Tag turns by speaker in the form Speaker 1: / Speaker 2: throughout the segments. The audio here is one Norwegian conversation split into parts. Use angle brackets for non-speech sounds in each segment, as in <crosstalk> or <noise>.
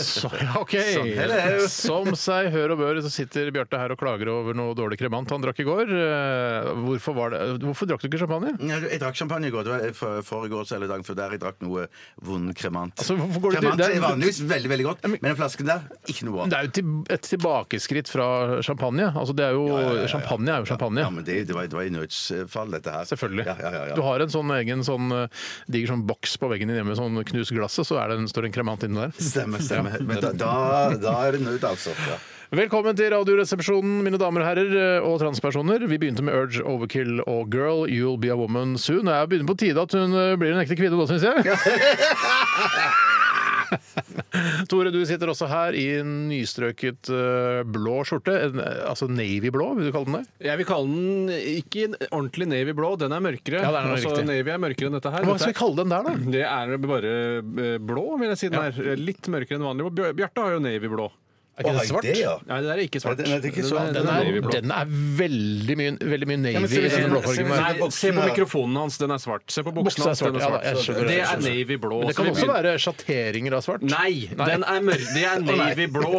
Speaker 1: Så, ja, ok.
Speaker 2: Sånn,
Speaker 1: Som seg hør og bør, så sitter Bjarte her og klager over noe dårlig kremant han drakk i går. Eh, Hvorfor, var det, hvorfor drakk du ikke champagne?
Speaker 2: Ja, Jeg drakk champagne i går. Det var eh, for- Foregårs eller dagen før der jeg drakk noe vond kremant.
Speaker 1: Altså, hvorfor går du-
Speaker 2: kremant
Speaker 1: det er-
Speaker 2: er vanligvis veldig veldig godt, men den flasken der ikke noe
Speaker 1: Det
Speaker 2: av.
Speaker 1: er jo til, et tilbakeskritt fra champagne. Altså, det er jo, Champagne er jo champagne.
Speaker 2: Ja, men det, det, var, det var i nødsfall, dette her.
Speaker 1: Selvfølgelig.
Speaker 2: Ja, ja, ja, ja.
Speaker 1: Du har en sånn egen sånn eh, diger sånn boks på veggen din hjemme, sånn knus glasset, så er det en, står det en kremant inni der.
Speaker 2: Stemmer, stemmer. Men da, da, da er det nød, altså. Ja.
Speaker 1: Velkommen til Radioresepsjonen, mine damer og herrer eh, og transpersoner. Vi begynte med Urge, Overkill og Girl, You'll Be a Woman Soon. Og jeg begynner på tide at hun eh, blir en ekte kvinne nå, syns
Speaker 3: <laughs>
Speaker 1: jeg. Tore, du sitter også her i en nystrøket eh, blå skjorte. En, eh, altså navy blå, vil du kalle den det?
Speaker 3: Jeg vil kalle den ikke ordentlig navy blå, den er mørkere.
Speaker 1: Ja, det er noe
Speaker 3: altså,
Speaker 1: riktig.
Speaker 3: navy er mørkere enn dette her.
Speaker 1: Hva
Speaker 3: Dette
Speaker 1: skal vi kalle den der, da?
Speaker 3: det er bare eh, blå, vil jeg si. den er Eh, Litt mørkere enn vanlig. blå. Bjør- Bjarte har jo navy blå.
Speaker 1: Er ikke
Speaker 2: Oi,
Speaker 1: den svart?
Speaker 2: det, ja.
Speaker 3: Nei, det der er ikke svart.
Speaker 2: Nei, den er ikke
Speaker 3: Den
Speaker 2: svart.
Speaker 1: Den
Speaker 3: er- den er
Speaker 1: er,
Speaker 3: navy blå.
Speaker 1: den er veldig mye, veldig mye navy
Speaker 2: men se-
Speaker 1: i denne blåfargen. der.
Speaker 2: se-
Speaker 3: Nei, se på
Speaker 2: Buksene er-
Speaker 3: mikrofonen hans, den er svart. Se på
Speaker 1: Buksa
Speaker 3: buksene
Speaker 1: er
Speaker 3: hans,
Speaker 1: svart.
Speaker 3: den er
Speaker 1: Ja, da,
Speaker 3: svart.
Speaker 1: jeg skjønner det,
Speaker 3: det
Speaker 1: jeg
Speaker 3: er
Speaker 1: skjønner
Speaker 3: navy blå.
Speaker 1: Men det
Speaker 3: så
Speaker 1: kan
Speaker 3: vi
Speaker 1: også
Speaker 3: begynner-
Speaker 1: være sjatteringer av svart.
Speaker 3: Nei, den er mør det er navy blå.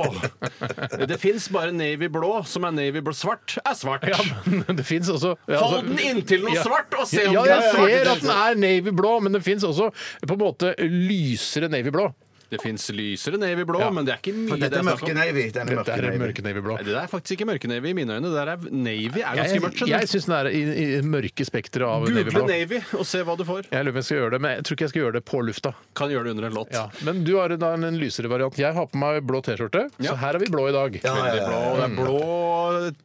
Speaker 3: Det fins bare navy blå som er navy blå. Svart er svart.
Speaker 1: Ja, men det fins også ja, altså-
Speaker 3: Hold den inntil noe
Speaker 1: Ja.
Speaker 3: svart og se om
Speaker 1: Ja,
Speaker 3: det
Speaker 1: jeg
Speaker 3: er svart.
Speaker 1: ser at den er navy blå, men det fins også på en måte lysere navy blå.
Speaker 3: Det fins lysere navy blå, men det er ikke mye
Speaker 2: For dette
Speaker 3: det
Speaker 2: er
Speaker 3: snakk om.
Speaker 2: mørke navy. Denne
Speaker 1: Dette
Speaker 2: mørke
Speaker 1: er
Speaker 2: navy.
Speaker 1: mørke navy blå.
Speaker 3: Nei, Det der er faktisk ikke mørke navy i mine øyne. Det der er, navy er ganske
Speaker 1: Jeg,
Speaker 3: mørkt. skjønner
Speaker 1: jeg
Speaker 3: du.
Speaker 1: syns den er i, i mørke spekteret av navy
Speaker 3: Google
Speaker 1: blå.
Speaker 3: navy og se hva du får.
Speaker 1: Jeg lurer på om jeg skal gjøre det, men jeg tror ikke jeg skal gjøre det på lufta.
Speaker 3: Kan gjøre det under en låt.
Speaker 1: Ja. Men du har da en, en lysere variant. Jeg har på meg blå T-skjorte, så
Speaker 3: Ja.
Speaker 1: her er vi blå i dag.
Speaker 2: Ja, ja,
Speaker 3: Det er
Speaker 2: ja.
Speaker 3: blå, det er blå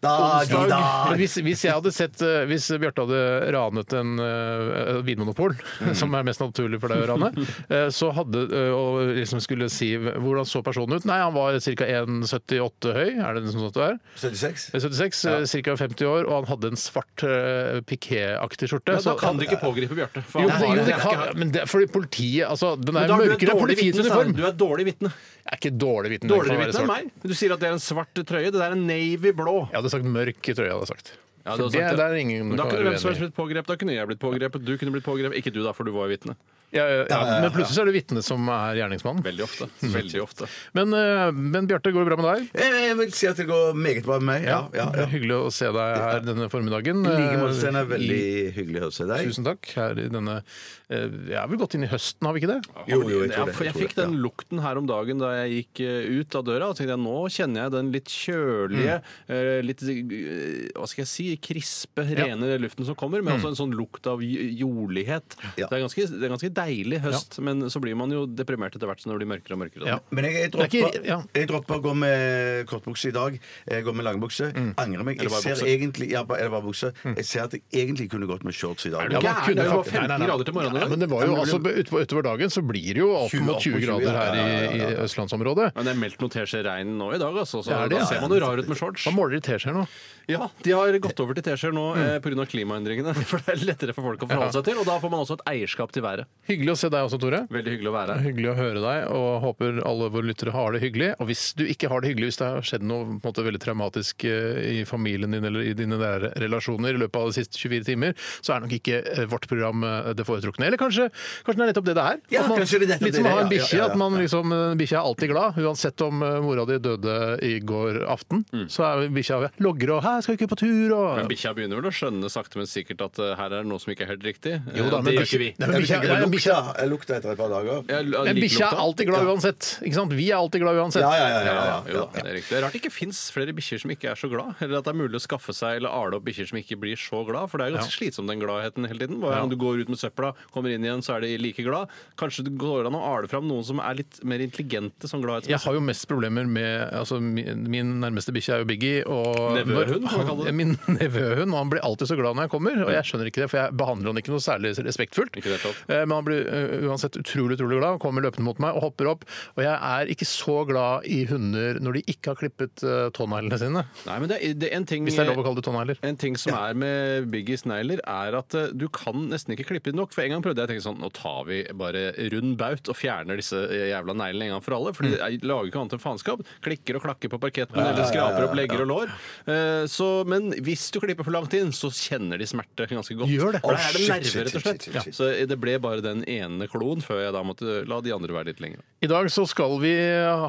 Speaker 2: Da, de, da.
Speaker 1: Men hvis, hvis jeg hadde sett eh, Hvis Bjarte hadde ranet en eh, vinmonopol,
Speaker 3: Mm.
Speaker 1: som er mest naturlig for deg å rane, eh, så hadde eh, og liksom skulle si hvordan så personen ut Nei, han var ca. 1,78 høy, er det sånn at du er?
Speaker 2: 76?
Speaker 1: 76, ca. 50 år, og han hadde en svart eh, pikéaktig skjorte.
Speaker 3: Men Da
Speaker 1: så-
Speaker 3: kan du ikke pågripe Bjarte. for
Speaker 1: jo,
Speaker 3: han
Speaker 1: det,
Speaker 3: har
Speaker 1: jo,
Speaker 3: en
Speaker 1: det
Speaker 3: jakke
Speaker 1: kan,
Speaker 3: her.
Speaker 1: men det, fordi politiet altså, Den
Speaker 3: Men
Speaker 1: er
Speaker 3: da er du et
Speaker 1: mørkere enn
Speaker 3: dårlig
Speaker 1: politiets
Speaker 3: vitne, sa han.
Speaker 1: uniform.
Speaker 3: Du er et dårlig vitne.
Speaker 1: Jeg er ikke dårlig vitne. den
Speaker 3: Dårligere
Speaker 1: kan være
Speaker 3: vitne enn
Speaker 1: svart.
Speaker 3: meg. Du sier at det er en svart trøye. Det der er en navy blå.
Speaker 1: Jeg hadde sagt mørk trøye, hadde jeg sagt.
Speaker 3: Ja,
Speaker 1: For
Speaker 3: du har sagt
Speaker 1: det,
Speaker 3: det.
Speaker 1: der er ingen
Speaker 3: Men da
Speaker 1: kan
Speaker 3: kunne
Speaker 1: være
Speaker 3: hvem
Speaker 1: uenig
Speaker 3: som
Speaker 1: i.
Speaker 3: helst blitt pågrepet. Da kunne jeg blitt pågrepet, du kunne blitt pågrepet. Ikke du, da, for du var jo vitne.
Speaker 1: Ja, ja, ja. Men plutselig så er det vitnet som er gjerningsmannen.
Speaker 3: Veldig ofte. Veldig ofte.
Speaker 1: Men, eh, men Bjarte, går det bra med deg?
Speaker 2: Jeg jeg vil si at det går meget bra med meg. Ja, ja,
Speaker 1: Det er
Speaker 2: ja.
Speaker 1: Hyggelig å se deg her denne formiddagen.
Speaker 2: I like måte, Steinar.
Speaker 1: Eh,
Speaker 2: Veldig
Speaker 1: i-
Speaker 2: hyggelig å se deg.
Speaker 1: Tusen takk. Her i denne eh, Jeg er vel gått inn i høsten, har vi ikke det?
Speaker 2: Jo, jo, jeg
Speaker 3: Ja,
Speaker 2: tror det.
Speaker 3: for jeg
Speaker 2: tror
Speaker 3: fikk
Speaker 2: det,
Speaker 3: den lukten her om dagen da jeg gikk eh, ut av døra. Og tenkte jeg, Nå kjenner jeg den litt kjølige, eh, litt eh, hva skal jeg si, krispe, rene luften som kommer. Men også en sånn lukt av j- jordlighet.
Speaker 2: Ja.
Speaker 3: Det, er ganske, det er ganske deilig høst, men så blir man jo deprimert etter hvert som det blir mørkere og mørkere.
Speaker 1: Ja.
Speaker 3: da.
Speaker 2: Men jeg,
Speaker 1: er
Speaker 2: jeg,
Speaker 1: ikke-
Speaker 2: dropper,
Speaker 1: ja.
Speaker 2: jeg dropper å gå med kortbukse i dag. Jeg går med langbukse.
Speaker 1: Mm.
Speaker 2: Angrer meg.
Speaker 3: Eller
Speaker 2: Jeg
Speaker 3: bare
Speaker 2: ser
Speaker 3: bukse.
Speaker 2: egentlig ja, bare, eller bare bukse. Jeg ser at jeg egentlig kunne gått med shorts i dag.
Speaker 3: du
Speaker 1: Ja, man
Speaker 3: gæren?
Speaker 1: kunne
Speaker 3: Det var
Speaker 1: faktisk-
Speaker 3: 15
Speaker 1: Nei, nei, nei.
Speaker 3: grader til morgenen,
Speaker 1: Ja,
Speaker 3: eller?
Speaker 1: men det var jo
Speaker 3: Ja, men
Speaker 1: altså, utover, utover dagen så blir det jo opp
Speaker 2: 20
Speaker 1: mot
Speaker 2: opp
Speaker 1: 20
Speaker 2: mot 20,
Speaker 1: grader her
Speaker 2: ja, ja,
Speaker 1: i,
Speaker 2: ja,
Speaker 1: i østlandsområdet.
Speaker 3: Men det er meldt noe teskje regn nå i dag, altså, så
Speaker 1: Det er det,
Speaker 3: da
Speaker 1: ja.
Speaker 3: ser man jo rar ut med shorts.
Speaker 1: Hva måler de T-skjorter nå?
Speaker 3: Ja, De har gått over til T-skjorter nå eh, på grunn av klimaendringene. <laughs> For det er lettere for folk å forholde seg til, og da får man også et eierskap til været.
Speaker 1: Hyggelig å se deg også, Tore.
Speaker 3: Veldig hyggelig å være her.
Speaker 1: Hyggelig å høre deg, og håper alle våre lyttere har det hyggelig. Og hvis du ikke har det hyggelig, hvis det har skjedd noe på en måte, veldig traumatisk eh, i familien din eller i dine nære relasjoner i løpet av de siste 24 timer, så er nok ikke eh, vårt program eh, det foretrukne. Eller kanskje, kanskje det er nettopp det det er?
Speaker 2: Ja,
Speaker 1: At man,
Speaker 2: kanskje det er nettopp
Speaker 1: litt
Speaker 2: det
Speaker 1: som å
Speaker 2: det er,
Speaker 1: ha en
Speaker 2: ja,
Speaker 1: bikkje,
Speaker 2: ja, ja,
Speaker 1: at man liksom, eh, bikkja er alltid glad. Uansett om eh, mora di døde i går aften, så er bikkja logrer og 'Hæ, skal vi ikke på tur?' og
Speaker 3: Mm. Men bikkja begynner vel å skjønne sakte, men sikkert at eh, her er det noe som ikke er helt riktig.
Speaker 1: Jo da,
Speaker 3: Eh,
Speaker 1: men
Speaker 3: det gjør
Speaker 1: bikkje-
Speaker 3: ikke vi.
Speaker 1: Nei, men
Speaker 2: Jeg
Speaker 1: bikkja-
Speaker 2: tenker
Speaker 1: nei,
Speaker 2: på
Speaker 1: men
Speaker 2: lukta.
Speaker 1: bikkja-
Speaker 2: Jeg lukta eter et par dager.
Speaker 3: Jeg l-
Speaker 1: Men
Speaker 3: liker
Speaker 1: bikkja er
Speaker 3: lukta.
Speaker 1: alltid glad uansett. Ikke sant? Vi er alltid glad uansett.
Speaker 2: Ja, ja, ja.
Speaker 3: Ja,
Speaker 2: ja,
Speaker 3: ja,
Speaker 2: ja,
Speaker 3: jo da, det er riktig. Det er rart det ikke fins flere bikkjer som ikke er så glad, eller at det er mulig å skaffe seg eller arle opp bikkjer som ikke blir så glad, for det er jo ganske slitsomt den gladheten hele tiden. Hva er det Om du går ut med søpla, kommer inn igjen, så er de like glad. Kanskje det går an å arle fram noen som er litt mer intelligente som gladhet.
Speaker 1: Jeg har jo mest problemer med altså, Min min nærmeste bikkje er jo Biggie. Og
Speaker 3: Nevøhund, hva kaller du det?
Speaker 1: Min <laughs> nevøhund. Og han blir alltid så glad når jeg kommer, og jeg skjønner ikke det, for jeg behandler han ikke noe særlig respektfullt.
Speaker 3: Ikke i det hele tatt.
Speaker 1: Eh, Men han han blir eh, uansett utrolig utrolig glad, kommer løpende mot meg og hopper opp. Og jeg er ikke så glad i hunder når de ikke har klippet eh, tåneglene sine.
Speaker 3: Nei, men det er, det er en ting
Speaker 1: Hvis det er lov å kalle det tånegler.
Speaker 3: En ting som er med Biggies negler, er at eh, du kan nesten ikke klippe det nok. For en gang prøvde jeg å tenke sånn, nå tar vi bare rund baut og fjerner disse eh, jævla neglene en gang for alle. For
Speaker 1: Mm.
Speaker 3: de er- lager ikke annet enn faenskap. Klikker og klakker på parketten eller skraper opp legger og lår. Eh, Så, men hvis du klipper for langt inn, så kjenner de smerte ganske godt.
Speaker 1: Gjør det.
Speaker 3: For da er det
Speaker 1: Å, shit,
Speaker 3: nerver, rett og slett.
Speaker 4: shit, shit, shit, shit.
Speaker 3: Så det ble bare den ene kloen før jeg da måtte la de andre være litt lenger.
Speaker 1: I dag så skal vi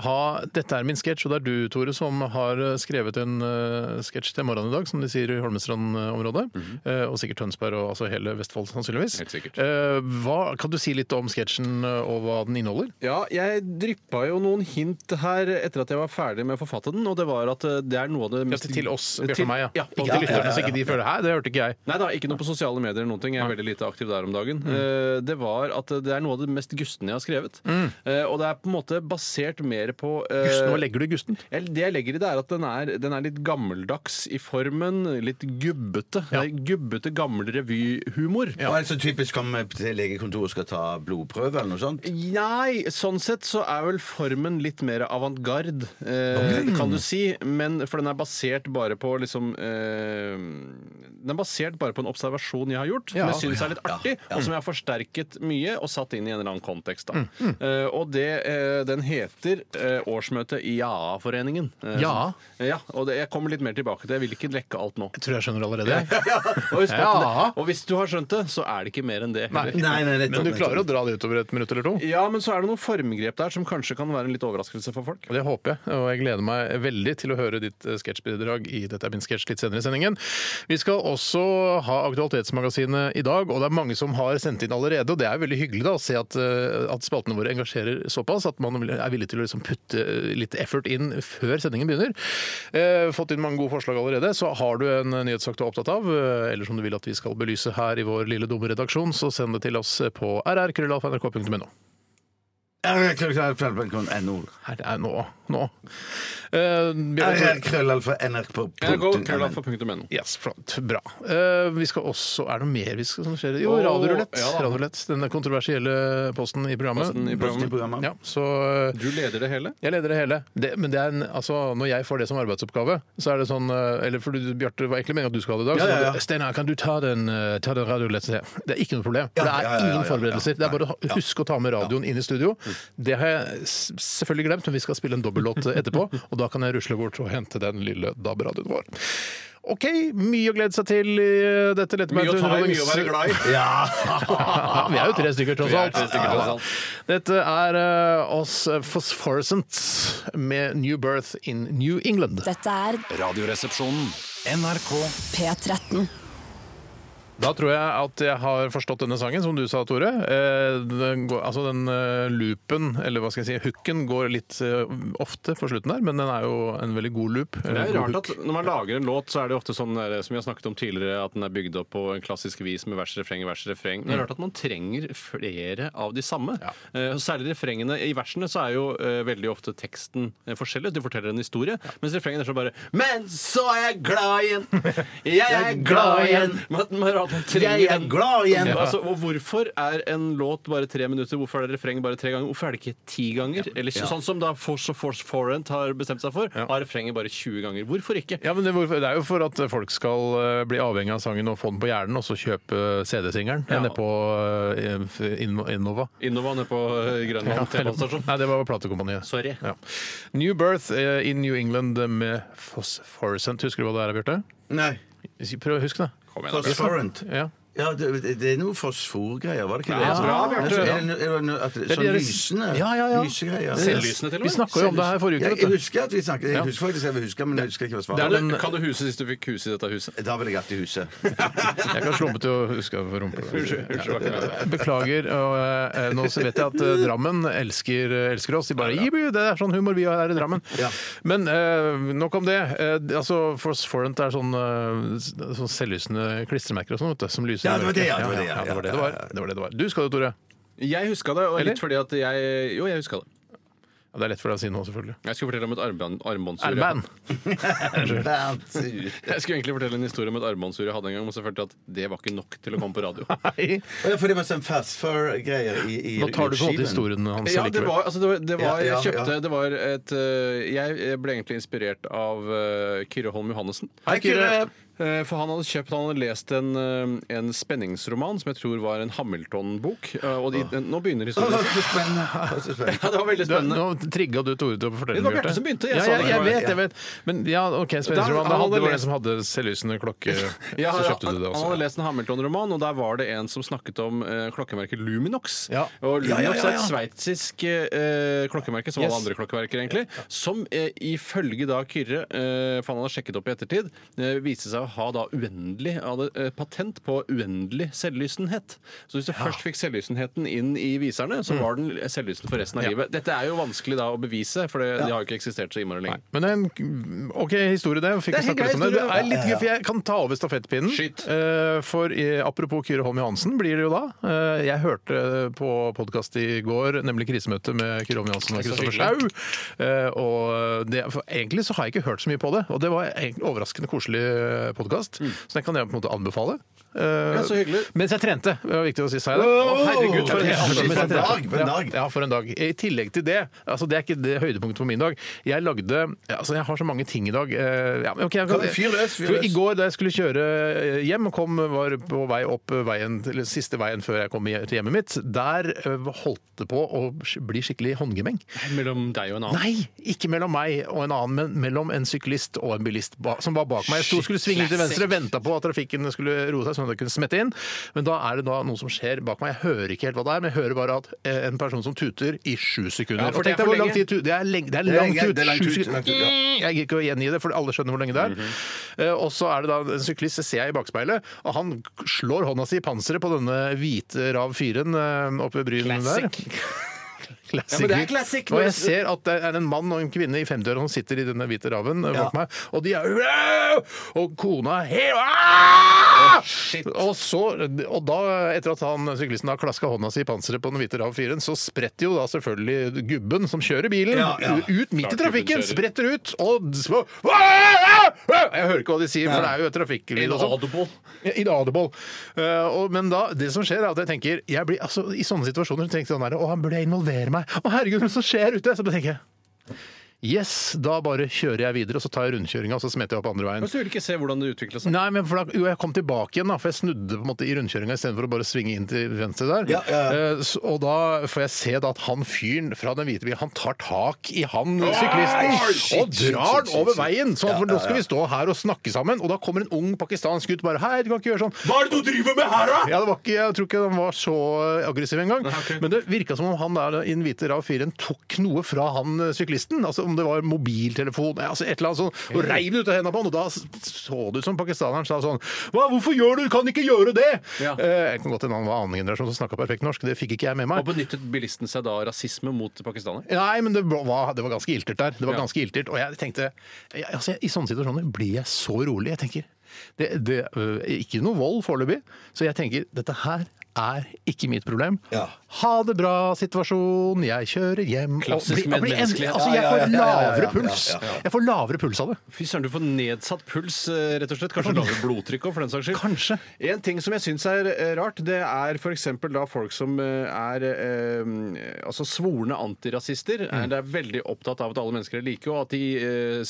Speaker 1: ha Dette er min sketsj, og det er du, Tore, som har skrevet en eh, sketsj til morgenen i dag, som de sier i Holmestrand-området. Eh, og sikkert Tønsberg og altså hele Vestfold, sannsynligvis.
Speaker 3: Helt sikkert.
Speaker 1: Eh, hva, kan du si litt om sketsjen eh, og hva den inneholder?
Speaker 3: Ja, jeg dryppa jo noen hint her etter at jeg var ferdig med å forfatte den, og det var at eh, det er noe av det
Speaker 1: Ja, til- til oss, Bjarte og meg, ja.
Speaker 3: ja,
Speaker 1: Ikke til lytterne, så ikke de føler Hæ, det hørte ikke jeg.
Speaker 3: Nei da, ikke noe på sosiale medier eller noen ting. Jeg er veldig lite aktiv der om dagen.
Speaker 1: Mm.
Speaker 3: Eh, Det var at det er noe av det mest gustne jeg har skrevet. Eh, Og det er på en måte basert mer på eh,
Speaker 1: Mm. Gusten, nå legger du gusten.
Speaker 3: jeg- Det jeg legger i det, er at den er, den er litt gammeldags i formen. Litt gubbete.
Speaker 1: Ja.
Speaker 3: Det er Gubbete, gammel revyhumor.
Speaker 2: Ja. Og er det så typisk om eh, til legekontoret skal ta blodprøve eller noe sånt?
Speaker 3: Nei, sånn sett så er vel formen litt mer avantgarde, eh,
Speaker 1: Mm.
Speaker 3: kan du si. Men for den er basert bare på liksom eh, Den er basert bare på en observasjon jeg har gjort, som jeg syns er litt artig, og som jeg har forsterket mye og satt inn i en eller annen kontekst.
Speaker 1: Mm.
Speaker 3: da. Eh, og det, eh, den heter eh, Årsmøte i JAA-foreningen. Eh,
Speaker 1: Ja.
Speaker 3: så- ja. Og det, jeg kommer litt mer tilbake til det. Jeg vil ikke lekke alt nå.
Speaker 1: Jeg tror jeg skjønner allerede. jeg.
Speaker 3: Og, husk på
Speaker 1: <laughs>
Speaker 3: at
Speaker 1: Ja.
Speaker 3: det, og hvis du har skjønt det, så er det ikke mer enn det.
Speaker 1: Nei.
Speaker 3: heller.
Speaker 1: Men du klarer å dra det utover et minutt eller to?
Speaker 3: Ja, men så er det noen formgrep der som kanskje kan være en litt overraskelse for folk.
Speaker 1: Det håper jeg, og jeg gleder meg veldig til å høre ditt eh, sketsjbidrag i Dette er min sketsj litt senere i sendingen. Vi skal også ha Aktualitetsmagasinet i dag, og det er mange som har sendt inn allerede. Og det er veldig hyggelig da, å se at, eh, at spaltene våre engasjerer såpass at man er villig til å liksom putte eh, litt effort inn før sendingen begynner. Eh, Fått inn mange gode forslag allerede. Så har du en nyhetssak du er opptatt av, eh, eller som du vil at vi skal belyse her i vår lille dumme redaksjon, så send det til oss på rrkrøllalfa.nrk.no.
Speaker 2: RR-krøllalfa.nrk.no.
Speaker 1: Her det er nå. nå. Eh, Bjørn,
Speaker 2: RR-krøllalfa.nrk.no.
Speaker 3: NRK.no.
Speaker 1: Yes, flott. Bra. Eh, vi skal også, Er det noe mer vi skal som skjer? Jo,
Speaker 3: Åh,
Speaker 1: Radiorulett.
Speaker 3: ja da.
Speaker 1: Radiorulett. Den kontroversielle posten i programmet.
Speaker 3: Posten i programmet.
Speaker 1: Ja, så eh,
Speaker 3: Du leder det hele?
Speaker 1: jeg leder det hele. Det, men det er en, altså, når jeg får det som arbeidsoppgave, så er det sånn eh, Eller for du, Bjarte, det var egentlig meningen at du skulle ha det i dag.
Speaker 2: Ja,
Speaker 1: så
Speaker 2: ja, ja.
Speaker 1: var det, Steinar, kan du ta den, eh, ta den radioletten? Det er ikke noe problem.
Speaker 2: Ja,
Speaker 1: det er
Speaker 2: ja, ja, ja,
Speaker 1: ingen
Speaker 2: ja,
Speaker 1: forberedelser.
Speaker 2: ja.
Speaker 1: Det er bare å ha- huske å ta med radioen inn i studio. Det har jeg s- selvfølgelig glemt, men vi skal spille en dobbellåt
Speaker 2: <laughs>
Speaker 1: etterpå. Og da kan jeg rusle bort og hente den lille DAB-radioen vår. OK, mye å glede seg til i eh, dette
Speaker 3: Mye
Speaker 1: lettbeinte
Speaker 3: å ta i, mye å være glad i.
Speaker 1: ja, vi er jo tre stykker, tross
Speaker 3: Vi er
Speaker 1: alt.
Speaker 3: tre stykker, tross alt.
Speaker 1: Ja. Dette er eh, oss Phosphorescent med New Birth in New England.
Speaker 5: Dette er
Speaker 4: Radioresepsjonen.
Speaker 6: NRK
Speaker 5: P13.
Speaker 1: Da tror jeg at jeg har forstått denne sangen, som du sa, Tore. Eh, Den, går, altså den eh, loopen, eller hva skal jeg si, hooken går litt eh, ofte på slutten der, men den er jo en veldig god loop.
Speaker 3: <laughs> Det er rart at Når man lager en låt, så er det ofte sånn der, som vi har snakket om tidligere, at den er bygd opp på en klassisk vis med vers, refreng, vers, refreng. Men Det er rart at man trenger flere av de samme. Eh, og Særlig refrengene i versene så er jo eh, veldig ofte teksten eh, forskjellig. Du forteller en historie, mens refrengene er så bare Men så er jeg glad <laughs> igjen! Jeg er glad igjen! Man, man, er rart at man trenger
Speaker 2: Jeg er
Speaker 3: den-
Speaker 2: glad igjen!
Speaker 3: Ja. Altså, og hvorfor er en låt bare tre minutter? Hvorfor er det refreng bare tre ganger? Hvorfor er det ikke ti ganger? Eller så- sånn som da Force of Force Forent har bestemt seg for, har refrenget bare 20 ganger. Hvorfor ikke?
Speaker 1: Ja, men det, hvorfor- det er jo for at folk skal eh, bli avhengig av sangen og få den på hjernen, og så kjøpe CD-singelen
Speaker 3: Ja.
Speaker 1: nede på eh, Inno- Innova.
Speaker 3: Innova nede på eh, Grønland T-banestasjon.
Speaker 2: <laughs>
Speaker 1: Nei, det var platekompaniet.
Speaker 3: Sorry.
Speaker 1: Ja. New Birth eh, in New England med Phosphorescent. Husker du hva det er, Bjarte?
Speaker 2: Nei.
Speaker 1: Si- Prøv å huske det.
Speaker 2: Phosphorant.
Speaker 1: Ja.
Speaker 2: Ja, det, det er noe fosforgreier, var det ikke det?
Speaker 3: Ja, bra,
Speaker 2: Altså,
Speaker 3: Bjarte.
Speaker 2: er det no- er det no- at det-
Speaker 1: Det er
Speaker 2: Sånn
Speaker 1: deres-
Speaker 2: lysende
Speaker 1: Ja, ja, ja.
Speaker 2: lysegreier.
Speaker 3: Selvlysende til og
Speaker 1: Vi
Speaker 3: med.
Speaker 1: snakka jo om det her forrige
Speaker 2: Jeg,
Speaker 1: uke.
Speaker 2: jeg
Speaker 1: vet du.
Speaker 2: husker at vi snakket Jeg husker faktisk jeg vil huske, men jeg husker ikke hva
Speaker 1: Det
Speaker 2: svaret
Speaker 1: er
Speaker 2: var. eh,
Speaker 1: den-
Speaker 3: Kan du huset sist du fikk hus i dette huset?
Speaker 2: Da vil jeg hatt i huset.
Speaker 1: <laughs> Jeg kan slumpe til å huske for
Speaker 3: <laughs> Unnskyld,
Speaker 1: rumpa.
Speaker 3: unnskyld, var ikke med.
Speaker 1: Beklager. Og, eh, nå så vet jeg at eh, Drammen elsker, eh, elsker oss. De bare «Jibu, Det er sånn humor vi har her i Drammen.
Speaker 2: Ja.
Speaker 1: Men eh, nok om det. Eh, altså, Phosphorant er sånn, eh, sånn selvlysende klistremerker og sånn, vet du, som lyser.
Speaker 2: Ja, det var det, ja, det var det,
Speaker 1: ja,
Speaker 2: ja,
Speaker 1: ja, det var det det var. Det var det det var. Du skal jo, Tore.
Speaker 3: Jeg huska det, og
Speaker 1: Eller?
Speaker 3: litt fordi at jeg Jo, jeg huska det.
Speaker 1: Ja, det er lett for deg å si nå, selvfølgelig.
Speaker 3: Jeg skulle fortelle om et armbånd- armbåndsur. jeg-
Speaker 1: Erlman!
Speaker 3: Jeg skulle egentlig fortelle en historie om et armbåndsur jeg hadde en gang, men så følte jeg at det var ikke nok til å komme på
Speaker 2: <laughs>
Speaker 1: <laughs>
Speaker 3: radio.
Speaker 1: Nei.
Speaker 2: Og det sånn er fordi man ser fastfur-greier i, i
Speaker 1: Nå tar du på en måte
Speaker 2: skiven.
Speaker 1: historien hans
Speaker 3: Ja, det var, altså, det var, det
Speaker 2: Ja,
Speaker 3: var
Speaker 2: ja,
Speaker 3: Jeg kjøpte
Speaker 2: ja.
Speaker 3: Det var et eh, Jeg ble egentlig inspirert av eh, Kyrre Holm Johannessen.
Speaker 2: Hei, Kyrre!
Speaker 3: Eh, For han hadde kjøpt, han hadde lest en, eh, en spenningsroman som jeg tror var en Hamilton-bok. eh, Og de, nå begynner
Speaker 2: Å,
Speaker 3: historien.
Speaker 2: Så spennende. Å, så spennende.
Speaker 3: <laughs> Ja, det var veldig
Speaker 1: Du,
Speaker 3: spennende.
Speaker 1: nå trigga du Tore til å fortelle
Speaker 3: Det var
Speaker 1: Bjarte.
Speaker 3: Bjarte som begynte, jeg
Speaker 1: Ja,
Speaker 3: sa
Speaker 1: jeg,
Speaker 3: det.
Speaker 1: jeg vet, jeg vet. Men ja, OK,
Speaker 3: Da-
Speaker 1: Spenningsroman.
Speaker 3: han
Speaker 1: Det hadde-
Speaker 3: hadde
Speaker 1: det var
Speaker 3: lest-
Speaker 1: den som hadde selvlysende klokke,
Speaker 3: Ja,
Speaker 1: så kjøpte
Speaker 3: han,
Speaker 1: du det
Speaker 3: han hadde
Speaker 1: også.
Speaker 3: lest en Hamilton-roman, og der var det en som snakket om eh, klokkemerket Luminox.
Speaker 1: Ja.
Speaker 3: Og
Speaker 1: Ja, ja,
Speaker 3: Luminox
Speaker 1: ja,
Speaker 3: er et
Speaker 1: ja.
Speaker 3: sveitsisk eh, klokkemerke, som alle andre klokkemerker, egentlig, som eh, ifølge da Kyrre, eh, for han hadde sjekket opp i ettertid, eh, viste seg å ha da uendelig hadde, eh, patent på uendelig selvlysenhet. Så hvis du først fikk selvlysenheten inn i viserne, så var den selvlysen for resten
Speaker 1: Mm.
Speaker 3: av
Speaker 1: Ja.
Speaker 3: livet. Dette er jo vanskelig da å bevise, for det, de har jo ikke eksistert så innmari lenge.
Speaker 1: Men det er en OK historie, det. Fikk
Speaker 3: Det er
Speaker 1: vi snakke litt
Speaker 3: helt
Speaker 1: om det.
Speaker 3: grei
Speaker 1: det
Speaker 3: historie,
Speaker 1: er litt gøy, for jeg kan ta over stafettpinnen.
Speaker 3: Skyt.
Speaker 1: Eh, For eh, apropos Kyrre Holm Johansen, blir det jo da. Eh, Jeg hørte på podkast i går, nemlig krisemøte med Kyrre Holm Johansen og
Speaker 3: Det er så
Speaker 1: Kristoffer Schau.
Speaker 3: hyggelig.
Speaker 1: Eh, Og det, for egentlig så har jeg ikke hørt så mye på det, og det var egentlig overraskende koselig podkast, så den kan jeg på en måte anbefale. Eh,
Speaker 3: Mm. Ja, så hyggelig.
Speaker 1: Mens jeg trente, det var viktig å si. Sa jeg det? Å, herregud, for en,
Speaker 2: Ja,
Speaker 1: mens jeg
Speaker 2: for
Speaker 1: trente.
Speaker 2: en dag, for en dag.
Speaker 1: Ja, ja, for en dag. I tillegg til det, altså det er ikke det høydepunktet på min dag. Jeg lagde ja, altså Jeg har så mange ting i dag. Eh, Ja, men ok, jeg
Speaker 2: Kan du fyr løs, fyr
Speaker 1: For I
Speaker 2: løs.
Speaker 1: går da jeg skulle kjøre eh, hjem, kom, var på vei opp eh, veien, til- eller siste veien før jeg kom hje- til hjemmet mitt, der eh, holdt det på å sk- bli skikkelig håndgemeng.
Speaker 3: Mellom deg og en annen.
Speaker 1: Nei, ikke mellom meg og en annen, men mellom en syklist og en bilist ba som var bak meg. Jeg sto og skulle svinge til venstre, venta på at trafikken skulle roe seg, sånn at jeg kunne smette inn. Men da er det da noe som skjer bak meg. Jeg hører ikke helt hva det er, men jeg hører bare at eh, en person som tuter i sju sekunder.
Speaker 3: Ja, for
Speaker 1: Og
Speaker 3: det er
Speaker 1: tenk deg
Speaker 3: for
Speaker 1: hvor lang
Speaker 3: lenge.
Speaker 1: tid tu- Det er, lenge, det er
Speaker 2: Det er
Speaker 1: langt
Speaker 2: lenge-
Speaker 1: ut.
Speaker 2: det er langt
Speaker 1: sju
Speaker 2: ut,
Speaker 1: sekunder.
Speaker 2: langt ut,
Speaker 1: Jeg gidder ikke å gjengi det, for alle skjønner hvor lenge det er.
Speaker 3: Mhm.
Speaker 1: Eh, Og så er det da en syklist, det ser jeg i bakspeilet, og han slår hånda si i panseret på denne hvite Rav 4-en oppe ved Bryn der. <laughs> Classic.
Speaker 3: Ja, men det er classic.
Speaker 1: Og jeg ser at det er en mann og en kvinne i 50-åra som sitter i denne hvite raven eh, bak
Speaker 2: Ja.
Speaker 1: meg, og de er Au! Og kona hev Ah!
Speaker 3: shit.
Speaker 1: Og så, og da, etter at han syklisten har klaska hånda si i panseret på den hvite rav 4 så spretter jo da selvfølgelig gubben som kjører bilen,
Speaker 2: Ja, ja.
Speaker 1: u- ut midt
Speaker 3: Klart
Speaker 1: i trafikken,
Speaker 3: gubben
Speaker 1: spretter ut, og d- så- Ah! Ah! Jeg hører ikke hva de sier, for det er jo et trafikklyd og sånn.
Speaker 3: Inaudible.
Speaker 1: Inaudible. Eh, og, men da, det som skjer er at jeg tenker jeg blir, altså, I sånne situasjoner tenker jeg sånn her, Å, han burde involvere meg. Å, herregud, hva er det som skjer ute? Så da tenker jeg Yes, da bare kjører jeg videre, og så tar jeg rundkjøringa, og så smetter jeg opp andre veien.
Speaker 3: Men så vil altså, du ikke se hvordan det utvikler seg.
Speaker 1: Nei, men for da, jo, jeg kom tilbake igjen, da, for jeg snudde på en måte i rundkjøringa istedenfor å bare svinge inn til venstre der.
Speaker 2: Ja, ja, ja.
Speaker 1: Eh, så- og da får jeg se da at han fyren fra den hvite bilen, han tar tak i han syklisten og drar den over veien! Så for nå skal vi stå her og snakke sammen, og da kommer en ung pakistansk gutt bare Hei, du kan ikke gjøre sånn!
Speaker 2: Hva er det du driver med her, da?!
Speaker 1: Ja, det var ikke, jeg tror ikke han var så eh, aggressiv engang. Men det virka som om han der i den hvite Rav 4 tok noe fra han eh, syklisten. Altså Om det var mobiltelefon eh, altså et eller annet sånt. Og reiv det ut av hendene på han, og da så det ut som pakistaneren sa sånn Hva, hvorfor gjør du Kan ikke gjøre det!
Speaker 3: Ja.
Speaker 1: Eh, jeg kan godt hende han var annen generasjon som snakka perfekt norsk, det fikk ikke jeg med meg.
Speaker 3: Og benyttet bilisten seg da av rasisme mot pakistanere?
Speaker 1: Nei, men det var, det var ganske iltert der. Det var
Speaker 3: Ja.
Speaker 1: ganske iltert, Og jeg tenkte jeg, altså, I sånne situasjoner blir jeg så rolig. Jeg tenker det, det, øh, Ikke noe vold foreløpig, så jeg tenker dette her er ikke mitt problem.
Speaker 2: Ja.
Speaker 1: Ha det bra, situasjon, jeg kjører hjem Og
Speaker 3: Klassisk
Speaker 1: blir- jeg blir en-
Speaker 3: medmenneskelighet.
Speaker 1: Altså,
Speaker 2: Ja,
Speaker 1: jeg
Speaker 2: ja,
Speaker 1: får
Speaker 2: ja, ja, ja, ja,
Speaker 1: lavere
Speaker 2: ja,
Speaker 1: puls.
Speaker 2: ja, ja.
Speaker 1: Jeg får lavere puls av det.
Speaker 3: Fy søren, du får nedsatt puls, eh, rett og slett. Kanskje lavere blodtrykk òg, for den saks skyld.
Speaker 1: Kanskje.
Speaker 3: En ting som jeg syns er eh, rart, det er f.eks. da folk som eh, er eh, altså svorne antirasister.
Speaker 1: Mm.
Speaker 3: er- Det er veldig opptatt av at alle mennesker er like, og at de eh,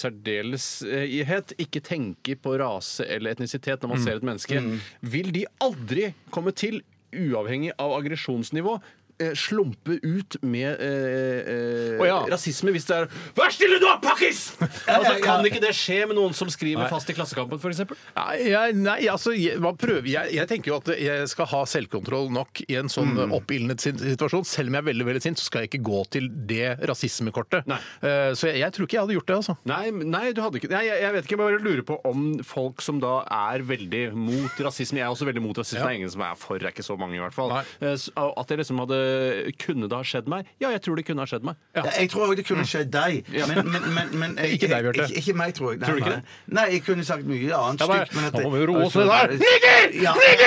Speaker 3: særdeleshet ikke tenker på rase eller etnisitet
Speaker 1: Mm.
Speaker 3: når man ser et menneske. Vil de aldri komme til, uavhengig av aggresjonsnivå, eh, slumpe ut med eh, eh,
Speaker 1: Å ja.
Speaker 3: rasisme hvis det er Vær stille, du er pakkis!
Speaker 1: <laughs>
Speaker 3: Altså,
Speaker 2: ja, ja.
Speaker 3: kan ikke det skje med noen som skriver fast i Klassekampen, f.eks.?
Speaker 1: Nei, jeg, nei altså, jeg, man prøver, jeg, jeg tenker jo at jeg skal ha selvkontroll nok i en sånn mm. oppildnet sin- situasjon. Selv om jeg er veldig veldig sint, så skal jeg ikke gå til det rasismekortet.
Speaker 3: Nei.
Speaker 1: Eh, så jeg, jeg tror ikke jeg hadde gjort det, altså. <laughs>
Speaker 3: Nei, men- nei, du hadde ikke nei, jeg, jeg vet ikke, jeg bare lurer på om folk som da er veldig mot rasisme Jeg er også veldig mot rasisme, det er ingen som er for, det er ikke så mange i hvert fall
Speaker 1: Nei.
Speaker 3: eh, s- At jeg liksom hadde eh, Kunne det ha skjedd meg? Ja, jeg tror det kunne ha skjedd meg.
Speaker 2: Ja. Jeg tror også det kunne skjedd deg. Men, men, men, men jeg,
Speaker 1: Mm. <laughs> Ikke deg, Bjarte.
Speaker 2: Ikke, ikke meg, tror jeg. Nei,
Speaker 3: Tror du ikke
Speaker 2: nei. nei, jeg kunne sagt mye annet
Speaker 1: Ja, men-
Speaker 2: stygt, men at
Speaker 1: Nå
Speaker 2: det-
Speaker 1: må vi roe oss ned der. Nigger!
Speaker 2: Ja.
Speaker 1: Jeg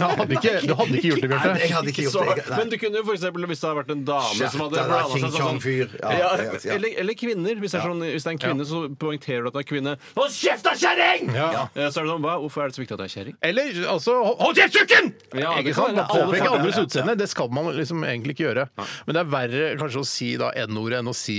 Speaker 1: hadde ikke, du hadde ikke gjort det,
Speaker 2: Nei,
Speaker 1: Bjarte.
Speaker 2: jeg
Speaker 1: <laughs>
Speaker 2: hadde ikke
Speaker 3: Så,
Speaker 2: gjort det. Nei.
Speaker 3: men du kunne jo for eksempel, hvis det hadde vært en dame som hadde
Speaker 2: Skjerpa deg,
Speaker 3: blanda seg
Speaker 2: King
Speaker 3: sånn,
Speaker 2: Kong-fyr. Ja,
Speaker 3: ja,
Speaker 2: ja, ja.
Speaker 3: Eller, eller kvinner. Hvis det, er sånn, hvis det er en kvinne, så poengterer du at det er kvinne. Hold kjeft, da, kjerring!
Speaker 1: Ja.
Speaker 3: Eh, Så er det sånn, hva? Hvorfor er det så viktig at det er kjerring?
Speaker 1: Eller altså hold- Hold kjeft, tjukken!
Speaker 3: Ja, det
Speaker 1: ikke
Speaker 3: kan
Speaker 1: sant?
Speaker 3: være.
Speaker 1: Man påpeker
Speaker 3: Alle får-
Speaker 1: andres
Speaker 3: ja, ja.
Speaker 1: utseende. Det skal man liksom egentlig ikke gjøre. Men det er verre kanskje å si da N-ordet enn å si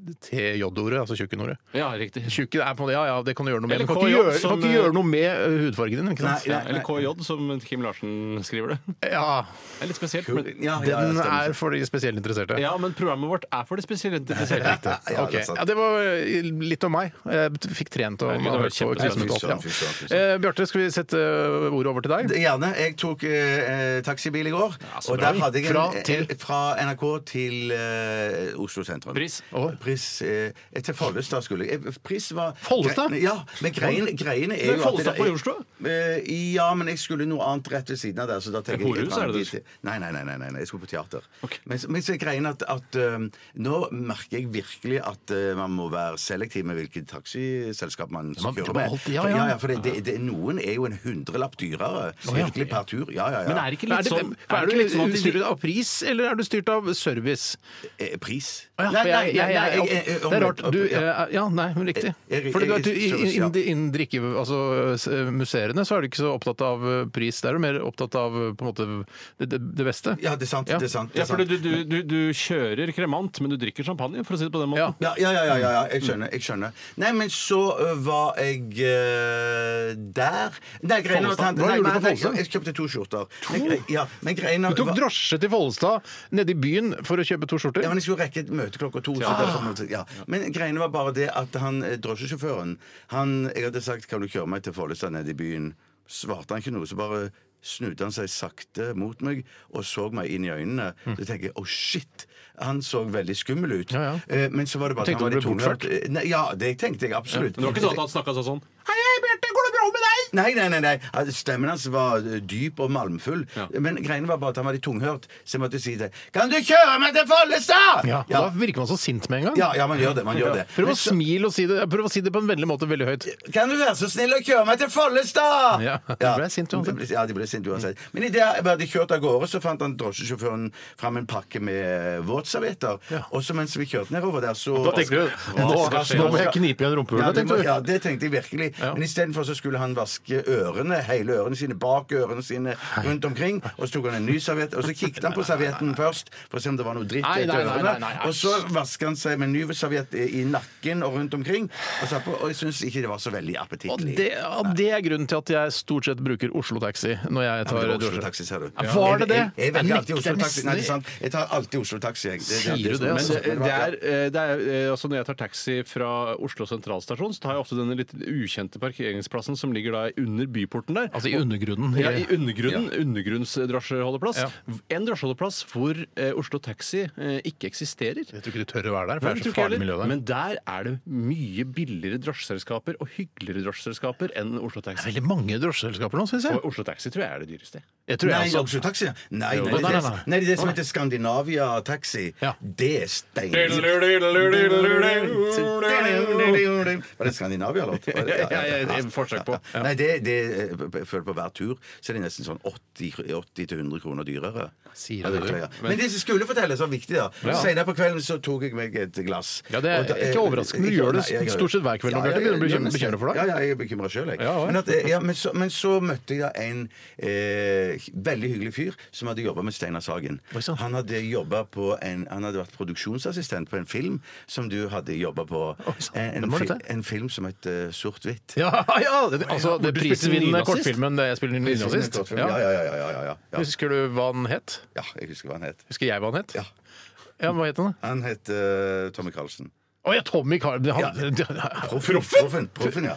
Speaker 1: TJ-ordet, altså tjukkenordet.
Speaker 3: Ja, riktig.
Speaker 1: Tjukken er på en måte, Ja ja, det kan du gjøre noe med.
Speaker 3: Eller
Speaker 1: Men du kan ikke
Speaker 3: KJ
Speaker 1: gjøre,
Speaker 3: som,
Speaker 1: kan ikke gjøre noe med eh, hudfargen din, ikke sant?
Speaker 2: Nei,
Speaker 3: Ja, eller KJ, som Kim Larsen skriver det.
Speaker 1: Ja,
Speaker 3: Det er litt spesielt. Men,
Speaker 2: Ja, ja, ja,
Speaker 1: den
Speaker 2: stemmer.
Speaker 1: er for de spesielt interesserte.
Speaker 3: ja, men programmet vårt er for det spesielt interesserte.
Speaker 2: Ja, ja,
Speaker 1: Ok.
Speaker 2: det er sant.
Speaker 1: Ja, det var eh, litt om meg. Jeg fikk trent og
Speaker 3: Herregud, det var
Speaker 1: hørt på
Speaker 3: kjempespennende.
Speaker 1: Kvismet opp.
Speaker 2: Fy søren, fy søren, fy
Speaker 1: Ja. Eh, Bjarte, skal vi sette eh, ordet over til deg?
Speaker 2: Gjerne. Jeg tok eh, eh, taxibil i går.
Speaker 3: så
Speaker 2: og
Speaker 3: bra.
Speaker 2: der hadde jeg en,
Speaker 1: Fra til?
Speaker 2: eh, fra NRK til eh, Oslo sentrum.
Speaker 3: Pris.
Speaker 1: Å.
Speaker 2: Pris eh, eh, Til Follestad skulle jeg. Eh, Pris var
Speaker 1: Follestad?
Speaker 2: Gre- Ja, men greien, greiene er
Speaker 3: Men
Speaker 2: jo
Speaker 3: Follestad
Speaker 2: at det-
Speaker 3: på Jordstua?
Speaker 2: Eh, ja, men jeg skulle noe annet rett ved siden av der. Så da tenker jeg-
Speaker 3: Horehus
Speaker 2: jeg tar
Speaker 3: er det du
Speaker 2: dit. Nei, nei, nei, nei, nei, nei, jeg skulle på teater.
Speaker 3: Ok.
Speaker 2: Men, så- men så er greien at, at eh, nå merker jeg virkelig at eh, man må være selektiv med hvilket taxiselskap man
Speaker 1: man-
Speaker 2: kjører
Speaker 1: det må
Speaker 2: med.
Speaker 1: alltid- ja,
Speaker 2: For-
Speaker 1: ja.
Speaker 2: ja, ja, for det, det, det, noen er jo en hundrelapp dyrere. Virkelig per tur. Ja, ja, ja.
Speaker 3: Men er det ikke
Speaker 1: Er,
Speaker 3: litt
Speaker 1: det,
Speaker 3: sånn,
Speaker 1: er,
Speaker 3: er det ikke litt
Speaker 1: du
Speaker 3: sånn at de-
Speaker 1: styrt av pris, eller er du styrt av service?
Speaker 2: Eh, Pris?
Speaker 1: Å ja, for jeg- jeg- jeg-
Speaker 2: eh,
Speaker 1: Det er rart. Du, eh, ja, nei, men riktig.
Speaker 2: Jeg- jeg-
Speaker 1: For du vet,
Speaker 2: jeg-
Speaker 1: i- i-
Speaker 2: service, ja.
Speaker 1: innen innen drikke... Altså s- museene, så er du ikke så opptatt av eh, pris. Der er du mer opptatt av eh, på en måte det, det, det beste.
Speaker 2: Ja, det er sant.
Speaker 1: Ja.
Speaker 2: Det er sant. Det
Speaker 3: Ja,
Speaker 2: er
Speaker 3: for
Speaker 2: sant.
Speaker 3: du, du, du, du kjører kremant, men du drikker champagne, for å si det på den
Speaker 1: Ja.
Speaker 3: måten.
Speaker 2: Ja, ja, ja, ja, ja, ja. Jeg skjønner. jeg skjønner Nei, men så ø, var jeg ø, der Nei, greien var at han-
Speaker 1: Follestad. Hva
Speaker 2: nei,
Speaker 1: gjorde du på
Speaker 2: nei, nei,
Speaker 1: Follestad?
Speaker 2: Jeg kjøpte to skjorter. Men grei- Ja, men greien
Speaker 1: Du tok drosje til Follestad nede i byen for å kjøpe to skjorter?
Speaker 2: ja, men Jeg skulle rekke et møte klokka to. Så derfor måtte- ja. Men greiene var bare det at han eh, drosjesjåføren han, Jeg hadde sagt 'Kan du kjøre meg til Follestad nede i byen?' Svarte han ikke noe, så bare snudde han seg sakte mot meg og så meg inn i øynene. Så tenker jeg 'Å, shit'. Han så veldig skummel ut.
Speaker 1: Mm. Ja, ja.
Speaker 2: Eh, Men så var det bare
Speaker 1: Tenkte du
Speaker 2: han var
Speaker 1: ble
Speaker 2: litt tunghørt. Eh, Nei, ja, det tenkte jeg absolutt.
Speaker 3: Men det var ikke sånn at han snakka sånn
Speaker 2: Hei, hei, Bjarte, går det bra med deg? Nei, nei, nei, nei. Altså, Stemmen hans var eh, dyp og malmfull. Men greiene var bare at han var litt tunghørt, så jeg måtte si det. Kan du kjøre meg til Follestad?
Speaker 1: Ja, og
Speaker 2: ja.
Speaker 1: Da virker man så sint med en gang.
Speaker 2: ja, ja, man gjør det. man gjør det.
Speaker 1: Prøv å
Speaker 2: Men så-
Speaker 1: smile og si det Prøv å si det på en vennlig måte veldig høyt.
Speaker 2: Kan du være så snill å kjøre meg til Follestad?
Speaker 1: Ja, de ble sint uansett.
Speaker 2: De ble- Ja, de ble sint uansett. Men idet jeg hadde kjørt av gårde, så fant han drosjesjåføren fram en pakke med våtservietter. Og så mens vi kjørte nedover der, så
Speaker 1: Da tenkte du nå, nå må jeg knipe igjen
Speaker 2: Ja,
Speaker 1: rumpehullet,
Speaker 2: det, må,
Speaker 1: tenkte du.
Speaker 2: ja, det tenkte jeg virkelig. Men istedenfor så skulle han vaske ørene, hele ørene sine, bak ørene sine, rundt omkring. Og så tok han en ny serviett, og så kikket han på servietten først for å se om det var noe dritt
Speaker 1: Nei,
Speaker 2: etter
Speaker 1: nei, nei, nei,
Speaker 2: ørene.
Speaker 1: nei,
Speaker 2: Og så vasket han seg med en ny serviett i i nakken og rundt omkring. Og, så på, og jeg syns ikke det var så veldig
Speaker 1: Og
Speaker 2: appetittlig.
Speaker 1: det, ja, det er grunnen til at jeg stort sett bruker Oslo Taxi når jeg
Speaker 2: Ja, men
Speaker 1: tar
Speaker 2: det var Oslo
Speaker 1: drosje.
Speaker 2: Taxi, ser du.
Speaker 1: Ja, var det det?
Speaker 2: Jeg, jeg, jeg velger
Speaker 1: Jeg
Speaker 2: alltid
Speaker 1: nekter
Speaker 2: Oslo Taxi.
Speaker 1: nesten
Speaker 2: Nei, det
Speaker 1: det.
Speaker 2: er sant. Jeg tar alltid Oslo Taxi. Jeg. Det-
Speaker 1: Sier du
Speaker 2: det,
Speaker 1: det,
Speaker 2: som-
Speaker 3: Men
Speaker 1: altså?
Speaker 3: det, det, er, eh, det er, eh, altså Når jeg tar taxi fra Oslo sentralstasjon, så tar jeg ofte denne litt ukjente parkeringsplassen som ligger da under byporten der.
Speaker 1: Altså i undergrunnen.
Speaker 3: Ja, I undergrunnen. Undergrunnsdrosjeholdeplass.
Speaker 1: Ja.
Speaker 3: En drosjeholdeplass hvor eh, Oslo Taxi eh, ikke eksisterer.
Speaker 1: Jeg tror ikke de tør å være der, for
Speaker 3: Nei,
Speaker 1: det
Speaker 3: tror
Speaker 1: er så
Speaker 3: ikke jeg
Speaker 1: farlig miljø
Speaker 3: heller.
Speaker 1: der.
Speaker 3: Men der er det mye billigere drosjeselskaper og hyggeligere drosjeselskaper enn Oslo
Speaker 1: det er
Speaker 3: Taxi.
Speaker 1: veldig mange drosjeselskaper nå, syns jeg.
Speaker 3: Og Oslo Taxi tror jeg er det dyreste.
Speaker 1: Jeg tror
Speaker 2: Nei,
Speaker 1: jeg også.
Speaker 2: Oslo Taxi? Nei, nei,
Speaker 1: Jo,
Speaker 2: det,
Speaker 1: nei,
Speaker 2: er
Speaker 1: nei,
Speaker 2: det,
Speaker 1: nei.
Speaker 2: nei, det er det som heter Skandinavia Taxi.
Speaker 1: Ja.
Speaker 2: Det er stein...
Speaker 3: Ja,
Speaker 2: Var det Skandinavia-låt?
Speaker 1: <laughs>
Speaker 2: Var det-
Speaker 3: ja, ja, det er forsøk på.
Speaker 2: Ja. Nei, det, det jeg føler på hver tur så er det nesten sånn 80-100 kroner dyrere.
Speaker 1: Sier
Speaker 2: Ja,
Speaker 1: du
Speaker 2: det
Speaker 1: det?
Speaker 2: tror jeg. Men det som skulle fortelles, var viktig. da
Speaker 1: Ja.
Speaker 2: Senere på kvelden så tok jeg meg et glass.
Speaker 1: Ja, det er
Speaker 2: Og da- eh,
Speaker 1: ikke overraskende. Du
Speaker 2: Ikke-
Speaker 1: gjør det
Speaker 2: nei, jeg gjør
Speaker 1: stort sett hver kveld nå,
Speaker 2: Ja, ja,
Speaker 1: Bjarte. Begynner å bli
Speaker 2: ja, nesten.
Speaker 1: bekymret for deg.
Speaker 2: Ja, ja, jeg er bekymra sjøl, jeg.
Speaker 1: Ja, ja.
Speaker 2: men, at, ja, men, så, men så møtte jeg da en eh, veldig hyggelig fyr som hadde jobba med Steinar Sagen.
Speaker 1: Oi, sånn. sant.
Speaker 2: Han hadde, jobbet på en, han hadde vært produksjonsassistent på en film som du hadde jobba på.
Speaker 1: Oi, sånn. sant.
Speaker 2: En,
Speaker 1: Hvem
Speaker 2: en,
Speaker 1: var
Speaker 2: fi,
Speaker 1: dette?
Speaker 2: en film som het eh, Sort-hvitt.
Speaker 1: <laughs> Ja, ja! det- Altså, det
Speaker 3: Du spilte
Speaker 1: prisvinnende
Speaker 3: nynazist?
Speaker 1: kortfilmen det jeg spiller nynazist.
Speaker 2: Ja, ja,
Speaker 1: Ja.
Speaker 2: ja, ja, ja, ja, ja, ja.
Speaker 1: Husker du hva den het?
Speaker 2: ja. Jeg husker hva han het.
Speaker 1: Husker jeg hva den het?
Speaker 2: Ja.
Speaker 1: Ja, hva het den, da?
Speaker 2: Han het eh, Tommy Carlsen.
Speaker 1: Å ja, Tommy Car... Han, <laughs>
Speaker 2: Proffen? Proffen, ja.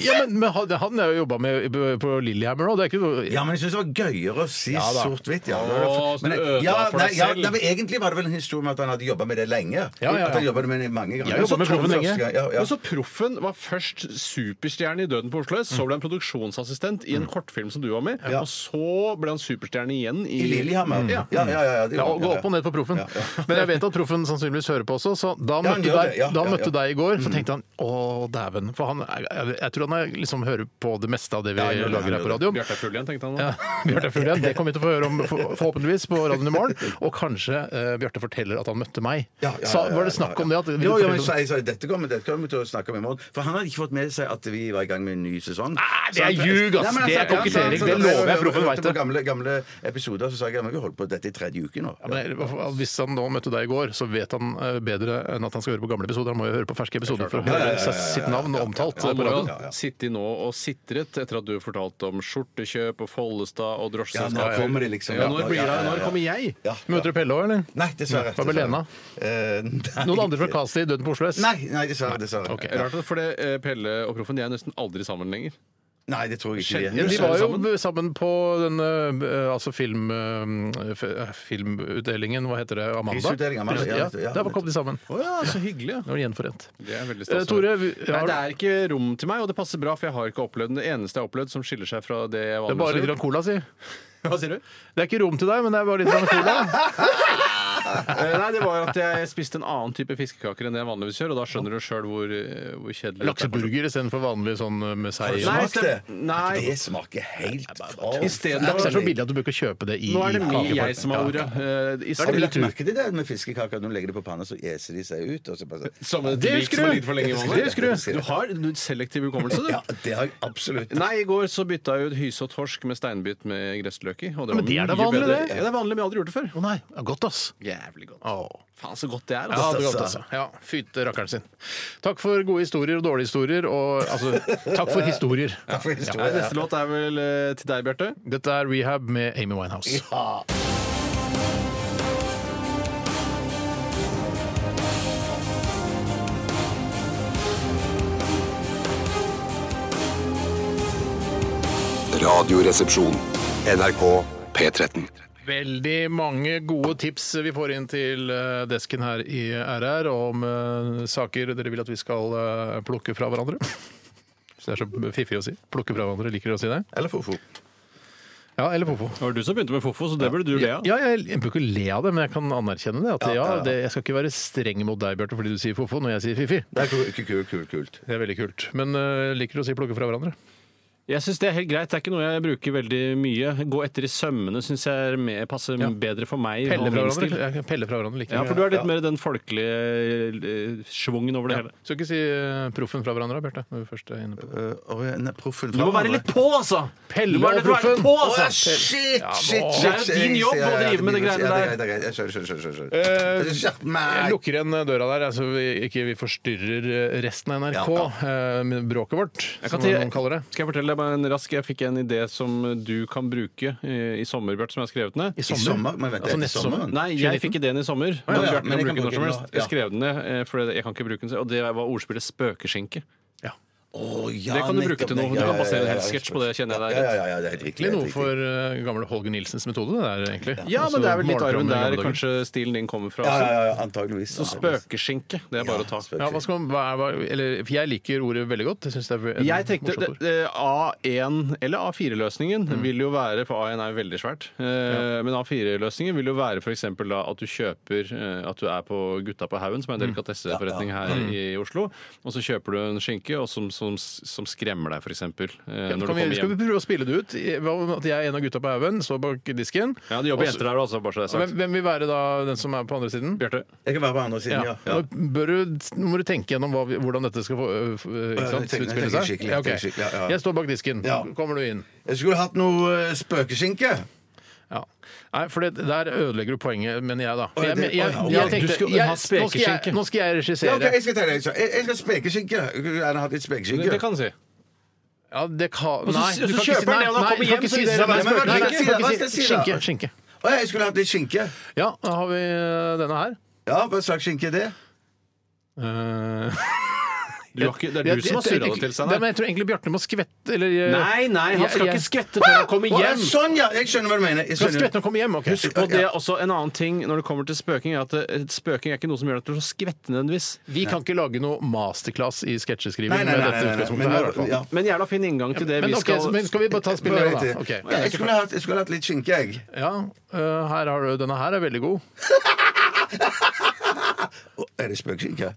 Speaker 1: Ja, men, men han, han har jo jobba med på Lillehammer òg. Det er ikke noe
Speaker 2: Ja, men jeg syns det var gøyere å si
Speaker 1: Ja da.
Speaker 2: sort-hvitt. Ja.
Speaker 3: Å, så du
Speaker 2: Men-
Speaker 3: ødela
Speaker 2: ja,
Speaker 3: for deg
Speaker 2: nei, ja,
Speaker 3: selv.
Speaker 2: nei, men egentlig var det vel en historie om at han hadde jobba med det lenge.
Speaker 1: Ja, ja, ja.
Speaker 2: At han jobbet med det mange ganger.
Speaker 1: Jeg har jobbet med
Speaker 2: Så
Speaker 1: Proffen
Speaker 2: Tom
Speaker 1: lenge.
Speaker 2: første gang, Ja, ja.
Speaker 3: Men så Proffen var først superstjerne i Døden på Oslo S. Så ble han produksjonsassistent i en kortfilm som du var med.
Speaker 2: Mm. Ja.
Speaker 3: Og så ble han superstjerne igjen i,
Speaker 2: I Lillehammer. Ja,
Speaker 3: Ja.
Speaker 2: ja, ja. ja,
Speaker 1: Mm.
Speaker 2: det
Speaker 1: Ja,
Speaker 2: gjorde
Speaker 1: og gå
Speaker 2: han,
Speaker 1: opp og ned på proffen. Men jeg vet at proffen sannsynligvis hører på også, så da
Speaker 2: Ja, han
Speaker 1: møtte,
Speaker 2: gjør
Speaker 1: deg,
Speaker 2: det. Ja,
Speaker 1: da
Speaker 2: ja, ja. Mm.
Speaker 1: møtte deg i går, så tenkte han å, dæven. For han, er- jeg, jeg tror han er, liksom hører på det meste av det vi
Speaker 2: han gjør det, han
Speaker 1: lager her
Speaker 2: gjør
Speaker 1: på radioen.
Speaker 3: Bjarte er full igjen, tenkte han.
Speaker 1: Ja,
Speaker 3: da.
Speaker 1: <laughs> Bjarte Fuglien, det kommer vi til å få høre om for- forhåpentligvis på radioen i morgen. Og kanskje eh, Bjarte forteller at han møtte meg.
Speaker 2: Ja, ja, ja,
Speaker 1: Sa,
Speaker 2: ja,
Speaker 1: var det
Speaker 2: ja,
Speaker 1: snakk
Speaker 2: ja.
Speaker 1: om det? At,
Speaker 2: jo, jo, men jeg sa, jeg sa, dette kommer dette kommer vi til å snakke om i morgen. For han hadde ikke fått med seg at vi var i gang med en ny sesong. Nei,
Speaker 1: Ah, det er ljug, ass. Det er kokettering. Det lover jeg, proffen vet det.
Speaker 2: På gamle, gamle episoder så sa jeg at jeg holdt på dette i tredje uke nå.
Speaker 1: Ja, men jeg- Hvis han nå møtte deg i går, så vet han eh, bedre enn at han skal høre på gamle episoder. Han må jo høre på ferske episoder for å
Speaker 2: Ja, ja,
Speaker 1: høre
Speaker 2: ja, ja,
Speaker 1: seg-
Speaker 2: ja,
Speaker 1: sitt
Speaker 2: ja,
Speaker 1: navn
Speaker 2: ja, ja.
Speaker 1: omtalt eh,
Speaker 3: Han
Speaker 1: på
Speaker 3: må
Speaker 1: radioen.
Speaker 3: jo sitte nå og sitret etter at du fortalte om skjortekjøp og Follestad
Speaker 2: Ja,
Speaker 3: og
Speaker 2: nå
Speaker 3: drosjeselskap.
Speaker 2: kommer de liksom,
Speaker 3: Ja,
Speaker 2: ja.
Speaker 3: når blir det?
Speaker 2: Ja, ja, ja,
Speaker 3: Når
Speaker 2: ja.
Speaker 3: kommer jeg?
Speaker 2: Ja.
Speaker 1: Møter du Pelle òg, eller?
Speaker 2: Nei, dessverre.
Speaker 1: Hva med
Speaker 2: dessverre.
Speaker 1: Lena?
Speaker 2: Eh, nei.
Speaker 1: Noen andre fra castet i Døden på Oslo S?
Speaker 2: Nei, nei, dessverre. dessverre.
Speaker 1: Ok.
Speaker 3: Rart, for det, eh, Pelle og Proffen de er nesten aldri sammen lenger.
Speaker 2: Nei, det tror jeg ikke.
Speaker 3: Sjelden.
Speaker 2: de
Speaker 1: Ja,
Speaker 2: er.
Speaker 1: de
Speaker 3: Ser
Speaker 1: var
Speaker 3: vi
Speaker 1: jo
Speaker 3: sammen?
Speaker 1: sammen på denne eh, altså film, eh, f- eh, filmutdelingen, hva heter det, Amanda?
Speaker 2: Prisutdelingen, Amanda, ja,
Speaker 1: Ja,
Speaker 2: nettopp, ja,
Speaker 1: der kom de sammen.
Speaker 3: Å ja, så hyggelig.
Speaker 1: Nå er de gjenforent.
Speaker 3: Det er veldig
Speaker 1: Eh,
Speaker 3: stas.
Speaker 1: Tore, vi-
Speaker 3: Nei,
Speaker 1: har-
Speaker 3: det er ikke rom til meg, og det passer bra, for jeg har ikke opplevd det eneste jeg har opplevd som skiller seg fra det jeg
Speaker 1: det er bare
Speaker 3: vanligvis
Speaker 1: litt grann cola, si.
Speaker 3: <laughs> Hva sier du?
Speaker 1: Det er ikke rom til deg, men det er bare litt grann cola.
Speaker 2: <laughs>
Speaker 3: Eh, Nei, det var at jeg spiste en annen type fiskekaker enn det jeg vanligvis gjør, og da skjønner du sjøl hvor, eh, hvor kjedelig dette er.
Speaker 1: Lakseburger istedenfor vanlig sånn med sei.
Speaker 3: Nei,
Speaker 2: Smakte det?
Speaker 3: stem- nei.
Speaker 2: Det smaker helt fra-
Speaker 3: I stedet-
Speaker 1: Laks er så billig at du bør ikke kjøpe det i
Speaker 3: Nå er det
Speaker 1: i
Speaker 3: mye
Speaker 1: kakeform.
Speaker 3: jeg som har ordet. Eh, i
Speaker 2: Har du
Speaker 3: stedet-
Speaker 2: lagt merke til det med fiskekaker? Når du legger det på panna, så eser de seg ut. Og så bare så-
Speaker 3: Som et
Speaker 1: Det
Speaker 3: lik
Speaker 1: husker
Speaker 3: som har
Speaker 1: du.
Speaker 3: ligget for lenge i vannet.
Speaker 2: Det husker du.
Speaker 3: Du har en selektiv hukommelse, du.
Speaker 2: Ja, det har jeg absolutt.
Speaker 3: Nei, I går så bytta jeg ut hyse og torsk med steinbit med gressløk i. Og det var
Speaker 1: Men det er da
Speaker 3: mye
Speaker 1: vanlig,
Speaker 3: bedre.
Speaker 1: det.
Speaker 3: Ja, det er vanlig, men jeg har aldri gjort det før.
Speaker 1: Å nei, det er godt, ass.
Speaker 3: Jævlig godt.
Speaker 1: Åh.
Speaker 3: Faen, så godt det er.
Speaker 1: Ja,
Speaker 3: Altså.
Speaker 1: det er godt, altså. ja, Fyte rakkeren sin. Takk for gode historier og dårlige historier. Og altså, <laughs> takk for historier.
Speaker 2: Takk for
Speaker 3: Nei,
Speaker 2: historien.
Speaker 3: Neste låt er vel eh, til deg, Bjarte.
Speaker 1: Dette er Rehab med Amy Winehouse.
Speaker 4: Radioresepsjon. NRK P13.
Speaker 1: Veldig mange gode tips vi får inn til eh, desken her i RR om eh, saker dere vil at vi skal eh, plukke fra hverandre. Så det er så fiffig å si. Plukke fra hverandre, liker dere å si det?
Speaker 2: Eller fofo.
Speaker 1: Ja, eller Fofo.
Speaker 3: Det var du som begynte med Fofo, så det burde du le av.
Speaker 1: Ja, jeg, jeg bruker å le av det, men jeg kan anerkjenne det. At ja, det, jeg skal ikke være streng mot deg, Bjarte, fordi du sier Fofo når jeg sier Fifi.
Speaker 2: Det er kult, kult, kult. kult.
Speaker 1: Det er veldig kult. Men eh, liker du å si plukke fra hverandre?
Speaker 3: Jeg syns det er helt greit. Det er ikke noe jeg bruker veldig mye. Gå etter i sømmene syns jeg er mer, passer bedre for meg. og
Speaker 1: Pelle fra
Speaker 3: min stil.
Speaker 1: hverandre, ja, pelle fra hverandre liker
Speaker 3: Ja,
Speaker 1: vi.
Speaker 3: for du er litt mer den folkelige eh, schwungen over det hele.
Speaker 1: Skal ikke si eh, proffen fra hverandre, Bjarte. når vi først er inne på det.
Speaker 2: Uh, og, ja, nei, proffen
Speaker 3: Du må være litt på, altså!
Speaker 1: Pelle
Speaker 3: Du må
Speaker 1: og
Speaker 3: være- du må være litt
Speaker 1: proffen.
Speaker 3: på,
Speaker 2: Å, ja,
Speaker 3: altså!
Speaker 2: shit, shit,
Speaker 1: nå.
Speaker 2: shit!
Speaker 3: Det er jo
Speaker 2: shit.
Speaker 3: din jobb
Speaker 2: Ja, ja,
Speaker 3: å drive
Speaker 2: det
Speaker 3: med
Speaker 2: blir-
Speaker 3: det
Speaker 2: ja,
Speaker 3: greiene
Speaker 2: det er
Speaker 3: der.
Speaker 2: greit, det er greit. Jeg Skjønner, skjønner, skjønner.
Speaker 1: Eh,
Speaker 2: skjønner. Skjerp
Speaker 1: Jeg
Speaker 2: meg!
Speaker 1: lukker igjen eh, døra der, så vi ikke vi forstyrrer resten av NRK eh, med bråket vårt, som
Speaker 3: Jeg kan si-
Speaker 1: noen kaller det.
Speaker 3: Skal jeg fortelle deg bare en rask Jeg fikk en idé som du kan bruke eh, i sommer, Bjarte, som jeg har skrevet ned.
Speaker 1: I
Speaker 2: I sommer? Men vent,
Speaker 1: Altså
Speaker 2: er det
Speaker 1: neste sommer?
Speaker 2: sommeren?
Speaker 3: Nei, jeg fikk ideen i sommer. Men
Speaker 2: ja,
Speaker 3: Bjarte
Speaker 2: men
Speaker 3: kan
Speaker 2: jeg kan
Speaker 3: bruke den når
Speaker 2: bruke den
Speaker 3: som helst.
Speaker 2: nå, ja.
Speaker 3: Jeg skrev den ned, eh, for jeg kan ikke bruke den selv. Og det var ordspillet spøkeskinke.
Speaker 2: Å, ja,
Speaker 3: Det kan du bruke
Speaker 2: nettopp,
Speaker 3: til noe. Du
Speaker 2: ja,
Speaker 3: kan
Speaker 2: ja,
Speaker 3: basere en
Speaker 2: ja,
Speaker 3: hel
Speaker 2: ja,
Speaker 3: sketsj på det, kjenner jeg
Speaker 2: Ja,
Speaker 3: deg
Speaker 2: ja,
Speaker 3: rett.
Speaker 2: ja, ja, det er helt riktig.
Speaker 1: Egentlig
Speaker 2: det er
Speaker 1: noe
Speaker 2: helt
Speaker 1: for eh, gamle Holger Nilsens metode, det der, egentlig.
Speaker 3: Ja,
Speaker 1: Altså,
Speaker 3: men det er vel litt
Speaker 1: malerprogram
Speaker 3: arven
Speaker 1: i gamle
Speaker 3: der
Speaker 1: dager.
Speaker 3: kanskje stilen din kommer fra.
Speaker 2: riktig. Ja, ja, ja, ja, antageligvis.
Speaker 3: Så spøkeskinke, det er bare å ta.
Speaker 2: spøk-
Speaker 1: Ja, hva skal, man- hva er, hva, eller, for jeg liker ordet veldig godt. Jeg synes det er et
Speaker 3: Jeg tenkte
Speaker 1: morsomt ord.
Speaker 3: det- det- A1 eller A4-løsningen
Speaker 1: Mm.
Speaker 3: vil jo være For A1 er jo veldig svært. eh, Men A4-løsningen vil jo være f.eks. at du kjøper eh, At du er på Gutta på haugen, som er
Speaker 1: Mm.
Speaker 3: en delikatesseforretning her i Oslo. Og så kjøper du en skinke og som, som, som skremmer deg, f.eks. Ja, når du
Speaker 1: Kan vi,
Speaker 3: kommer
Speaker 1: skal vi
Speaker 3: hjem.
Speaker 1: prøve å spille det ut? I- Hva om At jeg er en av gutta på haugen, står bak disken.
Speaker 3: Ja, det jobber
Speaker 1: Og så-
Speaker 3: jenter der også, bare så det er
Speaker 1: Hvem,
Speaker 3: sagt.
Speaker 1: hvem vil være da den som er på andre siden?
Speaker 3: Bjarte?
Speaker 2: Jeg kan være på andre siden,
Speaker 1: Ja.
Speaker 2: ja. ja.
Speaker 1: Nå Bør du, nå må du tenke gjennom hva, vi- hvordan dette skal få, øh, f- øh, ikke
Speaker 2: Ja,
Speaker 1: sant,
Speaker 2: tenk-
Speaker 1: utspille
Speaker 2: tenk
Speaker 1: seg.
Speaker 2: skikkelig,
Speaker 1: Ja, ok.
Speaker 2: tenk skikkelig, ja, ja.
Speaker 1: Jeg står bak disken.
Speaker 2: Ja.
Speaker 1: Kommer du inn?
Speaker 2: Jeg skulle hatt noe eh, spøkeskinke.
Speaker 1: Ja. Nei, for det, der ødelegger du poenget, mener jeg, da. For
Speaker 2: Oi,
Speaker 1: jeg,
Speaker 2: det-
Speaker 1: jeg, jeg,
Speaker 2: oi, oi,
Speaker 1: jeg
Speaker 2: du
Speaker 1: tenkte
Speaker 3: skulle
Speaker 1: jeg,
Speaker 3: ha
Speaker 1: nå, skal jeg,
Speaker 3: spekeskinke.
Speaker 1: nå skal jeg
Speaker 2: Ja, ok,
Speaker 1: regissere.
Speaker 2: jeg skal ta det. Jeg skal- Jeg jeg skal ha spekeskinke. Jeg kunne gjerne hatt litt
Speaker 3: Det,
Speaker 2: spekeskinke.
Speaker 3: det kan du si.
Speaker 1: Ja, det kan
Speaker 3: så-
Speaker 1: Nei,
Speaker 3: og så
Speaker 1: du kan ikke si
Speaker 3: kjøper han
Speaker 1: nei.
Speaker 3: det, og da
Speaker 1: nei, du
Speaker 3: kommer
Speaker 1: kan
Speaker 3: hjem,
Speaker 1: ikke
Speaker 3: så
Speaker 1: si
Speaker 3: sier
Speaker 1: det.
Speaker 3: han,
Speaker 1: Nei,
Speaker 2: men hva skal jeg si
Speaker 1: du
Speaker 2: da?
Speaker 1: kan
Speaker 2: Hva
Speaker 1: ikke si
Speaker 2: skal jeg si
Speaker 1: Skinke.
Speaker 2: da?
Speaker 1: skinke.
Speaker 2: Å, jeg skulle hatt litt skinke.
Speaker 1: Ja, da har vi øh, denne her.
Speaker 2: Ja, hva slags skinke er det?
Speaker 1: Eh,
Speaker 3: Du har ikke, det er
Speaker 1: jeg-
Speaker 3: du som har
Speaker 1: jeg- jeg-
Speaker 3: surra det til,
Speaker 1: Nei,
Speaker 3: Steinar.
Speaker 1: men Jeg tror egentlig Bjarte må skvette, eller eh,
Speaker 3: Nei, nei, han
Speaker 1: jeg-
Speaker 3: skal
Speaker 1: jeg-
Speaker 3: ikke skvette før han
Speaker 2: Å,
Speaker 3: kommer
Speaker 2: ja,
Speaker 3: hjem.
Speaker 2: sånn, ja! Jeg skjønner hva du mener.
Speaker 1: Skal
Speaker 2: Jeg
Speaker 1: skvette
Speaker 2: skjønner.
Speaker 1: når han kommer hjem? ok.
Speaker 3: Husk på det er også en annen ting når det kommer til spøking, er at eh, spøking er ikke noe som gjør at du skal skvette nødvendigvis.
Speaker 1: Vi kan ikke lage noe masterclass i sketsjeskriving
Speaker 2: Nei, nei,
Speaker 1: med
Speaker 2: nei,
Speaker 1: dette
Speaker 2: nei, nei,
Speaker 1: utgangspunktet
Speaker 2: men
Speaker 1: her. i
Speaker 2: nå-
Speaker 1: hvert fall.
Speaker 2: ja.
Speaker 3: Men jævla fin inngang til det
Speaker 1: Men,
Speaker 3: vi
Speaker 1: ok,
Speaker 3: skal
Speaker 1: men skal vi bare ta spille
Speaker 2: Bare
Speaker 1: det, da?
Speaker 2: til.
Speaker 1: Ok.
Speaker 2: Ja, jeg, skulle hatt, jeg skulle hatt litt skinke, jeg.
Speaker 1: Ja, eh, her har du, denne her er veldig god.
Speaker 2: Å, er det spøkskinke?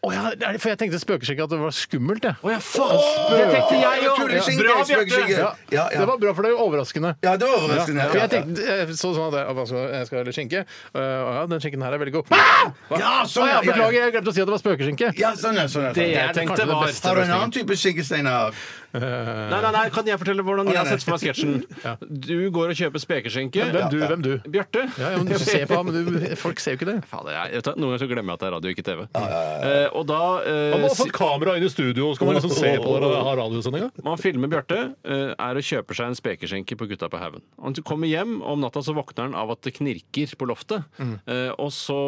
Speaker 1: Å ja, det er- for jeg tenkte spøkeskinke at det var skummelt, jeg.
Speaker 3: Å ja, faen! Det tenkte jeg
Speaker 2: Ja,
Speaker 3: òg!
Speaker 2: kulleskinke,
Speaker 3: Bra,
Speaker 2: spøkeskinke.
Speaker 3: Bjarte!
Speaker 1: Ja,
Speaker 2: Ja, ja.
Speaker 1: Det var bra, for det er jo overraskende.
Speaker 2: Ja, det var overraskende.
Speaker 1: Ja, for jeg tenkte eh, så, sånn at jeg, hva skal- jeg skal heller skinke. Eh, Å ja, den skinken her er veldig god. Ah! Hva?
Speaker 2: Ja, sånn,
Speaker 1: Å
Speaker 2: ja, ja, ja.
Speaker 1: Beklager, jeg glemte å si at det var spøkeskinke.
Speaker 2: Ja, sånn, ja, sånn, ja, sånn.
Speaker 3: Det
Speaker 1: er
Speaker 3: jeg tenkte
Speaker 1: kanskje det
Speaker 3: var
Speaker 1: beste.
Speaker 2: Har du en annen type skinke, Steinar?
Speaker 3: Nei, nei, nei, kan jeg fortelle hvordan jeg har
Speaker 2: nei.
Speaker 3: sett for meg sketsjen?
Speaker 1: <laughs>
Speaker 3: Du går og kjøper spekeskinke.
Speaker 1: Hvem du, hvem du?
Speaker 3: Bjarte.
Speaker 1: Ja, ja,
Speaker 3: <laughs>
Speaker 1: men du ser på ham, men du, folk ser jo ikke det.
Speaker 3: Fader, jeg, vet du, noen ganger så glemmer jeg at det er radio, ikke TV. Eh, og da eh,
Speaker 1: Man har
Speaker 3: si-
Speaker 1: fått kamera inn i studio, så kan man liksom se på det og ha radiosendinga.
Speaker 3: man filmer Bjarte, eh, er å kjøpe seg en spekeskinke på Gutta på haugen. Han kommer hjem, og om natta så våkner han av at det knirker på loftet. Eh, og, så,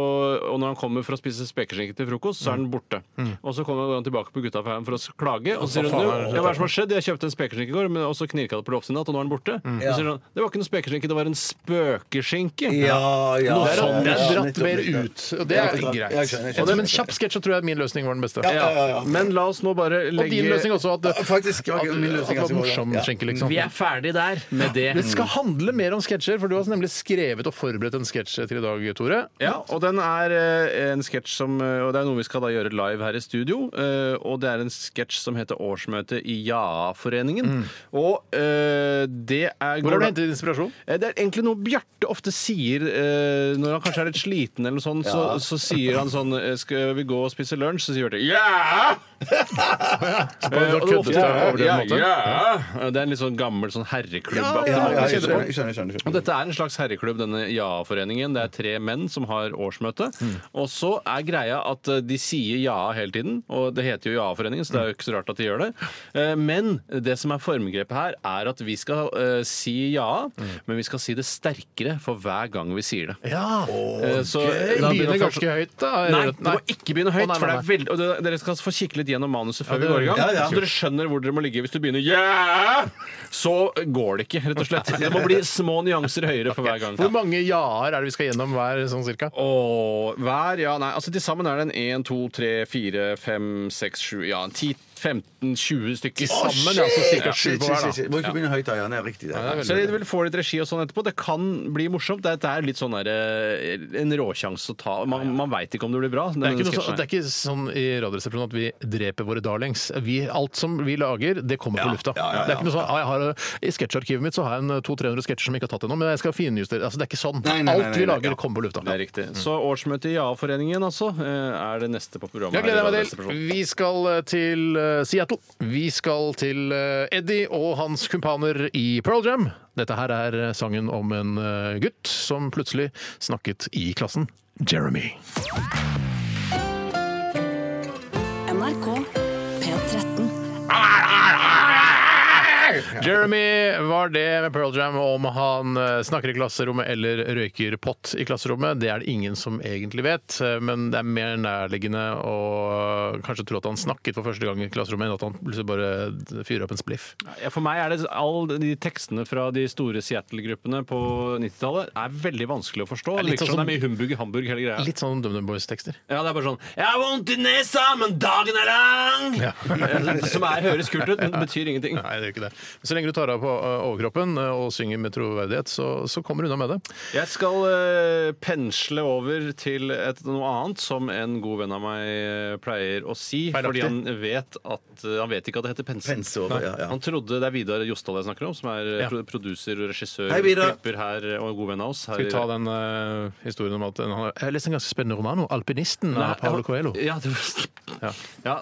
Speaker 3: og når han kommer for å spise spekeskinke til frokost, så er den borte. Og så kommer han tilbake på Gutta på haugen for å s- klage, og så sier hun
Speaker 1: faen
Speaker 3: «Jo,
Speaker 1: er det som
Speaker 3: ja, hva er det som har skjedd? Jeg kjøpte en spekeskinke i går, men og så knirka det på loftet i natt, og nå er den borte. Og så sier han det var ikke noe spekeskinke, det var en spøkeskinke.
Speaker 2: Ja, ja.
Speaker 3: Noe
Speaker 1: Det er,
Speaker 3: sånn,
Speaker 1: det er
Speaker 2: ja,
Speaker 1: dratt
Speaker 2: nettopp,
Speaker 1: mer
Speaker 2: nettopp.
Speaker 1: ut, og det er
Speaker 2: Ja,
Speaker 1: greit.
Speaker 2: jeg skjønner, jeg skjønner.
Speaker 1: Og det med en kjapp sketsj så tror jeg min løsning var den beste.
Speaker 2: Ja, ja, ja.
Speaker 3: Men la oss nå bare
Speaker 1: Og
Speaker 3: legge
Speaker 1: din løsning også, at det,
Speaker 2: Ja, faktisk, ja,
Speaker 1: at, at
Speaker 2: min løsning
Speaker 1: det var
Speaker 2: ganske bra, ja.
Speaker 1: morsom
Speaker 2: Ja.
Speaker 1: skjenke, liksom.
Speaker 3: Vi er ferdig der med det.
Speaker 1: Det skal handle mer om sketsjer, for du har nemlig skrevet og forberedt en sketsj til i dag, Tore.
Speaker 3: Ja, og den er eh, en sketsj som eh, Og det er noe vi skal da gjøre live her i studio. eh, Og det er en sketsj som heter 'Årsmøte i JAA-foreningen'. Og eh, det er
Speaker 1: Hvor har du hentet inspirasjon?
Speaker 3: Eh, Det er egentlig noe Bjarte ofte sier eh, når han kanskje er litt sliten, eller noe sånt, så, så sier han sånn eh, 'Skal vi gå og spise lunsj?' Så sier Bjarte 'Ja!' Eh, og det er ofte-
Speaker 1: over det, på
Speaker 3: ja,
Speaker 1: en måte.
Speaker 3: ja. Det er en litt sånn gammel sånn herreklubb.
Speaker 2: Ja, ja,
Speaker 1: kjenner
Speaker 2: jeg skjønner, jeg skjønner, jeg skjønner, jeg
Speaker 3: Og
Speaker 2: skjønner.
Speaker 3: dette er en slags herreklubb, denne Ja-foreningen. Det er tre menn som har årsmøte. Og så er greia at eh, de sier ja hele tiden, og det heter jo Ja-foreningen, så det er jo ikke så rart at de gjør det. Eh, Men det som er formgrepet her, er at vi skal eh, si ja, men vi skal si det sterkere for hver gang vi sier det.
Speaker 1: Ja.
Speaker 3: Eh, Så
Speaker 1: Det
Speaker 3: da
Speaker 1: begynner
Speaker 3: først-
Speaker 1: ganske høyt, da.
Speaker 3: Nei,
Speaker 1: eller-
Speaker 3: du må ikke begynne høyt.
Speaker 1: Å, nei,
Speaker 3: for det
Speaker 1: nei,
Speaker 3: er veldig, og det, Dere skal få kikke litt gjennom manuset før
Speaker 1: det-
Speaker 3: vi går i gang.
Speaker 2: ja, ja.
Speaker 3: Så dere skjønner hvor dere må ligge. Hvis du begynner yeah, så går det ikke, rett og slett. Det må bli små nyanser høyere for hver gang.
Speaker 1: Hvor mange ja-er er det vi skal gjennom hver, sånn cirka?
Speaker 3: Åh, hver, ja, nei, altså Til sammen er det en 1, 2, 3, 4, 5, 6, 7, ja, 10, 15, 20 stykker. altså,
Speaker 1: Sammen, ja, så cirka sju
Speaker 2: Shit,
Speaker 1: på
Speaker 2: shit,
Speaker 1: hver,
Speaker 2: shit,
Speaker 1: da.
Speaker 2: shit. Må ikke begynne høyt, da. Ja, det er riktig. Det.
Speaker 3: Så dere vil få litt regi og sånn etterpå. Det kan bli morsomt. Det er litt sånn der, eh, en råsjanse å ta. Man, man veit ikke om det blir bra.
Speaker 1: Det er, ikke noe, så- det er ikke sånn i Radioresepsjonen at vi dreper våre darlings. Vi, alt som vi lager, det kommer på lufta.
Speaker 2: ja, ja,
Speaker 1: Det er ikke noe sånn, ah, jeg har, eh, I sketsjarkivet mitt så har jeg en eh, 200-300 sketsjer som jeg ikke har tatt ennå, men jeg skal finjustere. Altså, det er ikke sånn.
Speaker 2: Nei, nei, nei,
Speaker 1: alt vi
Speaker 2: nei,
Speaker 1: lager,
Speaker 2: ja.
Speaker 1: kommer på lufta.
Speaker 3: Det er riktig. Så årsmøtet i JA-foreningen altså, eh, er det neste på programmet.
Speaker 1: Jeg gleder
Speaker 3: her i
Speaker 1: meg til.
Speaker 3: Radioresepsjonen.
Speaker 1: Vi skal eh, til eh, Seattle. Vi skal til eh, Eddie og hans kumpaner i Pearl Jam. Dette her er eh, sangen om en eh, gutt som plutselig snakket i klassen. Jeremy.
Speaker 5: NRK P13.
Speaker 1: Jeremy var det med Pearl Jam om han eh, snakker i klasserommet eller røyker pott i klasserommet. Det er det ingen som egentlig vet, eh, men det er mer nærliggende å eh, kanskje tro at han snakket for første gang i klasserommet, enn at han plutselig bare fyrer opp en spliff.
Speaker 3: Ja, For meg er det alle de tekstene fra de store Seattle-gruppene på 90-tallet er veldig vanskelig å forstå.
Speaker 1: Det er
Speaker 3: Det
Speaker 1: litt
Speaker 3: virker som
Speaker 1: sånn-
Speaker 3: det er mye humbug i Hamburg, hele greia.
Speaker 1: Litt sånn DumDum Boys-tekster.
Speaker 3: Ja, det er bare sånn Jeg har vondt i nesa, men dagen er lang! Eh, som er, høres kult ut, men det betyr ingenting.
Speaker 1: Nei, det gjør ikke det. Men så lenge du tar av på ø, overkroppen ø, og synger med troverdighet, så, så kommer du unna med det.
Speaker 3: Jeg skal eh, pensle over til et, noe annet, som en god venn av meg eh, pleier å si.
Speaker 1: Feilaktig.
Speaker 3: Fordi han vet, at, eh, han vet ikke at det heter pensel.
Speaker 2: Pense over, ja, ja.
Speaker 3: Han trodde Det er Vidar Jostal jeg snakker om, som er eh,
Speaker 1: Ja.
Speaker 3: pro- produser, regissør,
Speaker 2: Hei, Vidar.
Speaker 3: klipper her eh, og en god venn av oss. Her
Speaker 1: Skal vi
Speaker 3: i-
Speaker 1: ta den ø, historien om at en- han har- Jeg leste en ganske spennende roman om alpinisten
Speaker 3: Nei,
Speaker 1: av Paolo
Speaker 3: <laughs> jeg var-
Speaker 1: eh, Coelho.
Speaker 3: Ja, det var, ja,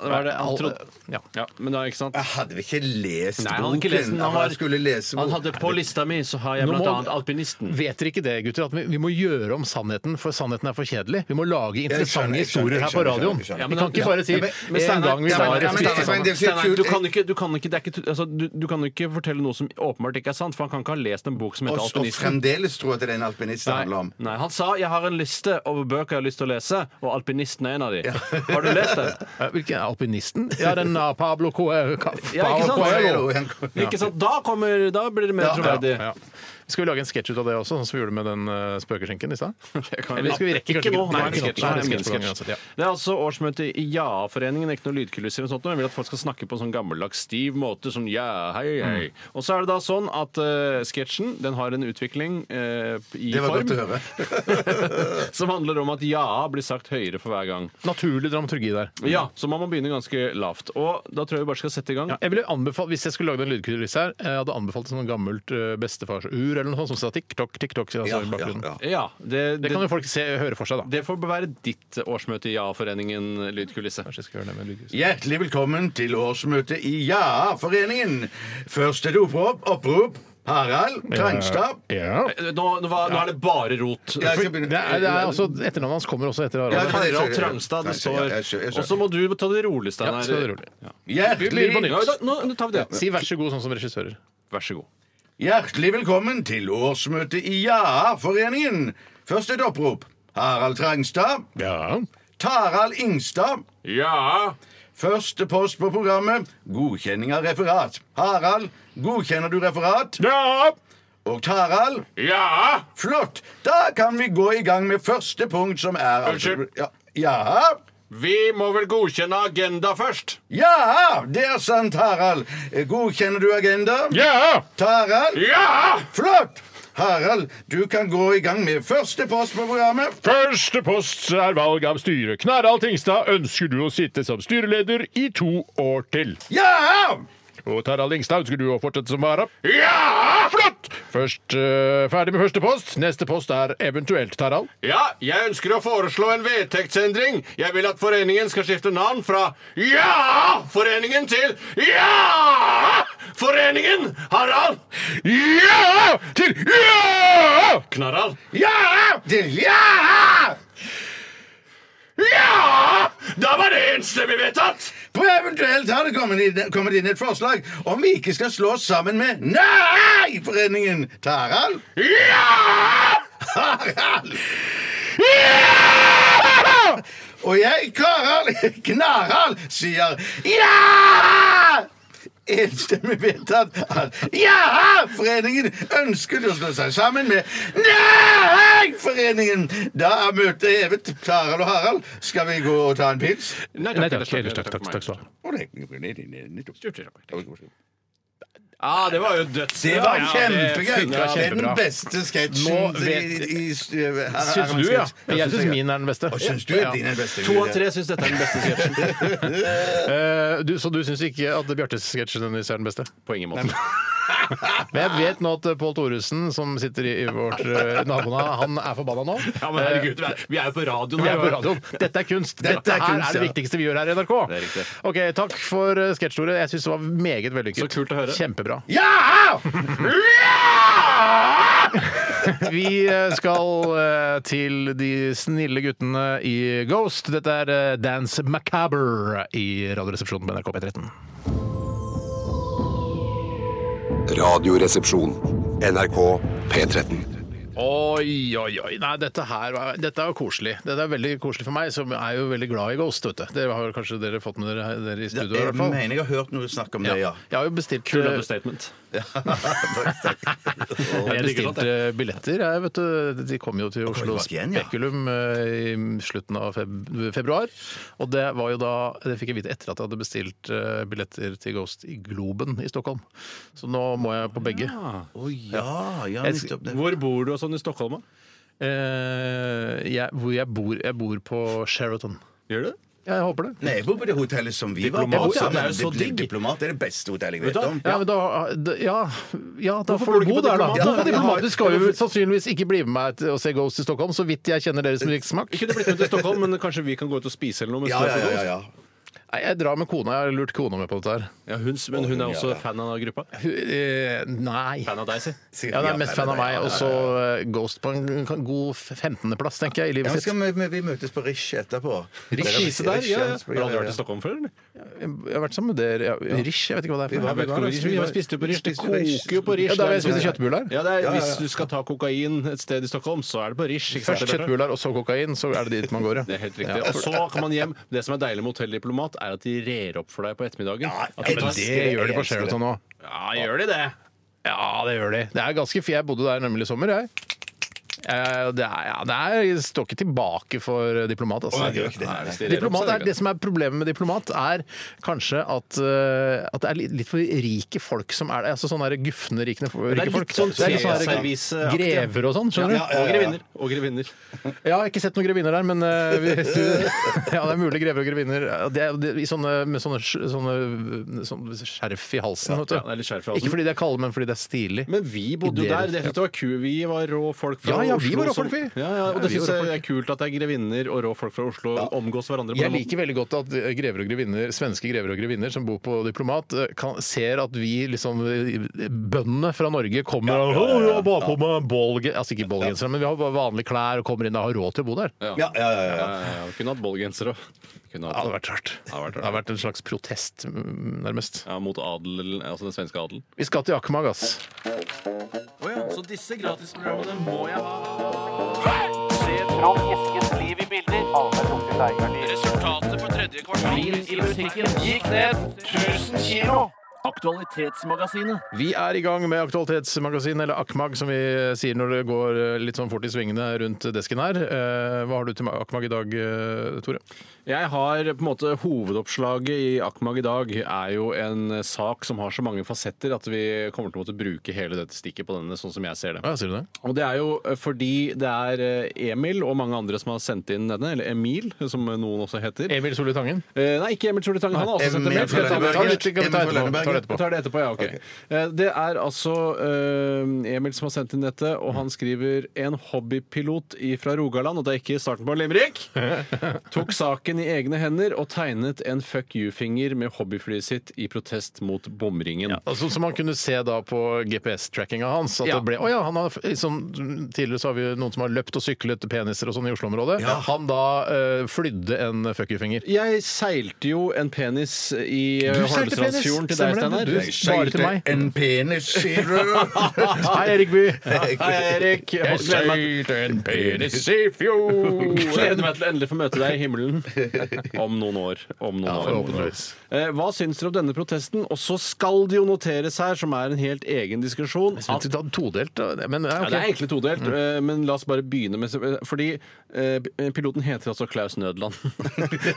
Speaker 3: det var det. Han
Speaker 1: all-
Speaker 3: trodde-
Speaker 1: ja.
Speaker 3: Ja, men da, ikke sant?
Speaker 2: Jeg hadde vel ikke lest
Speaker 3: Nei, han hadde
Speaker 2: boken?
Speaker 3: ikke lest den. Han,
Speaker 2: Ja,
Speaker 3: var,
Speaker 2: jeg skulle lese
Speaker 3: han
Speaker 2: boken.
Speaker 3: hadde på lista mi, så har jeg
Speaker 1: Nå
Speaker 3: blant
Speaker 1: må-
Speaker 3: annet alpinisten.
Speaker 1: Vet dere ikke det, gutter, at vi, vi må gjøre om sannheten, for sannheten er for kjedelig? Vi må lage
Speaker 2: skjønner,
Speaker 1: interessante
Speaker 2: jeg skjønner,
Speaker 1: historier
Speaker 2: jeg
Speaker 1: her på
Speaker 2: skjønner, jeg
Speaker 1: radioen.
Speaker 2: skjønner.
Speaker 3: Ja,
Speaker 1: Vi
Speaker 3: men
Speaker 1: kan ikke
Speaker 3: da-
Speaker 1: bare si
Speaker 2: Ja, men- men
Speaker 1: en
Speaker 2: Steinar-
Speaker 1: gang vi
Speaker 2: Ja, men-
Speaker 1: var
Speaker 2: ja, men Steinar-
Speaker 1: spiste
Speaker 2: Steinar- det er jo
Speaker 3: Steinar,
Speaker 2: kult.
Speaker 3: du kan ikke, du kan ikke, det er ikke altså, du, du kan ikke fortelle noe som åpenbart ikke er sant, for han kan ikke ha lest en bok som heter
Speaker 2: Og, og
Speaker 3: Alpinisten.
Speaker 2: fremdeles tro at det er en alpinist det handler om.
Speaker 3: Nei, han sa 'jeg har en liste over bøker jeg har lyst til å lese', og 'Alpinisten' er en av de. Har du lest
Speaker 2: <laughs>
Speaker 3: den?
Speaker 1: Ja, Hvilken er alpinisten? Ja, den er Pablo Coelho.
Speaker 3: Ja, ikke sant?
Speaker 2: Coelho, ja.
Speaker 3: Ikke sant? Da, kommer, da blir det mer troverdig.
Speaker 1: Ja. Skal vi lage en sketsj ut av det også, sånn som vi gjorde med den uh, spøkeskjenken i
Speaker 3: <laughs>
Speaker 1: stad?
Speaker 3: kan
Speaker 1: Eller skal vi rekke
Speaker 3: Ikke
Speaker 1: kanskje
Speaker 3: nå.
Speaker 1: Nei,
Speaker 3: Nei,
Speaker 1: ikke nå.
Speaker 3: sketsj. Nei,
Speaker 1: Nei,
Speaker 3: det
Speaker 1: sketsj
Speaker 3: er
Speaker 1: på gang
Speaker 3: sketsj.
Speaker 1: uansett, ja.
Speaker 3: Det er altså årsmøte i Ja-foreningen. Ikke noe lydkulisser eller sånt, men jeg vil at folk skal snakke på en sånn gammeldags stiv måte. Sånn ja, hei, hei. Og så er det da sånn at eh, sketsjen den har en utvikling eh, i
Speaker 2: Det var
Speaker 3: form
Speaker 2: godt å høre.
Speaker 3: som handler om at ja blir sagt høyere for hver gang.
Speaker 1: Naturlig dramaturgi der.
Speaker 3: Ja, Så man må begynne ganske lavt. Og da tror jeg vi bare skal sette i gang.
Speaker 1: Ja, jeg ville anbefalt, Hvis jeg skulle lagd en lydkulisse her, jeg hadde anbefalt et sånt gammelt eh, bestefarsur eller noe sånt som sa tikk-tokk, tikk-tokk altså,
Speaker 2: Ja,
Speaker 1: i bakgrunnen.
Speaker 2: ja, ja.
Speaker 3: Ja, det,
Speaker 1: Det kan
Speaker 3: det,
Speaker 1: jo folk se, høre for seg, da.
Speaker 3: det får være ditt årsmøte i Ja-foreningen, lydkulisse.
Speaker 1: Kanskje jeg skal gjøre det med en lydkulisse.
Speaker 2: Hjertelig velkommen til årsmøte i Ja-foreningen. Først er det opprop. opprop. Harald Krangstad.
Speaker 1: Ja.
Speaker 3: Nå, nå, var, nå er det bare rot.
Speaker 2: Ja, jeg skal
Speaker 1: Det
Speaker 2: begynne.
Speaker 1: er, det er altså, Etternavnet hans kommer også etter
Speaker 2: Ja,
Speaker 1: Harald.
Speaker 2: jeg
Speaker 3: Harald
Speaker 2: skjønner.
Speaker 3: Trangstad, det
Speaker 2: Nei, jeg- jeg skjønner, jeg
Speaker 3: står.
Speaker 2: skjønner.
Speaker 3: Og så må du ta det rolig,
Speaker 1: Ja,
Speaker 3: Steinar.
Speaker 1: så er det rolig. Vi
Speaker 2: Hjertelig,
Speaker 1: begynner på
Speaker 3: Ja,
Speaker 1: nytt.
Speaker 3: da- nå, nå tar vi det.
Speaker 1: Si vær så god, sånn som regissører.
Speaker 3: Vær så god.
Speaker 2: hjertelig velkommen til årsmøte i Ja-foreningen. Først et opprop. Harald Trangstad.
Speaker 1: Ja.
Speaker 2: Tarald Ingstad.
Speaker 3: Ja.
Speaker 2: Første post på programmet. Godkjenning av referat. Harald, godkjenner du referat?
Speaker 3: Ja.
Speaker 2: Og Tarald?
Speaker 3: Ja.
Speaker 2: Flott! Da kan vi gå i gang med første punkt, som er altså-
Speaker 3: Unnskyld?
Speaker 2: Ja, ja.
Speaker 3: Vi må vel godkjenne agenda først.
Speaker 2: Ja, det er sant, Harald. Eh, Godkjenner du agenda?
Speaker 3: Ja.
Speaker 2: Tarald?
Speaker 3: Ja.
Speaker 2: Flott! Harald, du kan gå i gang med første post på programmet.
Speaker 1: Første post er valg av styre. Knarald Tingstad, ønsker du å sitte som styreleder i to år til?
Speaker 2: Ja!
Speaker 1: Og Tarald Ingstad, ønsker du å fortsette som vara? Ja! Flott! Først, eh, ferdig med første post. Neste post er eventuelt Tarald.
Speaker 3: Ja, jeg ønsker å foreslå en vedtektsendring. Jeg vil at foreningen skal skifte navn fra Ja-foreningen til Ja-foreningen. Harald.
Speaker 1: Ja! Til ja!
Speaker 3: Knarald.
Speaker 1: Ja!
Speaker 2: Til ja!
Speaker 3: Ja! Da var det enstemmig vedtatt.
Speaker 2: På eventuelt har det kommet inn, kommet inn et forslag om vi ikke skal slås sammen med Nei-foreningen. Tarald?
Speaker 3: Ja!
Speaker 2: Harald! Og jeg, Karald Knarald, sier ja! Enstemmig vedtatt at Ja-foreningen ønsket å slå seg sammen med Nei-foreningen. Da er møtet hevet. Tarald og Harald, skal vi gå og ta en pils?
Speaker 3: Nei
Speaker 1: Nei takk, ellers takk, takk, takk skal du ha.
Speaker 2: Å, det- Det
Speaker 3: Ja, det var jo døds...
Speaker 2: var
Speaker 3: Ja,
Speaker 2: kjempegøy!
Speaker 3: det-
Speaker 2: Det er den
Speaker 1: kjempebra.
Speaker 2: beste sketsjen
Speaker 1: Nå vet-
Speaker 2: Syns
Speaker 1: Syns du, ja? Jeg syns min er den beste.
Speaker 2: Og syns du
Speaker 1: Ja.
Speaker 2: din er den beste?
Speaker 3: To av tre syns dette er den beste sketsjen.
Speaker 1: <laughs> Eh, du, så du syns ikke at Bjartes sketsj nødvendigvis er den beste?
Speaker 3: På ingen måte.
Speaker 1: Men jeg vet nå at eh, Pål Thoresen, som sitter i i vårt eh, nabolag, han er forbanna nå.
Speaker 3: Ja, men herregud, vi er jo på radioen.
Speaker 1: Vi er på
Speaker 3: her.
Speaker 1: radioen. Dette er kunst. Dette,
Speaker 2: Dette er
Speaker 1: her
Speaker 2: kunst,
Speaker 1: er det
Speaker 2: ja.
Speaker 1: viktigste vi gjør her i NRK.
Speaker 3: Det er riktig.
Speaker 1: Ok, Takk for eh, sketsjordet. Jeg syns det var meget vellykket.
Speaker 3: Så kult å høre.
Speaker 1: Kjempebra.
Speaker 2: Ja!
Speaker 1: Vi eh, skal eh, til de snille guttene i Ghost. Dette er eh, Dance Macabre i Radioresepsjonen på NRK P13.
Speaker 4: Radioresepsjon. NRK P13.
Speaker 1: Oi, oi, oi. Nei, dette her var- dette er jo koselig. Dette er veldig koselig for meg, som er jo veldig glad i Ghost. vet du. Det har kanskje dere fått med dere, her- dere i studio? i
Speaker 2: Jeg
Speaker 1: hvert fall.
Speaker 2: mener jeg har hørt noe snakk om det, ja. <laughs>
Speaker 1: Ja. Jeg har jo bestilt
Speaker 3: Kul
Speaker 1: eh,
Speaker 3: understatement.
Speaker 1: Jeg
Speaker 3: Jeg liker sånt,
Speaker 1: bestilte billetter. Jeg, vet du, de kom jo til Oslo
Speaker 2: tilbake igjen, ja.
Speaker 1: Spekulum eh, i slutten av feb februar. Og det var jo da Det fikk jeg vite etter at jeg hadde bestilt eh, billetter til Ghost i Globen i Stockholm. Så nå må jeg på begge.
Speaker 2: Å ja, ja,
Speaker 1: Jeg-
Speaker 2: nettopp det.
Speaker 3: Hvor bor du og sånn i Stockholm? da?
Speaker 1: Eh, jeg, hvor jeg bor Jeg bor på Sheraton.
Speaker 3: Gjør du det?
Speaker 1: Jeg håper det.
Speaker 2: Nei, jeg bor på det hotellet som vi var
Speaker 3: Diplomat,
Speaker 2: på.
Speaker 3: ja,
Speaker 2: sammen.
Speaker 3: det er jo så digg.
Speaker 2: Diplomat er det beste hotellet jeg vet
Speaker 3: Vet du hva?
Speaker 2: om.
Speaker 1: Ja, men da, da- ja, ja, da
Speaker 3: Hvorfor
Speaker 1: får
Speaker 3: bor
Speaker 1: du
Speaker 3: du
Speaker 1: bo
Speaker 3: ikke på
Speaker 1: der, da.
Speaker 3: Diplomat?
Speaker 1: Ja,
Speaker 3: Ja,
Speaker 1: diplomat. Du skal jo sannsynligvis ikke bli med meg til å se Ghost i Stockholm, så vidt jeg kjenner deres musikksmak.
Speaker 3: Ikke du blitt med til Stockholm, men kanskje vi kan gå ut og spise eller noe? mens
Speaker 2: Ja,
Speaker 3: du er
Speaker 2: ja,
Speaker 3: på
Speaker 2: ja,
Speaker 3: Ghost?
Speaker 2: ja, ja.
Speaker 1: Nei, jeg drar med kona. Jeg har lurt kona med på dette her.
Speaker 3: Ja, hun, men hun er også fan av gruppa.
Speaker 1: Hun- eh, Nei.
Speaker 3: Fan av deg, si.
Speaker 1: Ja, hun er mest fan av meg. Og så eh, Ghost på en kan- god 15.-plass, tenker jeg, i
Speaker 2: Ja,
Speaker 1: livet
Speaker 2: men
Speaker 1: sitt.
Speaker 2: skal vi, vi møtes på Rish etterpå.
Speaker 3: Rish Lise der, ja, ja. Har du aldri vært i
Speaker 2: Stockholm?
Speaker 3: Stockholm før, eller?
Speaker 1: Jeg har vært sammen med dere. Ja, Rish, jeg vet ikke hva det er.
Speaker 2: Vi
Speaker 1: for noe.
Speaker 2: var-
Speaker 3: Jeg vet ikke hvor Rish- Vi har spist jo på Rish. Det koker jo på Rish.
Speaker 1: Ja, da har jeg spist kjøttbuller.
Speaker 3: Ja, det er,
Speaker 2: ja, ja.
Speaker 3: Hvis du skal ta kokain et sted i Stockholm, så er det på Rish. ikke sant,
Speaker 1: Først
Speaker 3: Bjarte?
Speaker 1: kjøttbuller og så kokain, så er det dit man går, ja.
Speaker 3: Det er helt riktig. Og så kan man hjem. Det som er deilig med hotelldiplomat, er at de rer opp for deg på ettermiddagen. At
Speaker 1: Ja,
Speaker 3: du
Speaker 1: men
Speaker 3: bare-
Speaker 1: det gjør de på Sheraton nå.
Speaker 3: Ja, gjør de det?
Speaker 1: Ja, det gjør de. Det er ganske fint. Jeg bodde der nemlig i sommer, jeg. Eh, Det er, ja, det er, jeg står ikke tilbake for diplomat. Altså.
Speaker 2: Å, nei, det gjør ikke det.
Speaker 1: Nei,
Speaker 2: Nei,
Speaker 3: hvis de ler opp,
Speaker 1: diplomat
Speaker 3: så er
Speaker 1: er,
Speaker 3: det
Speaker 1: det som er problemet med diplomat, er kanskje at, eh, at det er litt- litt for rike folk som er der. Altså sånne der gufne rike,
Speaker 3: er
Speaker 1: rike
Speaker 3: litt
Speaker 1: folk.
Speaker 3: sånn
Speaker 1: der
Speaker 3: serviceaktig, ja.
Speaker 1: grever og sånn, skjønner du?
Speaker 3: Ja, og grevinner. Og grevinner.
Speaker 1: Jeg har ikke sett noen grevinner der, men eh, hvis du, <laughs> ja, det er mulig grever og grevinner Ja, det, er- det, i sånne, med sånne, sk- sånne, sånn skjerf i halsen. vet du.
Speaker 3: ja, det er litt skjerf i halsen.
Speaker 1: Ikke fordi det er kalde, men fordi det er stilig.
Speaker 3: Men vi bodde jo
Speaker 1: Ideer.
Speaker 3: der. Det synes jeg var ku. Vi var rå folk fra
Speaker 1: Ja, ja, vi
Speaker 3: Oslo.
Speaker 1: var rå
Speaker 3: som-
Speaker 1: folk, vi.
Speaker 3: Ja, ja, og
Speaker 1: Ja,
Speaker 3: det
Speaker 1: vi var
Speaker 3: syns
Speaker 1: rå
Speaker 3: jeg
Speaker 1: folk.
Speaker 3: er kult at det er grevinner og rå folk fra Oslo omgås hverandre. på
Speaker 1: Jeg
Speaker 3: den måten.
Speaker 1: liker veldig godt at grever og grevinner, svenske grever og grevinner som bor på Diplomat, eh, kan, ser at vi liksom bøndene fra Norge kommer og ja, ja, bare på med bolge, altså ikke bolgensere, men vi har bare vanlige klær og kommer inn og har råd til å bo der.
Speaker 3: Ja.
Speaker 2: Ja, ja, ja, ja.
Speaker 3: Ja, ja, ja. Kunne hatt ballgenser òg.
Speaker 1: Det hadde vært rart. Det
Speaker 3: hadde vært rart.
Speaker 1: hadde vært en slags protest, mm, nærmest.
Speaker 3: Ja, mot adelen, altså den svenske adelen.
Speaker 1: Vi skal til Akmag, ass.
Speaker 3: Så disse gratisprogrammene må jeg ha.
Speaker 7: Resultatet for tredje kvartal i musikken gikk ned 1000 kilo. Aktualitetsmagasinet.
Speaker 1: Vi er i gang med Aktualitetsmagasinet, eller Akmag som vi sier når det går eh, litt sånn fort i svingene rundt desken her. Eh, Hva har du til Akmag i dag, eh, Tore?
Speaker 3: Jeg har på en måte Hovedoppslaget i Akmag i dag er jo en sak som har så mange fasetter at vi kommer til å måtte bruke hele dette stikket på denne, sånn som jeg ser det.
Speaker 1: Ja, sier du det?
Speaker 3: Og det er jo eh, fordi det er eh, Emil og mange andre som har sendt inn denne, eller Emil, som noen også heter.
Speaker 1: Emil Solli Tangen.
Speaker 3: Eh, Nei, ikke Emil Solitang. Han har også sendt en
Speaker 2: Emil
Speaker 3: mail. Skal jeg ta med?
Speaker 2: Solberg.
Speaker 1: Ta det etterpå. Ta det etterpå. Ta det
Speaker 3: Vi
Speaker 1: etterpå.
Speaker 3: tar det etterpå, ja, ok. Eh, Det er altså eh, Emil som har sendt inn dette, og han skriver en hobbypilot fra Rogaland, og det er ikke starten på
Speaker 1: <laughs>
Speaker 3: Limerick, tok saken i egne hender og tegnet en fuck you-finger med hobbyflyet sitt i protest mot bomringen.
Speaker 1: Altså, som man kunne se da på GPS-trackinga hans. At
Speaker 3: Ja.
Speaker 1: det ble, å ja, han har, liksom, tidligere så har vi jo noen som har løpt og syklet peniser og sånn i Oslo-området. Han da eh, flydde en fuck you-finger.
Speaker 3: Jeg seilte jo en penis i eh,
Speaker 1: Du seilte penis,
Speaker 3: Holmestrandfjorden til deg,
Speaker 1: stemmer det?
Speaker 3: Steinar.
Speaker 1: Du-
Speaker 3: Jeg
Speaker 1: Bare
Speaker 3: <laughs>
Speaker 1: til meg.
Speaker 2: En penis, sier du?
Speaker 1: Hei, Erik <laughs> By!
Speaker 3: seilte- Hei, Erik. Jeg gleder meg
Speaker 1: en
Speaker 3: <laughs>
Speaker 1: penis i fjor!
Speaker 3: Gleder meg til å endelig få møte deg i himmelen <laughs> om noen år. Om noen år.
Speaker 1: forhåpentligvis.
Speaker 3: Eh, Hva syns dere om denne protesten? Og så skal det jo noteres her, som er en helt egen diskusjon at
Speaker 1: At, todelt, da. men ja,
Speaker 3: ja,
Speaker 1: ok.
Speaker 3: det er egentlig todelt,
Speaker 1: Mm.
Speaker 3: eh, men la oss bare begynne med Fordi eh, piloten heter altså Klaus
Speaker 1: <laughs>
Speaker 3: Nødland.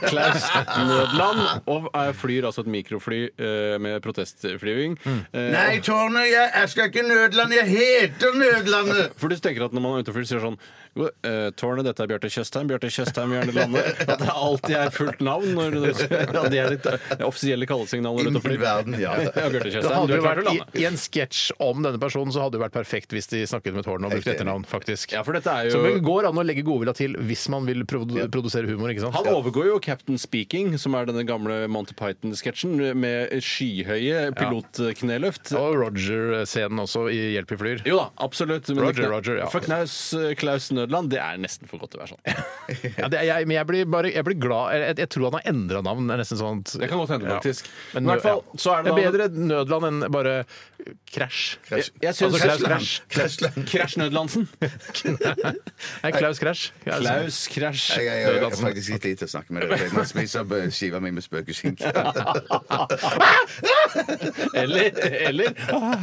Speaker 3: Klaus Nødland og er- flyr altså et mikrofly eh, med protestflyving.
Speaker 1: Mm.
Speaker 3: Eh,
Speaker 2: Nei, Tårnet, jeg, jeg skal ikke Nødland, jeg heter Nødlandet!
Speaker 3: For du tenker at når man er ute og flyr, sier sånn «Eh, Tårnet, dette er Bjarte Tjøstheim. Bjarte Tjøstheim gjerne lande.
Speaker 1: <laughs>
Speaker 3: At det alltid er fullt navn. Når du, ja, det er ditt eh, offisielle kallesignaler rundt og
Speaker 2: I
Speaker 3: flyr.
Speaker 2: verden, ja.
Speaker 3: <laughs> Ja, Bjarte
Speaker 1: Det
Speaker 3: Tjøstheim,
Speaker 1: hadde
Speaker 3: du er
Speaker 1: jo
Speaker 3: klar
Speaker 1: vært,
Speaker 3: til å
Speaker 1: i,
Speaker 3: lande.
Speaker 1: I en sketsj om denne personen så hadde det vært perfekt hvis de snakket med tårnet og brukte etternavn, faktisk.
Speaker 3: Ja, for dette er
Speaker 1: Så det
Speaker 3: jo
Speaker 1: går an å legge godvilja til hvis man vil produ produsere humor, ikke sant?
Speaker 3: han overgår jo Captain Speaking, som er denne gamle Monty Python-sketsjen, med skyhøye pilotkneløft.
Speaker 1: Og Roger-scenen også i Hjelp i flyr.
Speaker 3: Jo da, absolutt. men
Speaker 1: Roger,
Speaker 3: det-
Speaker 1: Roger, ja.
Speaker 3: For Knaus, eh, Klaus Nødland, det er nesten for godt til å være sånn.
Speaker 1: <laughs> Ja, det er jeg, men jeg blir, bare, jeg blir glad jeg, jeg- jeg tror han har endra navn. Det er nesten sånn at-
Speaker 3: Det kan godt hende,
Speaker 1: Ja.
Speaker 3: faktisk.
Speaker 1: Men,
Speaker 3: Men i hvert fall,
Speaker 1: ja.
Speaker 3: så er
Speaker 1: det er
Speaker 3: det da
Speaker 1: bedre nødland enn bare krasj.
Speaker 3: Jeg, jeg syns
Speaker 1: Altså, Klaus <laughs>
Speaker 3: Klaus- Krasj Nødlandsen.
Speaker 1: Nei, Klaus Krasj. Ja, altså.
Speaker 3: Klaus Krasj
Speaker 2: Jeg, jeg, jeg, jeg har
Speaker 3: Nødlandsen.
Speaker 2: faktisk ikke tid til å snakke med dere. for Jeg må spise opp eh, skiva mi med spøkelskinke.
Speaker 3: Eller, eller ja.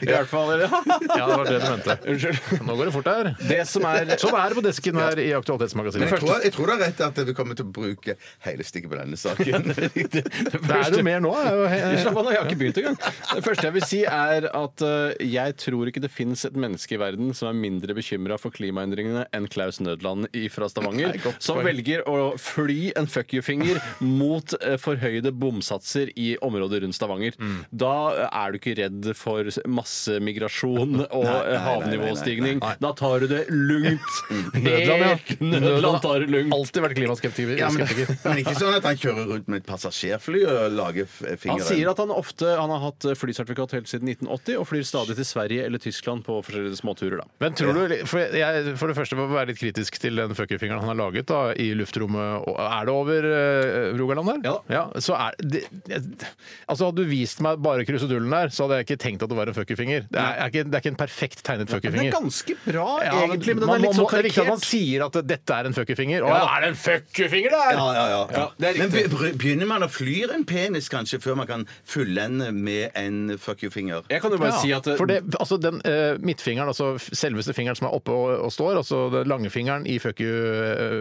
Speaker 3: I hvert fall eller,
Speaker 1: <laughs> Ja, det var det du mente.
Speaker 3: Unnskyld.
Speaker 1: Nå går det fort her.
Speaker 3: Det som er
Speaker 1: Sånn er det på desken her i Aktualitetsmagasinet.
Speaker 2: Men jeg tror, jeg tror det er rett at du kommer til å bruke hele stikket på denne saken.
Speaker 1: <laughs> Det er jo mer nå. er jo he-
Speaker 3: Slapp av nå, jeg har ikke begynt engang. Det første jeg vil si, er at eh, jeg tror ikke det fins et menneske i verden som er mindre bekymra for klimaendringene enn Klaus Nødland i- fra Stavanger,
Speaker 1: Nei, godt
Speaker 3: som
Speaker 1: poeng.
Speaker 3: velger å fly en fuck you-finger mot eh, forhøyde bomsatser i området rundt Stavanger.
Speaker 1: Mm.
Speaker 3: Da eh, er du ikke redd for massemigrasjon og eh, havnivåstigning. Da tar du det lungt.
Speaker 1: Nødland, ja.
Speaker 3: Helt Nødland tar det lungt.
Speaker 1: Alltid vært klimaskeptiker.
Speaker 2: Ja, men,
Speaker 1: skeptiker.
Speaker 2: men ikke sånn at han kjører rundt med et passasjerfly og lager f- fingeren.
Speaker 3: Han sier at han ofte han har hatt eh, flysertifikat helt siden 1980 og flyr stadig til Sverige eller Tyskland på forskjellige småturer. da.
Speaker 1: Men tror du, for, jeg, for det første må jeg være litt kritisk til den fuckerfingeren han har laget da, i luftrommet. Og- Er det over eh, Rogaland der?
Speaker 3: Ja da.
Speaker 1: så er det, jeg- altså Hadde du vist meg bare krusedullen der, så hadde jeg ikke tenkt at det var en fuckerfinger. Det er, er ikke, det er ikke en perfekt tegnet
Speaker 3: Den er
Speaker 1: fuckerfinger.
Speaker 3: ganske bra,
Speaker 1: Ja, men
Speaker 3: egentlig, men den
Speaker 1: man
Speaker 3: er litt
Speaker 1: må-
Speaker 3: sånn
Speaker 1: det er viktig at man
Speaker 3: karikert.
Speaker 1: sier at dette er en fuckerfinger. Å, ja, er det en fuckerfinger der?!
Speaker 2: Ja, ja, ja.
Speaker 3: det er
Speaker 2: Men
Speaker 3: riktig.
Speaker 2: be- begynner man å flyre en penis kanskje før man kan fullende med en fuck you-finger?
Speaker 3: Jeg kan jo bare
Speaker 1: Ja,
Speaker 3: si at
Speaker 1: for det, altså den eh, midtfingeren, altså f- selveste fingeren som er oppe og, og står, altså den lange fingeren i eh, fuck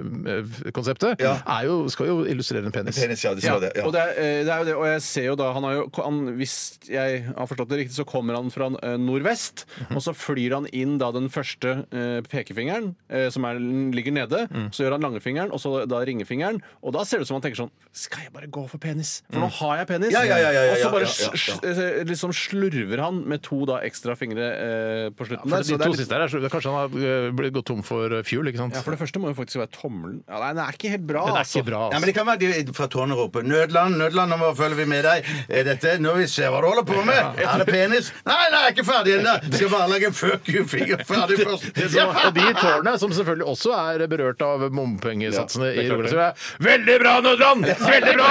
Speaker 1: you-konseptet,
Speaker 2: Ja.
Speaker 1: er jo, skal jo illustrere en penis.
Speaker 2: Penis, ja, det skal det, ja.
Speaker 3: Og det er, eh, det er jo det, og jeg ser jo da han har jo, han, Hvis jeg har forstått det riktig, så kommer han fra eh, nordvest.
Speaker 2: Mhm.
Speaker 3: Og så flyr han inn da den første eh, pekefingeren, eh, som er, ligger nede.
Speaker 2: Mm.
Speaker 3: Så gjør han langefingeren, og så da ringefingeren. Og da ser det ut som han tenker sånn Skal jeg bare gå for penis? For nå har jeg penis!
Speaker 2: Mm. Ja, ja, ja, ja, ja,
Speaker 3: og så
Speaker 2: ja,
Speaker 3: bare
Speaker 2: ja, ja, ja.
Speaker 3: sl- eh, liksom slurver han med to da ekstra fingre eh, på slutten.
Speaker 1: For
Speaker 3: der, så
Speaker 1: de
Speaker 3: det er
Speaker 1: to
Speaker 3: litt-
Speaker 1: siste her, er så- kanskje han har eh, blitt gått tom for eh, fuel, ikke sant?
Speaker 3: ja, for det første må jo faktisk være tommelen. Ja, nei, den er ikke helt bra,
Speaker 1: Den er
Speaker 3: altså.
Speaker 1: ikke bra,
Speaker 2: Ja, men
Speaker 1: altså.
Speaker 2: Det kan være de fra tårnet roper 'Nødland, Nødland, nå må følger vi med deg'. Er dette når vi ser hva du holder på med? Er det penis? Nei, nei, jeg er ikke ferdig ennå. Skal bare lage en fuck you-finger ferdig først.
Speaker 1: Det som,
Speaker 2: Ja.
Speaker 1: og de i tårnet, som selvfølgelig også er berørt av bompengesatsene i Rogaland. så er, Veldig bra, Nødland! Veldig bra!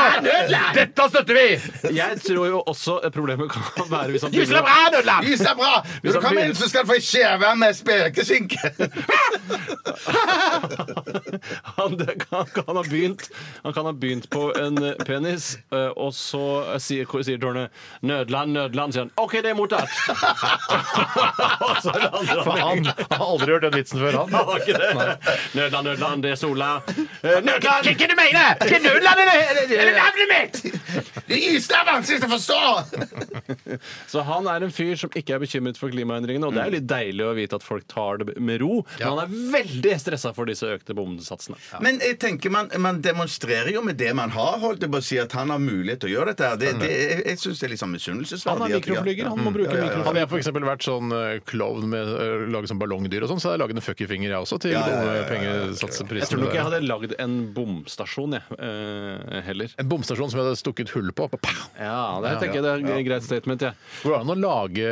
Speaker 1: Dette støtter vi!
Speaker 3: Jeg tror jo også eh, problemet kan være hvis han
Speaker 1: Gysla bra, Nødland!
Speaker 2: Gis deg bra! Når du
Speaker 3: han
Speaker 2: kommer
Speaker 3: begynner-
Speaker 2: inn, så skal du få ei skjeve med spekeskinke.
Speaker 3: <laughs> han, det kan, kan ha begynt, han kan ha begynt på en eh, penis, eh, og så eh, sier, hvor sier tårnet 'Nødland, Nødland', sier han. 'OK, det er mottatt'. <laughs> og så lander
Speaker 1: For
Speaker 3: han
Speaker 1: han har aldri hørt den vitsen før, han.
Speaker 3: <laughs> Han har ikke det. Nødland, Nødland, det er Sola. Eh, Nødland!
Speaker 1: Ikke du mener! Ikke Nødland eller navnet mitt!
Speaker 2: Det gis deg vanskelig å forstå!
Speaker 3: Så han er en fyr som ikke er bekymret for klimaendringene, og det er jo litt deilig å vite at folk tar det med ro, men han er veldig stressa for disse økte bomsatsene.
Speaker 2: Men jeg tenker man, man demonstrerer jo med det man har, holdt jeg på å si, at han har mulighet til å gjøre dette. her. Det, det, jeg jeg syns det er litt sånn misunnelsesverdig.
Speaker 3: Han er
Speaker 2: at de har-
Speaker 3: mikroflyger, han må bruke
Speaker 1: Hadde
Speaker 3: mikroflyger.
Speaker 1: jeg for eksempel vært sånn eh, klovn med eh, laget som ballongdyr og sånn, så hadde jeg laget en fuckerfinger jeg også til
Speaker 3: Jeg tror
Speaker 1: bompengesatseprisene.
Speaker 3: nok jeg
Speaker 1: der.
Speaker 3: hadde lagd en bomstasjon, jeg, eh, heller.
Speaker 1: En bomstasjon som jeg hadde stukket hull på. Pow!
Speaker 3: Ja, det tenker jeg det er et greit statement. jeg.
Speaker 1: Går det an å lage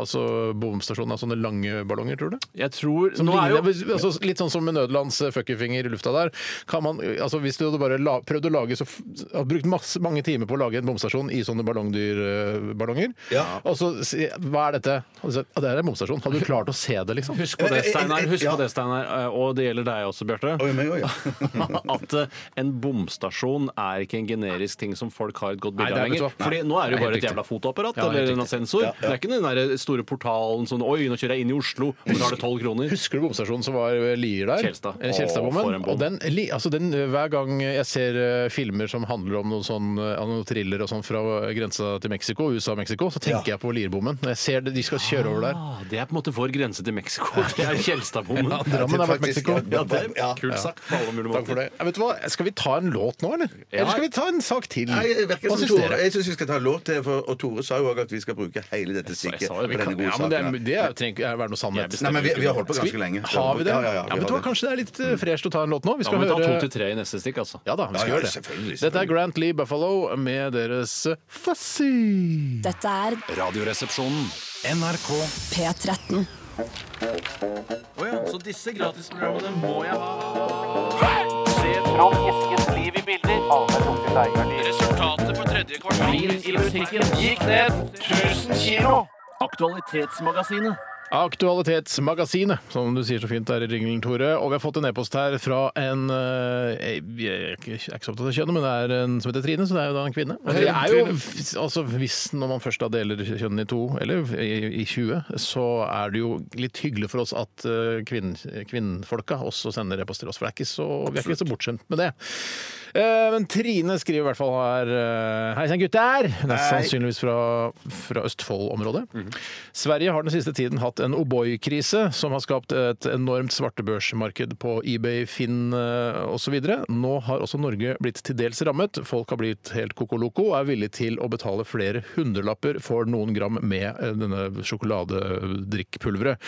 Speaker 1: altså, bomstasjonen av sånne lange ballonger, tror du?
Speaker 3: Jeg tror
Speaker 1: Som
Speaker 3: nå er jo,
Speaker 1: ligner, altså, litt sånn som med Nødlands eh, fuckerfinger i lufta der. Kan man, altså, hvis du hadde bare la, prøvd å lage så, f- hadde Brukt masse, mange timer på å lage en bomstasjon i sånne ballongdyrballonger,
Speaker 2: Ja.
Speaker 1: og så si Hva er dette? Hadde du sagt, «Ja, det er en bomstasjon. Hadde du klart å se det, liksom?
Speaker 3: Husk på det, Steinar, husk
Speaker 2: Ja.
Speaker 3: på det, Steinar eh, og det gjelder deg også, Bjarte.
Speaker 2: Oi, meg også, ja.
Speaker 3: <laughs> At eh, en bomstasjon er ikke en generisk ting som folk har et godt
Speaker 1: Nei,
Speaker 3: bilde av
Speaker 1: det er- vet
Speaker 3: lenger.
Speaker 1: du hva?
Speaker 3: Fordi nå er det jo
Speaker 1: Nei,
Speaker 3: bare
Speaker 1: helt
Speaker 3: et jævla fotoapparat
Speaker 1: Ja, helt
Speaker 3: eller en
Speaker 1: riktig.
Speaker 3: sensor. Det er ikke den der eh, store portalen sånn Oi, nå kjører jeg inn i Oslo, og så har det tolv kroner.
Speaker 1: Husker du bomstasjonen som var ved Lier der? Eh,
Speaker 3: Kjelstad. Å, for en
Speaker 1: Kjelstadbommen.
Speaker 3: bom.
Speaker 1: Og den, li- altså den, eh, hver gang jeg ser eh, filmer som handler om noen sånn, eh, av noen thriller og sånn fra grensa til Mexico, USA og Mexico, så tenker jeg på Lierbommen. Når jeg ser det, de skal kjøre over der.
Speaker 3: Ah, det er på en måte vår grense til Mexico. <laughs> Det er Kjelstadbommen.
Speaker 1: Ja, Drammen har vært
Speaker 2: Faktisk,
Speaker 1: Mexico.
Speaker 2: ja. Ja.
Speaker 3: Kult sagt på alle mulige
Speaker 1: Takk for
Speaker 3: måter.
Speaker 1: det. Ja, vet du hva? Skal vi ta en låt nå, eller? Eller skal vi ta en sak til?
Speaker 2: Nei, det virker
Speaker 1: Hva
Speaker 2: som
Speaker 1: syns
Speaker 2: Tore,
Speaker 1: dere?
Speaker 2: jeg syns vi skal ta låt til, for, og Tore sa jo òg at vi skal bruke hele dette
Speaker 3: jeg
Speaker 2: stykket.
Speaker 3: sa det, vi
Speaker 2: på denne
Speaker 3: kan-
Speaker 2: gode
Speaker 1: Ja, men det, er-
Speaker 2: saken her.
Speaker 1: det er- trenger ikke være noe sannhet.
Speaker 2: Nei, men vi, vi har holdt på
Speaker 1: Skal vi-
Speaker 2: ganske lenge.
Speaker 1: Har vi det?
Speaker 2: Ja, ja,
Speaker 1: Ja,
Speaker 2: ja, vi
Speaker 1: vet du hva?
Speaker 2: har det.
Speaker 1: Kanskje det er litt eh, fresht å ta en låt nå? Vi
Speaker 3: Da
Speaker 1: skal
Speaker 3: må vi ta to
Speaker 1: høre
Speaker 3: til tre i neste stikk, altså.
Speaker 1: Ja da, vi skal
Speaker 2: Ja, ja,
Speaker 1: gjøre det.
Speaker 2: selvfølgelig, selvfølgelig.
Speaker 1: Dette er Grant Lee Buffalo med deres Fuzzy.
Speaker 5: Dette er
Speaker 6: Radioresepsjonen. NRK
Speaker 5: P13.
Speaker 7: Så disse gratisprogrammene må jeg ha. Se Trond Eskens liv i bilder. Resultatet på tredje kvartal i musikken gikk ned 1000 kilo. Aktualitetsmagasinet.
Speaker 1: Aktualitetsmagasinet, som du sier så fint der i ringelen, Tore. Og vi har fått en e-post her fra en eh, Jeg er ikke jeg er ikke så opptatt av kjønnet, men det er en som heter Trine, så det er jo da en kvinne. Og det er jo, altså Hvis når man først da deler kjønnene i to, eller i, i 20, så er det jo litt hyggelig for oss at eh, kvinn, kvinnfolka også sender e-post til oss, for det er ikke så, vi er ikke så bortskjemt med det. Eh, Men Trine skriver i hvert fall her eh, Hei sann, gutter! Det er sannsynligvis fra, fra Østfold-området. Sverige har den siste tiden hatt hatt en O'boy-krise som har skapt et enormt svartebørsmarked på eBay, Finn eh, osv. Nå har også Norge blitt til dels rammet. Folk har blitt helt kokoloko og er villige til å betale flere hundrelapper for noen gram med eh, denne sjokoladedrikkpulveret.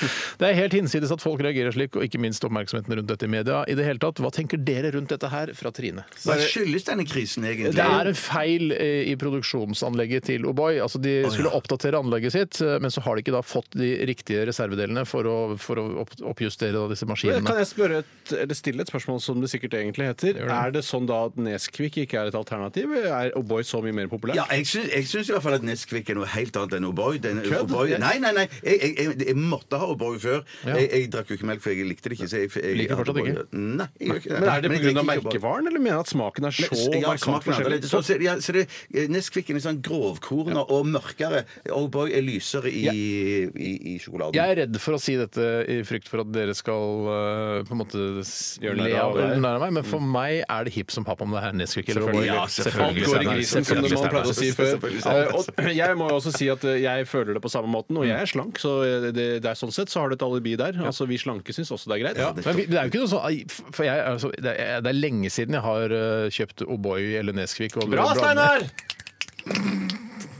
Speaker 1: Det er helt hinsides at folk reagerer slik, og ikke minst oppmerksomheten rundt dette i media. I det hele tatt, hva tenker dere rundt dette her fra Trine?
Speaker 2: Hva skyldes denne krisen egentlig?
Speaker 1: Det er en feil eh, i produksjonsanlegget til O'boy. Altså, de skulle oppdatere anlegget sitt, eh, men så har de ikke da fått de riktige reservedelene for å, for å opp, oppjustere da, disse
Speaker 3: Kan
Speaker 1: maskinene.
Speaker 3: jeg spørre et, eller stille et spørsmål som det sikkert egentlig heter? Er det sånn da at Nesquik ikke er et alternativ? Er O'boy så mye mer populær?
Speaker 2: Ja, jeg syns, jeg syns i hvert fall at Nesquik er noe helt annet enn O'boy. Den- O'boy- Nei, nei, nei. Jeg, jeg, jeg, jeg måtte ha O'boy før. Jeg, jeg drakk jo ikke melk, for jeg likte det ikke. Så jeg, jeg,
Speaker 1: Liker fortsatt ikke?
Speaker 2: Nei, jeg gjør ikke det.
Speaker 3: Men er
Speaker 2: jeg
Speaker 3: det pga.
Speaker 2: liker ikke O'boy.
Speaker 3: merkevaren, eller mener du at smaken er så
Speaker 2: Ja,
Speaker 3: markant
Speaker 2: smaken er
Speaker 3: forskjellig?
Speaker 2: annerledes. Så, så, ja, så det, Nesquiken er sånn grovkorna og mørkere. O'boy er lysere i, i, i sjokoladen.
Speaker 1: Jeg er redd for å si dette i frykt for at dere skal eh, på en måte s-
Speaker 3: Gjøre narr
Speaker 1: le
Speaker 3: av
Speaker 1: av
Speaker 3: det.
Speaker 1: eller narre av meg, men for meg er det hipp som happ om det her Nesquik eller O'boy.
Speaker 2: Selvfølgelig. Ja, selvfølgelig.
Speaker 3: Går i
Speaker 1: Steinar.
Speaker 3: grisen, som
Speaker 1: Selvfølgelig,
Speaker 3: man
Speaker 1: Steinar.
Speaker 3: pleide å si før. Eh, Og jeg må jo også si at eh, jeg føler det på samme måten, og jeg er slank, så det, det er sånn sett så har du et alibi der. Altså, Vi slanke syns også det er greit.
Speaker 1: Ja, men vi- det er jo ikke noe sånn ai, for jeg, altså, det, er, det er lenge siden jeg har eh, kjøpt O'boy eller Nesquik. og-
Speaker 3: Bra,
Speaker 1: og blandet-
Speaker 3: Steinar!
Speaker 1: <laughs>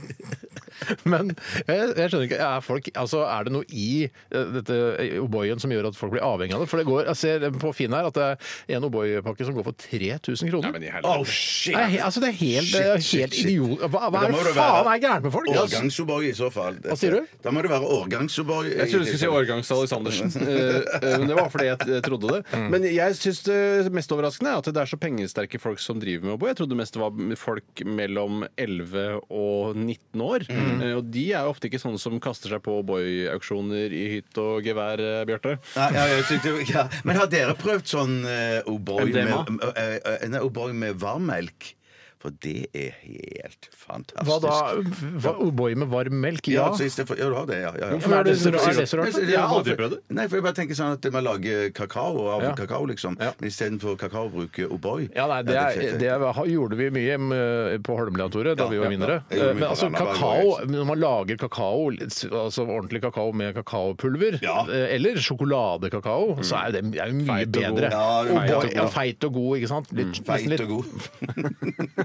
Speaker 1: Men jeg, jeg skjønner ikke er, folk, altså, er det noe i eh, dette eh, O'boyen som gjør at folk blir avhengig av det? For det går, Jeg ser på Finn her at det er en O'boy-pakke som går for 3000 kroner.
Speaker 3: men i helvete.
Speaker 1: oh, shit! Nei, altså, det er helt, det er
Speaker 2: Shit,
Speaker 1: helt
Speaker 2: shit, shit.
Speaker 1: idiot... Hva, hva
Speaker 2: Men da
Speaker 1: er
Speaker 2: må
Speaker 1: det
Speaker 2: det
Speaker 1: faen
Speaker 2: være
Speaker 1: er gærent med folk? Altså?
Speaker 2: Årgangs-O'boy i så fall. Hva
Speaker 1: sier du?
Speaker 2: Da må det være årgangs-O'boy.
Speaker 3: Jeg trodde du skulle si årgangs Aleksandersen. <laughs> Eh, eh, Men det var fordi jeg eh, trodde det. Men jeg syns det mest overraskende er at det er så pengesterke folk som driver med Oboe. Jeg trodde det mest var folk mellom 11 og 19 år. Eh, Og de er ofte ikke sånne som kaster seg på Oboe-auksjoner i hytt og gevær, eh, Bjarte.
Speaker 2: Nei, ja, jeg syntes- ja. Men har dere prøvd sånn eh, O'boy med,
Speaker 3: Endema?
Speaker 2: eh, eh, nei, O'boy med varm melk? For det er helt fantastisk.
Speaker 1: Hva da? Hva- O'boy med varm melk?
Speaker 2: Ja,
Speaker 1: Ja.
Speaker 2: altså, i stedet for, ja du har det, ja. ja, ja.
Speaker 1: Hvorfor er det så rart? Er det så rart?
Speaker 2: Men-
Speaker 3: Jeg har aldri prøvd det.
Speaker 2: Nei, for jeg bare tenker sånn at man lager kakao av
Speaker 1: Ja.
Speaker 2: kakao, liksom.
Speaker 1: Ja.
Speaker 2: Men istedenfor kakao bruker O'boy.
Speaker 1: Ja, nei, det, er, det er- gjorde vi mye eh, på Holmlia-toret da
Speaker 2: Ja,
Speaker 1: vi var
Speaker 2: ja,
Speaker 1: vinnere.
Speaker 2: ja. Jeg gjorde mye
Speaker 1: Men
Speaker 2: på
Speaker 1: altså,
Speaker 2: Randaberg
Speaker 1: kakao,
Speaker 2: også.
Speaker 1: når man lager kakao, altså ordentlig kakao med kakaopulver,
Speaker 2: Ja.
Speaker 1: eh, eller sjokoladekakao, så er jo det er jo mye
Speaker 3: Feit og god.
Speaker 1: bedre.
Speaker 2: Ja,
Speaker 1: Og boy-
Speaker 2: feit og god. Mm,
Speaker 1: ja, feit og god, ikke sant? Litt, nesten
Speaker 2: Feit
Speaker 1: litt-
Speaker 2: og god.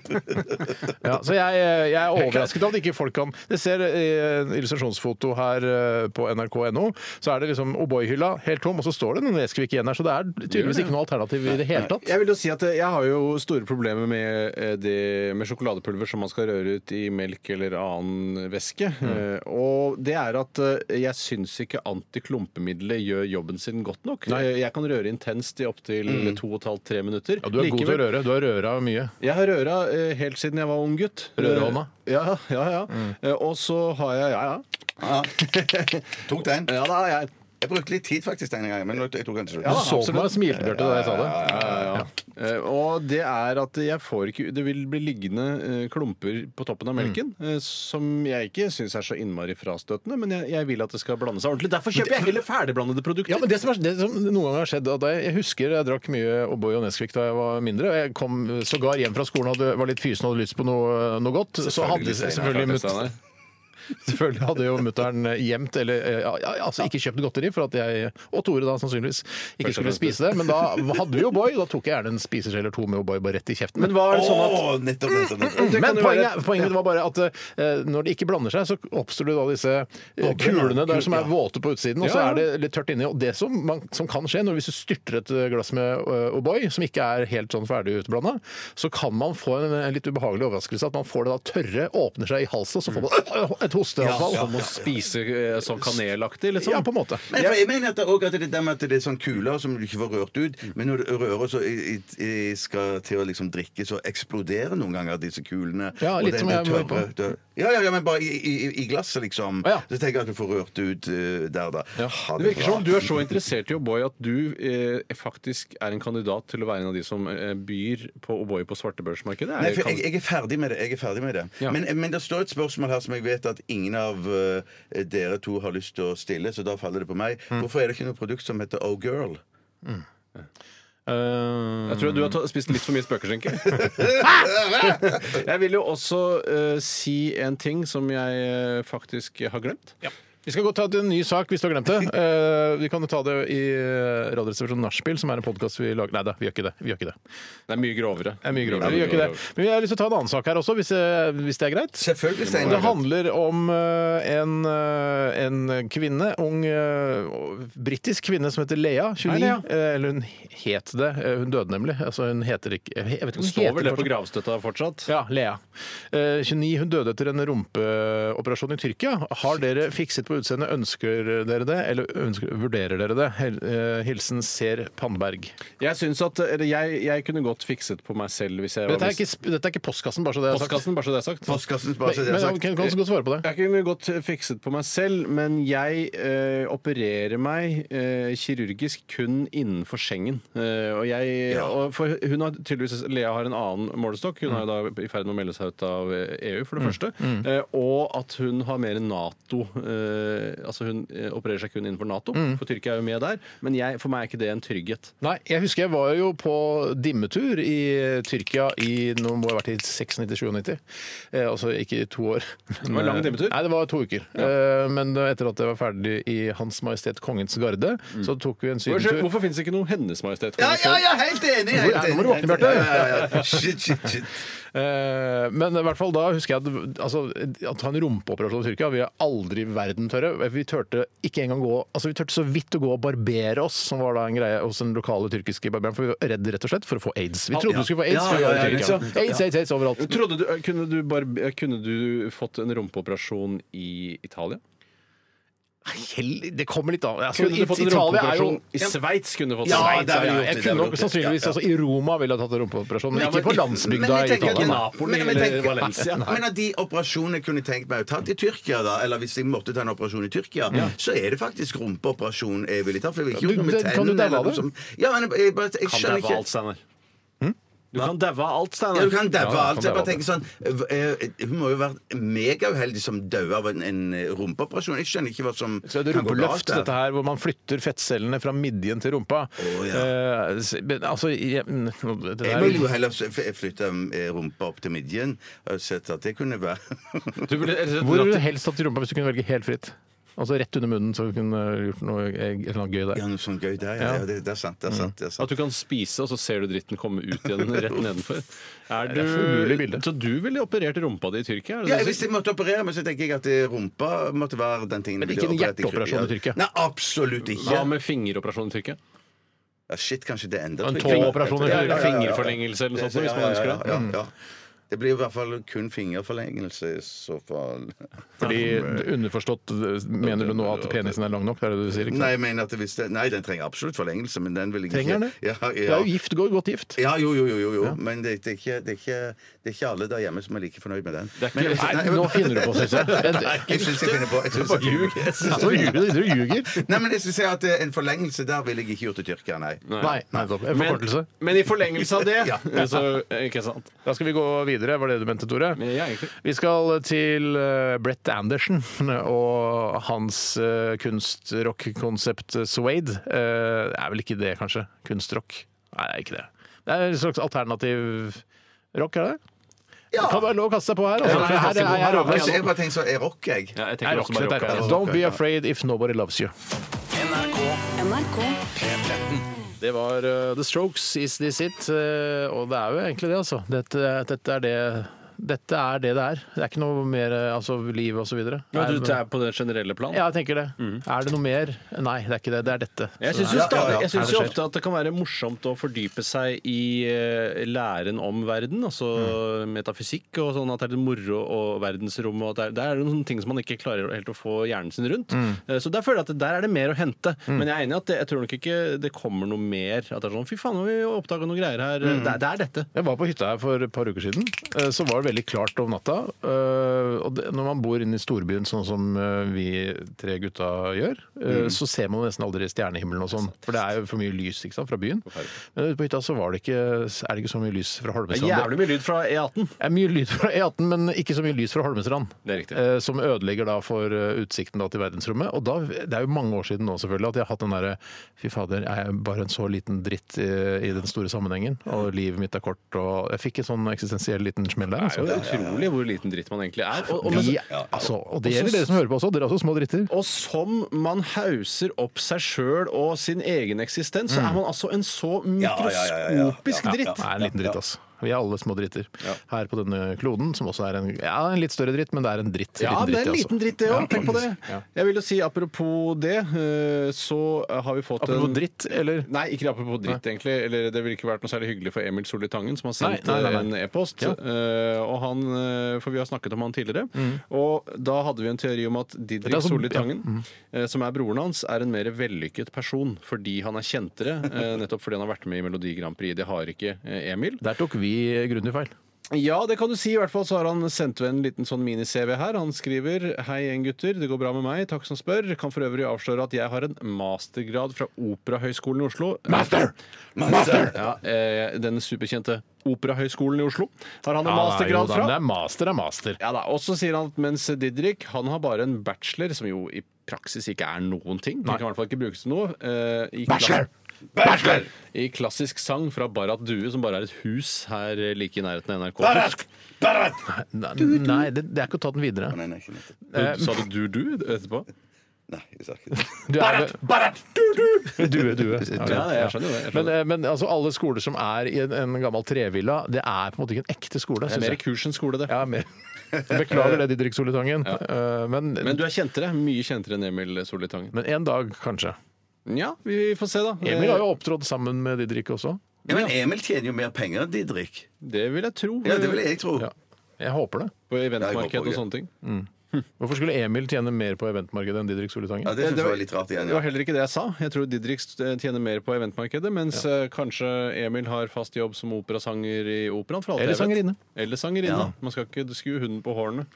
Speaker 1: ja, så jeg, eh, jeg er overrasket over at ikke folk kan Det ser eh, illustrasjonsfoto her eh, på nrk.no. Så er det liksom O'boy-hylla helt tom, og så står det noen Nesquik igjen her. Så det er tydeligvis ikke noe alternativ i det hele tatt.
Speaker 3: Jeg vil jo si at eh, jeg har jo store problemer med, eh, det, med sjokoladepulver som man skal røre ut i melk eller annen væske.
Speaker 1: Mm.
Speaker 3: Eh, Og det er at eh, jeg syns ikke antiklumpemiddelet gjør jobben sin godt nok. Eh, Jeg kan røre intenst i opptil mm. 2,5-3 minutter.
Speaker 1: Ja, du er god til å røre. Du har røra mye.
Speaker 3: Jeg har røra eh, helt siden jeg var ung gutt.
Speaker 1: Rørehånda. Mm.
Speaker 3: Eh, Ja, ja. ja. Eh, Og så har jeg Ja, ja.
Speaker 1: <laughs>
Speaker 2: Ja. Tok den.
Speaker 3: ja da, er jeg,
Speaker 2: Jeg brukte litt tid faktisk denne gangen, men jeg tok den til slutt.
Speaker 1: Du så på meg og smilte, Bjarte, da jeg sa det.
Speaker 3: Eh, Og det er at jeg får ikke Det vil bli liggende eh, klumper på toppen av melken,
Speaker 1: Mm.
Speaker 3: eh, som jeg ikke syns er så innmari frastøtende, men jeg, jeg vil at det skal blande seg ordentlig. Derfor kjøper jeg heller ferdigblandede produkter.
Speaker 1: Ja, men det som, er, det som noen ganger har skjedd at jeg, jeg husker jeg drakk mye O'boy og Nesquik da jeg var mindre. og Jeg kom sågar hjem fra skolen og hadde, var litt fysen og hadde lyst på noe, noe godt. Så hadde selvfølgelig, mutt,
Speaker 3: Steinar.
Speaker 1: <laughs> selvfølgelig hadde jo mutter'n gjemt, eller eh, ja, ja, altså ikke kjøpt godteri, for at jeg, og Tore da sannsynligvis, ikke skulle spise det. Men da hadde vi O'boy, og da tok jeg gjerne en spiseskje eller to med O'boy bare rett i kjeften.
Speaker 3: Men var det sånn at Mm,
Speaker 2: Å, nettopp, nettopp, nettopp.
Speaker 3: Det kan
Speaker 1: Men
Speaker 3: jo
Speaker 1: poenget,
Speaker 3: være-
Speaker 1: poenget var bare at eh, når det ikke blander seg, så oppstår det da disse eh, kulene der som er våte på utsiden, og så
Speaker 3: Ja, ja.
Speaker 1: er det litt tørt inni. Og det som, man, som kan skje når hvis du styrter et glass med eh, O'boy, som ikke er helt sånn ferdig utblanda, så kan man få en, en litt ubehagelig overraskelse. At man får det da tørre, åpner seg i halsen, og så får
Speaker 3: <clears throat>
Speaker 1: man et hosteanfall.
Speaker 3: Som å spise eh, sånn kanelaktig, liksom?
Speaker 1: Ja, på en måte.
Speaker 2: Men for jeg mener at det, også, at det, er det, med at det er sånn kuler som du ikke får rørt ut. Men når du rører, så i, i, i skal til å liksom drikke, så eksploderer noen ganger disse kulene.
Speaker 1: Ja,
Speaker 2: Og
Speaker 1: litt
Speaker 2: det-
Speaker 1: som
Speaker 2: det
Speaker 1: jeg var
Speaker 2: tørre-
Speaker 1: på.
Speaker 2: tørre- Ja, ja, ja, men bare i, i, i glasset, liksom.
Speaker 1: Ja.
Speaker 2: Så tenker jeg at du får rørt ut eh, der, da. Ha
Speaker 3: Det virker
Speaker 2: bra.
Speaker 3: som om du er så interessert i O'boy at du eh, faktisk er en kandidat til å være en av de som eh, byr på O'boy på svartebørsmarkedet. Er
Speaker 2: Nei,
Speaker 3: det
Speaker 2: for
Speaker 3: kan-
Speaker 2: jeg, jeg er ferdig med det. Jeg er ferdig med det.
Speaker 3: Ja.
Speaker 2: Men, men det står et spørsmål her som jeg vet at ingen av eh, dere to har lyst til å stille, så da faller det på meg.
Speaker 1: Mm.
Speaker 2: Hvorfor er det ikke noe produkt som heter Oh Girl?
Speaker 1: Eh,
Speaker 3: Jeg tror du har ta- spist litt for
Speaker 1: <laughs>
Speaker 3: mye spøkelseskinke. jeg vil jo også eh, si en ting som jeg eh, faktisk har glemt.
Speaker 1: Vi skal gå ta til en ny sak hvis du har glemt det. Eh, vi kan jo ta det i eh, Radioresepsjonen Nachspiel, som er en podkast vi lager Nei da, vi gjør ikke det. Vi gjør ikke det.
Speaker 3: Det er mye grovere.
Speaker 1: Det er mye grovere. Vi gjør ikke det. Men jeg har lyst til å ta en annen sak her også, hvis, eh, hvis det er greit.
Speaker 2: Selvfølgelig, Steinar.
Speaker 1: Det handler om eh, en, eh, en kvinne, ung eh, britisk kvinne som heter Lea, 29.
Speaker 3: Lea.
Speaker 1: Eh, Eller hun het det. Eh, Hun døde nemlig. Altså, hun heter ikke jeg vet ikke, om
Speaker 3: Hun
Speaker 1: hun
Speaker 3: står vel det
Speaker 1: fortsatt.
Speaker 3: på gravstøtta fortsatt?
Speaker 1: Ja, Lea. Eh, 29, hun døde etter en rumpeoperasjon i Tyrkia. Har dere fikset på utseendet? Ønsker dere det, eller ønsker, vurderer dere det? Hel- eh, Hilsen Ser Pannberg.
Speaker 3: Jeg syns at eller jeg, jeg kunne godt fikset på meg selv hvis jeg
Speaker 1: Dette er
Speaker 3: mis-
Speaker 1: ikke, sp- dette er ikke postkassen, bare så det er sagt.
Speaker 3: Postkassen, bare så det er sagt.
Speaker 2: Postkassen
Speaker 1: Men,
Speaker 2: bare så det er
Speaker 1: men
Speaker 2: sagt.
Speaker 1: kan kan også godt svare på det.
Speaker 3: Jeg kunne godt fikset på meg selv, men jeg eh, opererer meg eh, kirurgisk kun innenfor sengen. Eh, og jeg, og for hun har tydeligvis, Lea har en annen målestokk. Hun er jo
Speaker 2: Mm.
Speaker 3: da i ferd med å melde seg ut av eh, EU, for det første. Eh, og at hun har mer Nato eh, Altså hun eh, opererer seg kun innenfor Nato,
Speaker 2: Mm.
Speaker 3: for Tyrkia er jo med der. Men jeg, for meg er ikke det en trygghet.
Speaker 1: Nei, jeg husker jeg var jo på dimmetur i Tyrkia i nå må jeg ha vært i 96-97. Eh, altså ikke i to år. <laughs> Det
Speaker 3: var en lang dimmetur?
Speaker 1: Nei, det var to uker. Eh, men etter at jeg var ferdig i Hans Majestet Kongens Garde, så tok vi en sydentur.
Speaker 3: Hvorfor fins det ikke noe Hennes Majestet?
Speaker 2: Ja, ja, ja, helt enig! Helt
Speaker 1: er-
Speaker 2: enig,
Speaker 1: nå må du våkne,
Speaker 2: helt
Speaker 1: Bjarte.
Speaker 2: enig. Ja, ja, ja. Shit, shit, shit.
Speaker 1: Eh, Men i hvert fall da husker jeg at altså, å ta en rumpeoperasjon i Tyrkia Vi er aldri i verden tørre. Vi tørte ikke engang gå Altså vi tørte så vidt å gå og barbere oss, som var da en greie hos den lokale tyrkiske barberen. For vi var redde rett og slett for å få aids. Vi trodde vi skulle få aids.
Speaker 2: Ja,
Speaker 1: for vi var i
Speaker 2: ja, ja,
Speaker 1: Tyrkia.
Speaker 2: liksom.
Speaker 1: Aids, aids, aids overalt.
Speaker 3: Trodde du, eh, kunne, du barbe- kunne du fått en rumpeoperasjon i Italia?
Speaker 1: Hell- Det kommer litt an. Altså,
Speaker 3: Kunne du fått en
Speaker 1: Italia er jo
Speaker 3: rumpeoperasjon i Sveits? kunne du fått
Speaker 1: ja,
Speaker 3: Sveits,
Speaker 1: det er
Speaker 2: ville
Speaker 1: jo
Speaker 2: gjort
Speaker 1: jeg
Speaker 2: det,
Speaker 1: kunne
Speaker 2: det ville
Speaker 1: nok
Speaker 2: gjort det.
Speaker 1: sannsynligvis
Speaker 2: Ja, ja.
Speaker 1: altså, I Roma ville jeg tatt en rumpeoperasjon, men
Speaker 3: Ja,
Speaker 1: ikke
Speaker 3: men-
Speaker 1: på
Speaker 2: Men
Speaker 1: landsbygda i
Speaker 2: jeg tenker at-
Speaker 1: Italia. nei.
Speaker 3: Napoli
Speaker 2: Men- men
Speaker 3: eller
Speaker 2: tenker-
Speaker 3: Valencia.
Speaker 2: Men av de operasjonene kunne jeg tenkt meg å tatt i Tyrkia, da, eller hvis jeg måtte ta en operasjon i Tyrkia, så er det faktisk rumpeoperasjon jeg ville tatt. For jeg vil ikke
Speaker 1: Ja,
Speaker 2: gjøre
Speaker 1: du-
Speaker 2: noe med
Speaker 1: det- kan du
Speaker 2: tennene.
Speaker 1: daue
Speaker 2: eller
Speaker 1: av
Speaker 2: noe
Speaker 1: det?
Speaker 2: som- Ja, men jeg, jeg, bare- jeg
Speaker 3: Kan
Speaker 2: skjønner
Speaker 3: daue
Speaker 2: ikke
Speaker 3: alt, Steinar. Du kan daue alt,
Speaker 2: ja,
Speaker 3: Steinar.
Speaker 2: du kan daue
Speaker 1: Hm? Ja, kan
Speaker 2: alt. Jeg bare
Speaker 1: daue
Speaker 2: tenker sånn eh, eh, Hun må jo ha vært megauheldig som døde av en, en rumpeoperasjon. Jeg skjønner ikke hva som
Speaker 1: Så er det
Speaker 2: kan gå galt
Speaker 1: rumpeløft,
Speaker 2: der.
Speaker 1: dette her, hvor man flytter fettcellene fra midjen til rumpa.
Speaker 2: Å, ja.
Speaker 1: Eh, s- men altså jeg, mm, nå- det
Speaker 2: Jeg
Speaker 1: der-
Speaker 2: ville jo heller s- f- flytte eh, rumpa opp til midjen og sett at det kunne være
Speaker 3: Du ville- eller-
Speaker 1: Hvor ville du helst hatt rumpa hvis du kunne velge helt fritt? Altså rett under munnen, så du kunne gjort noe, eh, et eller annet gøy der.
Speaker 2: <laughs> Ja, noe sånn gøy der. Ja, ja, det, det er
Speaker 1: Mm.
Speaker 2: sant. Det er sant, det er
Speaker 3: At
Speaker 2: sant.
Speaker 3: du kan spise, og så ser du dritten komme
Speaker 1: <laughs>
Speaker 3: ut igjen rett nedenfor. Er
Speaker 1: er et umulig bilde.
Speaker 3: du, så du ville operert rumpa di i Tyrkia? Er det
Speaker 2: Ja,
Speaker 3: det du
Speaker 2: hvis jeg
Speaker 3: sier?
Speaker 2: måtte operere meg, så tenker jeg at eh, rumpa måtte være den tingen
Speaker 1: Men
Speaker 2: jeg
Speaker 1: ikke
Speaker 2: ville
Speaker 1: en
Speaker 2: operert
Speaker 1: hjerteoperasjon i Tyrkia?
Speaker 2: Nei, absolutt ikke.
Speaker 3: Hva med fingeroperasjon i Tyrkia?
Speaker 2: Ja, shit, kanskje det endrer
Speaker 1: En
Speaker 2: trykket.
Speaker 1: tåoperasjon i
Speaker 2: Ja, ja, ja, ja, ja.
Speaker 3: Fingerforlengelse eller noe sånt, hvis
Speaker 2: Ja,
Speaker 3: man
Speaker 2: ja, ja,
Speaker 3: ønsker det.
Speaker 2: ja,
Speaker 1: Mm.
Speaker 2: ja. Det blir i hvert fall kun fingerforlengelse i så
Speaker 1: <laughs>
Speaker 2: fall.
Speaker 1: Fordi underforstått eh, mener du nå at penisen er lang nok? Det er det du sier? ikke sant?
Speaker 2: Nei, jeg mener at hvis det, nei, den trenger absolutt forlengelse, men den vil jeg ikke
Speaker 1: Trenger den det?
Speaker 2: <laughs> Ja, ja.
Speaker 1: Det er jo gift, går godt gift.
Speaker 2: Ja, jo, jo, jo, jo, jo. men det, det, er ikke, det, er ikke, det er ikke alle der hjemme som er like fornøyd med den.
Speaker 3: Det er
Speaker 2: Men-
Speaker 3: ikke-
Speaker 1: Nei, nå finner du på, syns jeg.
Speaker 2: Nei, jeg syns jeg finner på jeg synes jeg
Speaker 3: Ljug.
Speaker 2: finner på-
Speaker 3: Jeg synes
Speaker 1: Nå ljuger du. Du ljuger.
Speaker 2: Nei, men jeg synes jeg at eh, En forlengelse der ville jeg ikke gjort i Tyrkia, nei.
Speaker 1: Nei, nettopp. En forkortelse.
Speaker 3: Men, men i forlengelse
Speaker 1: <laughs>
Speaker 3: av det, så Ikke sant.
Speaker 1: Da skal vi gå videre, var det du mente, Tore?
Speaker 3: Men jeg er egentlig-
Speaker 1: Vi skal til eh, Brett Anderson og hans eh, kunstrock-konsept eh, Suede. Eh, Det er vel ikke det, kanskje? Kunstrock? Nei, det er ikke det. Det er en slags alternativ rock, er det?
Speaker 2: Ja.
Speaker 1: Det kan være lov å kaste seg på her. Altså.
Speaker 3: Ja, nei, jeg kaster på
Speaker 1: her,
Speaker 3: meg,
Speaker 1: her,
Speaker 2: Men så
Speaker 1: her,
Speaker 2: jeg bare tenker så, jeg rocker, jeg.
Speaker 3: Ja, jeg
Speaker 1: Nei,
Speaker 3: tenker
Speaker 1: rock,
Speaker 3: også bare
Speaker 1: dette
Speaker 3: rock.
Speaker 1: er rock.
Speaker 3: altså.
Speaker 1: Don't be afraid if nobody loves you.
Speaker 5: NRK
Speaker 1: Det var eh, The Strokes, Is This It? eh, og det er jo egentlig det, altså. Dette, dette er det dette er det det er. Det er ikke noe mer eh, altså, liv og så videre.
Speaker 3: Ja, du Mm.
Speaker 1: Er-
Speaker 3: det er på det generelle plan?
Speaker 1: Ja, jeg tenker det. Er det noe mer? Nei, det er ikke det. Det er dette.
Speaker 3: Jeg
Speaker 1: Så
Speaker 3: syns jo,
Speaker 1: det er-
Speaker 3: stadig,
Speaker 2: ja, ja.
Speaker 3: jeg synes
Speaker 1: Her
Speaker 3: jo
Speaker 1: det skjer.
Speaker 3: ofte at det kan være morsomt å fordype seg i eh, læren om verden, altså metafysikk og sånn, at det er litt moro og verdensrom og at det er, der er det noen ting som man ikke klarer helt å få hjernen sin rundt. Eh, Så der føler jeg at der er det mer å hente. Men jeg er enig i at det, jeg tror nok ikke det kommer noe mer. At det er sånn fy faen, nå har vi oppdaga noen greier her. Det, er- det er dette.
Speaker 1: Jeg var på hytta her for et par uker siden. eh, Så var det veldig klart om natta. eh, Og det, når man bor inne i storbyen, sånn som eh, vi tre gutta gjør,
Speaker 3: Mm.
Speaker 1: eh, så ser man nesten aldri stjernehimmelen og sånn. For det er jo for mye lys ikke sant, fra byen. Men ute på hytta så var det ikke, er det ikke så mye lys fra
Speaker 3: Det
Speaker 1: Holmestrand.
Speaker 3: er jævlig mye lyd fra E E18.
Speaker 1: Det er mye lyd fra E18, men ikke så mye lys fra Holmestrand.
Speaker 3: Det er riktig.
Speaker 1: Eh, som ødelegger da for eh, utsikten da til verdensrommet. Og da, Det er jo mange år siden nå selvfølgelig at jeg har hatt den derre Fy fader, jeg er bare en så liten dritt i, i den store sammenhengen. Og livet mitt er kort. Og jeg fikk en sånn eksistensiell liten smell der.
Speaker 3: er jo utrolig hvor liten dritt man egentlig er. Og, og,
Speaker 1: Vi,
Speaker 3: men-
Speaker 1: altså, og det gjelder dere som hører på også. Dere er også små dritter.
Speaker 3: og som man hauser opp seg sjøl og sin egen eksistens,
Speaker 1: Mm.
Speaker 3: så er man altså en så mikroskopisk
Speaker 1: Ja,
Speaker 3: dritt.
Speaker 1: det er en liten dritt, altså. Vi er alle små dritter her på denne kloden, som også er en, ja, en litt større dritt, men det er en dritt. altså.
Speaker 3: Ja, det er en liten dritt, det òg. Tenk på det.
Speaker 1: Ja.
Speaker 3: Jeg vil jo si apropos det, eh, så har vi fått
Speaker 1: Apropos
Speaker 3: en-
Speaker 1: dritt, eller?
Speaker 3: Nei, ikke apropos dritt, egentlig. Eller det ville ikke vært noe særlig hyggelig for Emil Solli Tangen, som har sendt
Speaker 1: Nei, nei, nei, nei.
Speaker 3: en e-post.
Speaker 1: Ja. Mm.
Speaker 3: Eh, og han, eh, For vi har snakket om han tidligere. Og da hadde vi en teori om at Didrik
Speaker 1: Det er altså-
Speaker 3: Solli
Speaker 1: ja.
Speaker 3: Tangen, eh, som er broren hans, er en mer vellykket person fordi han er kjentere. eh, nettopp fordi han har vært med i Melodi Grand Prix. Det har ikke eh, Emil.
Speaker 1: Der tok vi grundig feil.
Speaker 3: Ja, det kan du si. I hvert fall så har han sendt en liten sånn mini-CV her. Han skriver Hei gjeng gutter, det går bra med meg. Takk som spør. Kan for øvrig avsløre at jeg har en mastergrad fra Operahøgskolen i Oslo. Master! Master! Ja, eh, Den superkjente Operahøgskolen i Oslo har han en mastergrad
Speaker 1: Det
Speaker 3: fra.
Speaker 1: er master er master.
Speaker 3: Ja da, Og så sier han at mens Didrik han har bare en bachelor, som jo i praksis ikke er noen ting. Den kan i hvert fall ikke brukes til noe. eh, i klass-
Speaker 2: Bachelor!
Speaker 3: I klassisk sang fra Barrat Due, som bare er et hus her eh, like i nærheten av NRK.
Speaker 2: Barat! Barat!
Speaker 1: Nei, det, det er ikke å ta den videre.
Speaker 2: Nei, nei, ikke nettopp.
Speaker 3: eh, Sa du du-du etterpå?
Speaker 2: Nei, jeg sa ikke det.
Speaker 1: Du er,
Speaker 2: Barat!
Speaker 1: <laughs> due,
Speaker 3: <laughs>
Speaker 1: due.
Speaker 3: Ja, jeg skjønner det. Jeg
Speaker 1: Men,
Speaker 3: skjønner.
Speaker 1: eh, men altså, alle skoler som er i en, en gammel trevilla, det er på en måte ikke en ekte skole.
Speaker 3: det er
Speaker 1: synes
Speaker 3: mer
Speaker 1: jeg.
Speaker 3: kurs enn skole, det.
Speaker 1: Ja,
Speaker 3: <laughs>
Speaker 1: mer. Beklager det, Didrik Solitangen. Eh, Men,
Speaker 3: Men du er kjentere. Mye kjentere enn Emil Solli Tangen.
Speaker 1: men en dag, kanskje.
Speaker 3: Ja, vi får se, da. Eh,
Speaker 1: Emil har jo opptrådt sammen med Didrik også.
Speaker 2: Ja, men Emil tjener jo mer penger enn Didrik.
Speaker 3: Det vil jeg tro.
Speaker 2: Ja, det vil jeg tro.
Speaker 1: Ja. Jeg håper det.
Speaker 3: På
Speaker 2: Ja, jeg
Speaker 3: eventmarked
Speaker 2: håper
Speaker 3: og
Speaker 2: det.
Speaker 3: sånne ting.
Speaker 1: Hvorfor skulle Emil tjene mer på eventmarkedet enn Didrik Solitangen?
Speaker 2: Ja, det syns jeg var litt rart igjen.
Speaker 3: Det var
Speaker 2: Ja.
Speaker 3: heller ikke det jeg sa. Jeg tror Didrik tjener mer på eventmarkedet, mens eh, kanskje Emil har fast jobb som operasanger i operaen. for alt
Speaker 1: Eller
Speaker 3: jeg vet.
Speaker 1: sangerinne.
Speaker 3: Eller sangerinne. Man skal ikke skue hunden på hårene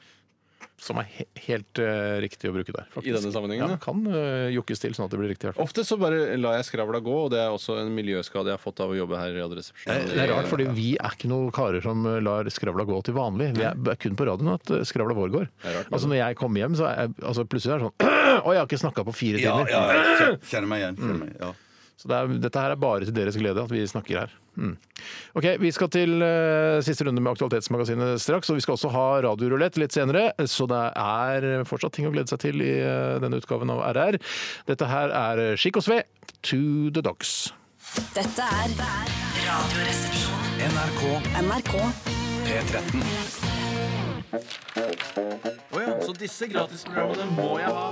Speaker 1: Som er he helt eh, riktig å bruke der. faktisk.
Speaker 3: i denne sammenhengen.
Speaker 1: Ja,
Speaker 3: da.
Speaker 1: kan eh, jukkes til sånn at det blir riktig. i hvert fall.
Speaker 3: Ofte så bare lar jeg skravla gå, og det er også en miljøskade jeg har fått av å jobbe her i Radioresepsjonen.
Speaker 1: Eh, Det er rart, fordi vi er ikke noen karer som eh, lar skravla gå til vanlig. Vi er, det er kun på radioen at eh, skravla vår går. Altså Når jeg kommer hjem, så er jeg, altså, plutselig er det sånn <clears throat> Å, jeg har ikke snakka på fire
Speaker 2: Ja,
Speaker 1: timer!
Speaker 2: ja, jeg kjenner meg igjen. Kjenner meg. Ja.
Speaker 1: Så det er, dette her er bare til deres glede at vi snakker her. Mm. Ok, Vi skal til eh, siste runde med Aktualitetsmagasinet straks, og vi skal også ha radiorulett litt senere. Så det er fortsatt ting å glede seg til i eh, denne utgaven av RR. Dette her er eh, Skikk og sve, to the dogs.
Speaker 5: Dette er Radioresepsjonen.
Speaker 6: NRK
Speaker 5: NRK.
Speaker 6: P13.
Speaker 7: Så disse gratisprogrammene må jeg ha.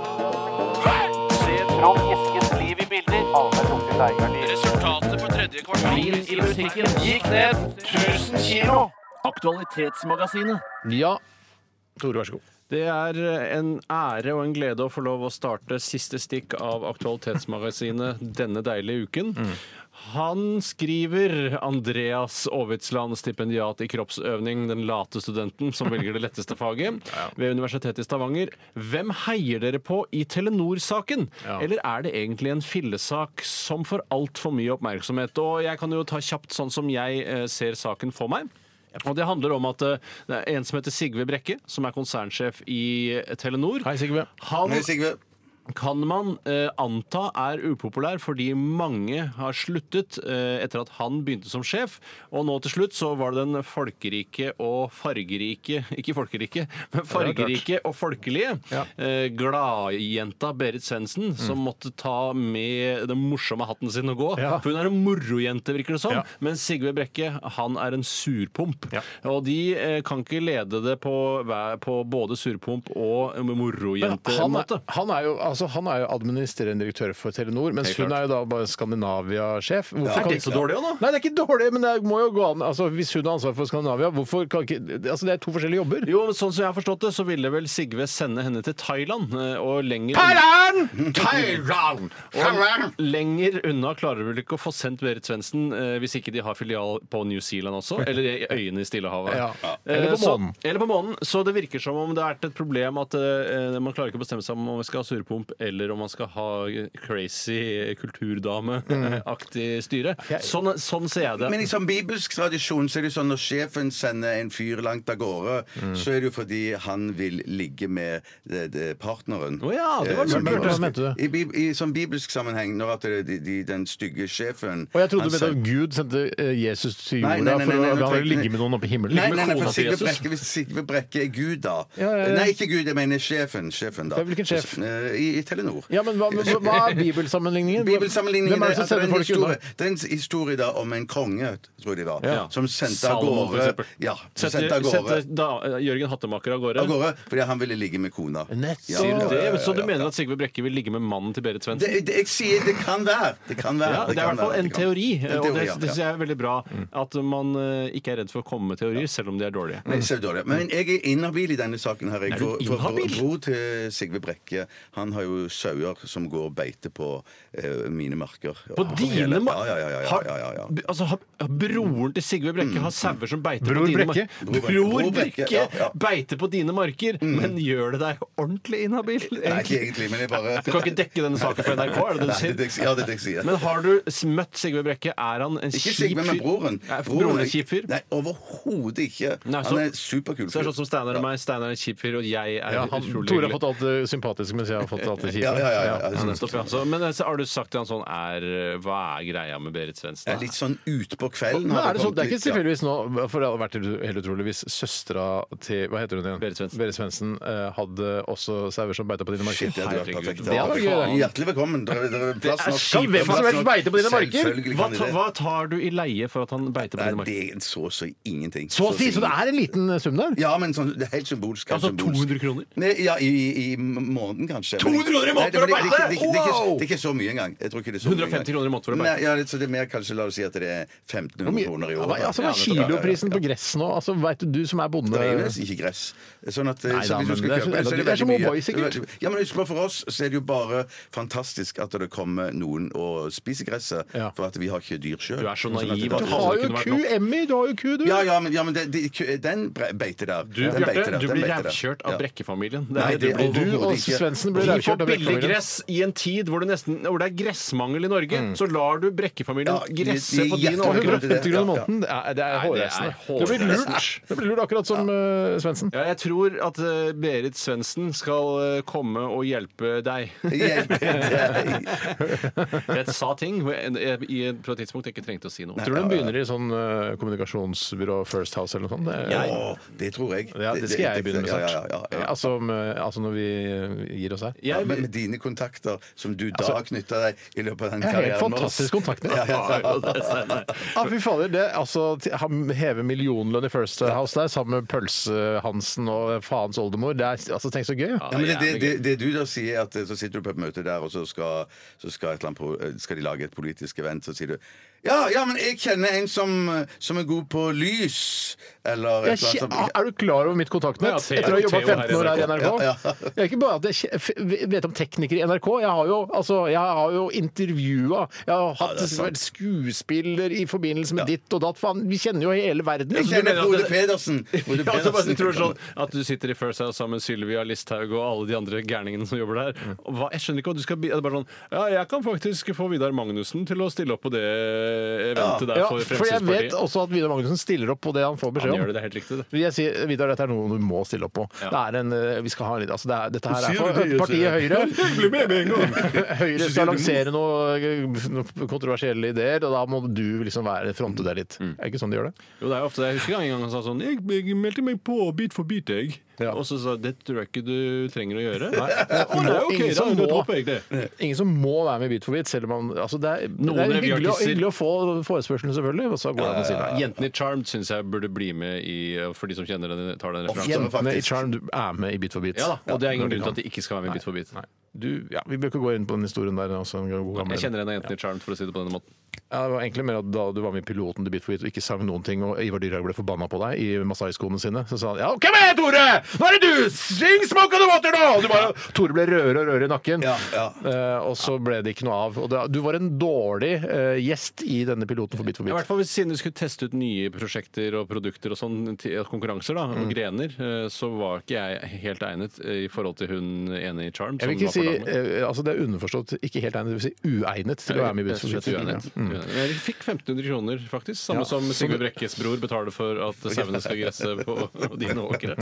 Speaker 8: Se Trond Eskens liv i bilder. Alle dukker deg av liv.
Speaker 7: Resultatet for tredje kvartal i musikken gikk ned 1000 kilo. Aktualitetsmagasinet.
Speaker 1: Ja, Tore, vær så god.
Speaker 3: Det er eh, en ære og en glede å få lov å starte siste stikk av Aktualitetsmagasinet denne deilige uken.
Speaker 1: Mm.
Speaker 3: Han skriver Andreas Aavitsland, stipendiat i kroppsøvning, den late studenten som velger det letteste
Speaker 1: <laughs>
Speaker 3: faget ved Universitetet i Stavanger. Hvem heier dere på i Telenor-saken? Eller er det egentlig en fillesak som får altfor mye oppmerksomhet? Og jeg kan jo ta kjapt sånn som jeg eh, ser saken for meg. Og det handler om at eh, det er en som heter Sigve Brekke, som er konsernsjef i eh, Telenor.
Speaker 1: Hei, Sigve.
Speaker 3: Han
Speaker 2: Nei, Sigve.
Speaker 3: kan man eh, anta er upopulær fordi mange har sluttet eh, etter at han begynte som sjef. Og nå til slutt så var det den folkerike og fargerike Ikke folkerike, men fargerike og folkelige.
Speaker 1: Ja. Mm.
Speaker 3: Eh, Gladjenta Berit Svendsen som måtte ta med den morsomme hatten sin og gå.
Speaker 1: Ja.
Speaker 3: For hun er en morojente, virker det som.
Speaker 1: Ja.
Speaker 3: Men Sigve Brekke han er en surpomp.
Speaker 1: Ja.
Speaker 3: Og de eh, kan ikke lede det på, hver- på både surpomp og
Speaker 1: Men han, er,
Speaker 3: morojente-måte.
Speaker 1: han, er jo, altså, han er jo administrerende direktør for Telenor, mens
Speaker 3: Helt
Speaker 1: hun
Speaker 3: klart.
Speaker 1: er jo da bare Skandinavia-sjef. Hvorfor
Speaker 3: Er det så dårlig også, da?
Speaker 1: Nei, det er ikke dårlig, men det må jo gå an. Altså, hvis hun har ansvar for Skandinavia, hvorfor kan ikke Altså, det er to forskjellige jobber.
Speaker 3: Jo, men sånn som jeg har forstått det, så ville vel Sigve sende henne til Thailand. eh, Og lenger,
Speaker 1: Thailand!
Speaker 3: og lenger unna klarer vel ikke å få sendt Berit Svendsen eh, hvis ikke de har filial på New Zealand også, eller i øyene i Stillehavet.
Speaker 1: Ja.
Speaker 3: Eh,
Speaker 1: Eller på
Speaker 3: så-
Speaker 1: månen.
Speaker 3: Eller på månen. Så det virker som om det er et problem at eh, man klarer ikke å bestemme seg om man skal ha surpomp valgkamp, eller om man skal ha crazy kulturdame-aktig styre. Sånn, sånn ser jeg det.
Speaker 2: Men i sånn bibelsk tradisjon så er det jo sånn når sjefen sender en fyr langt av gårde,
Speaker 1: Mm.
Speaker 2: så er det jo fordi han vil ligge med det, det partneren.
Speaker 3: Å ja, det var
Speaker 2: Eh, som
Speaker 1: lurt.
Speaker 2: bibelsk-
Speaker 1: Hva mente du?
Speaker 2: I, bib- I sånn bibelsk sammenheng, når at det- de, de, den stygge sjefen
Speaker 1: Og jeg trodde
Speaker 2: han
Speaker 1: du mente
Speaker 2: sender-
Speaker 1: at Gud sendte eh, Jesus til
Speaker 2: Nei,
Speaker 1: jorda
Speaker 2: nei, nei, nei,
Speaker 1: for
Speaker 2: nei,
Speaker 1: å
Speaker 2: nå
Speaker 1: da han ville
Speaker 2: tenker jeg-
Speaker 1: ligge med noen oppe i himmelen.
Speaker 2: Nei,
Speaker 1: Ligge med
Speaker 2: nei, nei, for
Speaker 1: kona til
Speaker 2: Sigve
Speaker 1: Jesus.
Speaker 2: Brekke, hvis Sigve Brekke er Gud, da.
Speaker 1: Ja, ja, ja.
Speaker 2: Nei, ikke Gud, jeg mener sjefen. sjefen da.
Speaker 1: Ja, hvilken sjef?
Speaker 2: Eh, I, I Telenor.
Speaker 1: Ja, men hva, men hva- hva er bibelsammenligningen?
Speaker 2: Bibelsammenligningen
Speaker 1: Hvem er det som
Speaker 2: er at
Speaker 1: sender
Speaker 2: det er en
Speaker 1: folk unna?
Speaker 2: historie, det er en historie da om en konge, tror jeg det var,
Speaker 3: Ja.
Speaker 2: som sendte av
Speaker 3: Salomo, for
Speaker 2: gårde
Speaker 3: eksempel.
Speaker 2: Ja, som
Speaker 3: Sette,
Speaker 2: sendte av gårde.
Speaker 3: sette da, Jørgen Hattemaker av gårde.
Speaker 2: Av gårde fordi han ville ligge med kona.
Speaker 1: Nettopp.
Speaker 2: Ja, ja, ja, ja, ja.
Speaker 3: Det, så du mener at Sigve Brekke vil ligge med mannen til Berit Svendsen?
Speaker 2: Det, det, jeg sier det kan være. Det kan være.
Speaker 3: Ja, det er i
Speaker 2: kan
Speaker 3: hvert fall
Speaker 2: være,
Speaker 3: en
Speaker 2: det kan-
Speaker 3: teori, eh,
Speaker 2: En
Speaker 3: og
Speaker 2: ja,
Speaker 3: det, det
Speaker 2: ja. Mm.
Speaker 3: synes jeg er veldig bra. At man eh, ikke er redd for å komme med teorier, selv om de er dårlige.
Speaker 2: Men jeg ser dårlig. Men jeg er inhabil i denne saken. her jeg,
Speaker 3: Er du
Speaker 2: for- for
Speaker 3: inhabil?
Speaker 2: bro- Bror til Sigve Brekke Han har jo sauer som går beite på eh, mine marker.
Speaker 3: På
Speaker 2: Ja,
Speaker 3: dine
Speaker 2: fjellet.
Speaker 3: ma-
Speaker 2: ja, ja, ja, ja,
Speaker 3: Har-
Speaker 2: ja, ja, ja.
Speaker 3: b- Altså, har, har broren til Sigve Brekke har sauer som beiter
Speaker 1: Bror
Speaker 3: på dine
Speaker 1: Brekke.
Speaker 3: marker.
Speaker 2: Bror
Speaker 3: Bror
Speaker 2: Brekke,
Speaker 3: Brekke
Speaker 2: ja, ja. Mm.
Speaker 3: beiter på dine marker, men gjør det deg ordentlig inhabil?
Speaker 2: Nei, ikke
Speaker 3: egentlig?
Speaker 2: egentlig, men jeg bare
Speaker 3: Du kan ikke dekke denne saken for NRK, er det
Speaker 2: Nei,
Speaker 3: det du sier?
Speaker 2: det jeg- Ja, det er det jeg sier.
Speaker 3: Men har du s- møtt Sigve Brekke? Er han en
Speaker 2: Ikke
Speaker 3: kjip
Speaker 2: Sigve, men
Speaker 3: fyr?
Speaker 2: broren.
Speaker 3: Er broren en kjip fyr?
Speaker 2: Nei, overhodet ikke.
Speaker 3: Nei, så-
Speaker 2: Han er en superkul
Speaker 3: Så det er sånn som Steinar og meg. Steinar er en kjip fyr, og jeg er
Speaker 1: Ja, han,
Speaker 3: utrolig
Speaker 1: Tore har
Speaker 3: hyggelig.
Speaker 1: fått alt det sympatiske, mens jeg har fått alt det kjipe.
Speaker 2: Ja, ja, ja, sånn. ja, ja.
Speaker 3: Ja, nettopp, ja. Så, men altså, har du sagt til han sånn er, Hva er greia med Berit
Speaker 2: Jeg
Speaker 3: Svendsen?
Speaker 2: er litt sånn utpå kvelden.
Speaker 1: Men
Speaker 2: har
Speaker 1: er det, sånn, det er ikke
Speaker 2: kommet litt- ja.
Speaker 1: tilfeldigvis nå, for det hadde vært helt utrolig hvis søstera til Hva heter hun igjen?
Speaker 3: Berit Svendsen.
Speaker 1: eh, hadde også sauer som beita på dine marker.
Speaker 2: Shit, det hadde vært
Speaker 3: Herregud.
Speaker 2: perfekt.
Speaker 3: Det
Speaker 1: hadde vært gøy, det.
Speaker 2: Hjertelig velkommen. Dere, dere, plass
Speaker 3: er
Speaker 2: nok.
Speaker 3: skip- Kan hvem
Speaker 1: som helst beite på dine marker?
Speaker 2: Selvfølgelig
Speaker 3: Hva,
Speaker 2: sånn kan de
Speaker 3: ta,
Speaker 2: det.
Speaker 3: hva tar du i leie for at han beiter på dine
Speaker 2: Nei,
Speaker 3: marker?
Speaker 2: det er så så ingenting.
Speaker 1: Så å si! Så det
Speaker 2: ingen-
Speaker 1: er en liten eh, sum der?
Speaker 2: Ja, men sånn, det er helt symbolsk. helt
Speaker 3: Altså
Speaker 2: symbolsk.
Speaker 3: 200 kroner?
Speaker 2: Nei, ja, i, i måneden, kanskje.
Speaker 3: 200 kroner i måneden
Speaker 2: Nei, det- men det-
Speaker 3: for å
Speaker 2: det-
Speaker 3: beite?
Speaker 2: det- det- det- det-
Speaker 3: Wow!
Speaker 2: Det er ikke så mye engang. Jeg tror ikke det er så
Speaker 3: 150 kroner i måneden for å
Speaker 2: beite?
Speaker 3: beite.
Speaker 2: Ja, det- så det er mer kanskje, la oss si at det er 1500 kroner i
Speaker 1: Ja,
Speaker 2: året.
Speaker 1: hva- altså, hva er kiloprisen på gress nå? Altså, Veit du, du som er bonde
Speaker 2: Det er jo nesten ikke gress. Sånn at,
Speaker 1: Nei da, men
Speaker 2: hvis du skal
Speaker 1: det er så-
Speaker 2: kjøpe,
Speaker 1: det er
Speaker 2: veldig
Speaker 1: som
Speaker 2: mye.
Speaker 1: O'boy, sikkert.
Speaker 2: Ja, men husk på, For oss så er det jo bare fantastisk at det kommer noen og spiser gresset,
Speaker 1: Ja.
Speaker 2: for at vi har ikke dyr Sånn sjøl.
Speaker 3: Du er så naiv at
Speaker 1: Du har jo ku, Emmy! Du har jo ku, du!
Speaker 2: Ja, ja, men, ja, men det, det, den bre- beiter der.
Speaker 3: Du,
Speaker 2: den beiter
Speaker 3: Bjarte,
Speaker 2: der,
Speaker 3: du
Speaker 2: den
Speaker 3: blir
Speaker 2: beiter der.
Speaker 3: rævkjørt
Speaker 2: Ja.
Speaker 3: av Brekke-familien. Det
Speaker 2: Nei,
Speaker 3: er det
Speaker 2: det
Speaker 3: du
Speaker 2: er
Speaker 3: blir.
Speaker 1: Du og
Speaker 2: overhodet ikke.
Speaker 1: Svendsen ble
Speaker 3: De får
Speaker 1: rævkjørt av
Speaker 3: billig
Speaker 1: Brekkefamilien.
Speaker 3: gress i en tid hvor det, nesten, hvor det er gressmangel i Norge. Så lar du
Speaker 2: Ja,
Speaker 3: Brekke-familien
Speaker 2: de-
Speaker 3: gresse
Speaker 2: de
Speaker 3: Mm. på
Speaker 2: gjetter
Speaker 3: din
Speaker 2: på
Speaker 3: åker.
Speaker 2: grunn-
Speaker 1: 150 kroner i måneden, det er, det er
Speaker 3: Nei, det er
Speaker 1: hårreisende. Du blir lurt,
Speaker 3: hårreisende.
Speaker 1: Du blir lurt akkurat som eh, Svendsen.
Speaker 3: Ja, jeg tror at eh, Berit Svendsen skal eh, komme og hjelpe deg.
Speaker 1: <laughs>
Speaker 2: Hjelp, det er-
Speaker 3: <laughs> Jeg sa ting hvor jeg- jeg- i- på et tidspunkt jeg ikke trengte å si noe.
Speaker 1: Tror du hun begynner i sånn eh, kommunikasjonsbyrå First House eller noe sånt? Det-
Speaker 2: Åh, det tror jeg.
Speaker 1: Ja, det skal jeg begynne med
Speaker 2: Ja, ja,
Speaker 1: snart.
Speaker 2: ja, ja, ja.
Speaker 1: Altså, med, altså når vi gir oss her.
Speaker 2: Ja,
Speaker 3: Jeg,
Speaker 2: men med dine kontakter som du da
Speaker 1: Altså,
Speaker 2: har knytta deg i løpet av den
Speaker 1: Jeg har helt
Speaker 2: karrieren med oss.
Speaker 1: fantastisk kontakt med
Speaker 2: Ja, ja, ja.
Speaker 1: Ja, fy fader, det er altså til- han Heve millionlønn i First House der sammen med Pølse-Hansen og faens oldemor. Det er, altså, tenk så gøy.
Speaker 2: Ja, men det, det,
Speaker 3: jævlig
Speaker 2: det, det du da sier, er at eh, så sitter du på et møte der, og så skal, så skal, et eller annet, pro- eh, skal de lage et politisk event, så sier du ja, ja, men jeg kjenner en som, som er god på lys, eller
Speaker 1: Jeg
Speaker 2: et eller
Speaker 1: kje- Ah!
Speaker 2: annet sånt.
Speaker 1: er du klar over mitt kontaktnett?
Speaker 3: Ja, Theo-
Speaker 1: Etter å ha jobba
Speaker 3: Theo her i
Speaker 1: 15 år her i NRK?
Speaker 2: NRK. Ja, ja.
Speaker 1: Jeg er ikke bare at jeg kje- f- vet om teknikere i NRK. Jeg har jo, altså, jeg har jo intervjua. Jeg har hatt
Speaker 2: det er sant.
Speaker 1: skuespiller i forbindelse med ditt og datt. Faen, vi kjenner jo hele verden.
Speaker 2: Jeg
Speaker 1: Så du
Speaker 2: kjenner
Speaker 1: mener at
Speaker 2: Frode
Speaker 1: det-
Speaker 2: Pedersen.
Speaker 1: <laughs>
Speaker 2: Frode
Speaker 3: Ja, og så bare
Speaker 2: Pedersen.
Speaker 3: tror du sånn at du sitter i First House sammen med Sylvia Listhaug og alle de andre gærningene som jobber der.
Speaker 1: Mm.
Speaker 3: Og Hva, jeg skjønner ikke hva du skal bi- det er bare sånn, Ja, jeg kan faktisk få Vidar Magnussen til å stille opp på det eventet der
Speaker 1: Ja,
Speaker 3: for
Speaker 1: for jeg vet
Speaker 3: Fremskrittspartiet.
Speaker 1: også at Vidar Magnussen stiller opp på det han får
Speaker 3: Han
Speaker 1: beskjed
Speaker 3: gjør
Speaker 1: om.
Speaker 3: det, det er helt riktig. det.
Speaker 1: Jeg sier, Vidar, dette er noe du må stille opp på. Det er en, eh, vi skal ha en, altså det er, dette her er
Speaker 2: Sier du
Speaker 1: for
Speaker 2: det,
Speaker 1: partiet Høyre.
Speaker 3: <laughs> Bli med med en gang!
Speaker 1: Høyre skal lansere noen noe kontroversielle ideer, og da må du liksom være fronte der litt.
Speaker 3: Mm.
Speaker 1: Er det ikke sånn de gjør det?
Speaker 3: Jo, det er jo ofte det. Jeg husker en gang han sa sånn Jeg, jeg meldte meg på bit for bit, jeg.
Speaker 1: Ja.
Speaker 3: Og så sa jeg det tror jeg ikke du trenger å gjøre. Nei,
Speaker 1: Må-
Speaker 3: det er ok,
Speaker 1: ingen
Speaker 3: da,
Speaker 1: som
Speaker 3: da
Speaker 1: må.
Speaker 3: dropper jeg det.
Speaker 1: Ingen som må være med i Bit for bit, selv om man altså Det er, det
Speaker 3: Noen
Speaker 1: er hyggelig, å-
Speaker 3: revyartister-
Speaker 1: hyggelig å få forespørselen, selvfølgelig, og så går det an å si nei.
Speaker 3: Jentene i Charmed syns jeg burde bli med i For de som kjenner den, tar den referansen.
Speaker 1: Jentene i
Speaker 2: faktisk.
Speaker 1: Charm er med i Bit for bit.
Speaker 3: Ja da, og det er ingen
Speaker 1: Når de
Speaker 3: grunn til
Speaker 1: kan.
Speaker 3: at de ikke skal være med i Bit for bit.
Speaker 1: Du, ja, vi bør ikke gå inn på den historien der. det er Også en god gammel.
Speaker 3: Jeg kjenner en av jentene i Charmed, for å si det på denne måten.
Speaker 1: Ja, det var egentlig mer at Da du var med i piloten til Bit for bit og ikke sang noen ting, og Ivar Dyrhaug ble forbanna på deg i masai-skoene sine, så sa han ja, hvem er jeg, Tore? Nå er det du! Sing smoke on the water nå! Og du bare, Tore ble rødere og rødere i nakken.
Speaker 2: Ja, ja.
Speaker 1: Eh, og så ble det ikke noe av. Og da, du var en dårlig eh, gjest i denne piloten for Bit for
Speaker 3: I hvert
Speaker 1: bit.
Speaker 3: fall hvis- Siden vi skulle teste ut nye prosjekter og produkter og sånn, til- konkurranser da, og grener, eh, så var ikke jeg helt egnet eh, i forhold til hun ene i Charm.
Speaker 1: Jeg vil ikke si, eh, altså Det er underforstått ikke helt egnet, det vil si uegnet til å være med i Bit for bit. Ja. Mm.
Speaker 3: Jeg fikk 1500 kroner, faktisk. Samme som Sigurd Brekkes bror betaler for at
Speaker 1: <laughs>
Speaker 3: sauene skal gresse på dine åkre.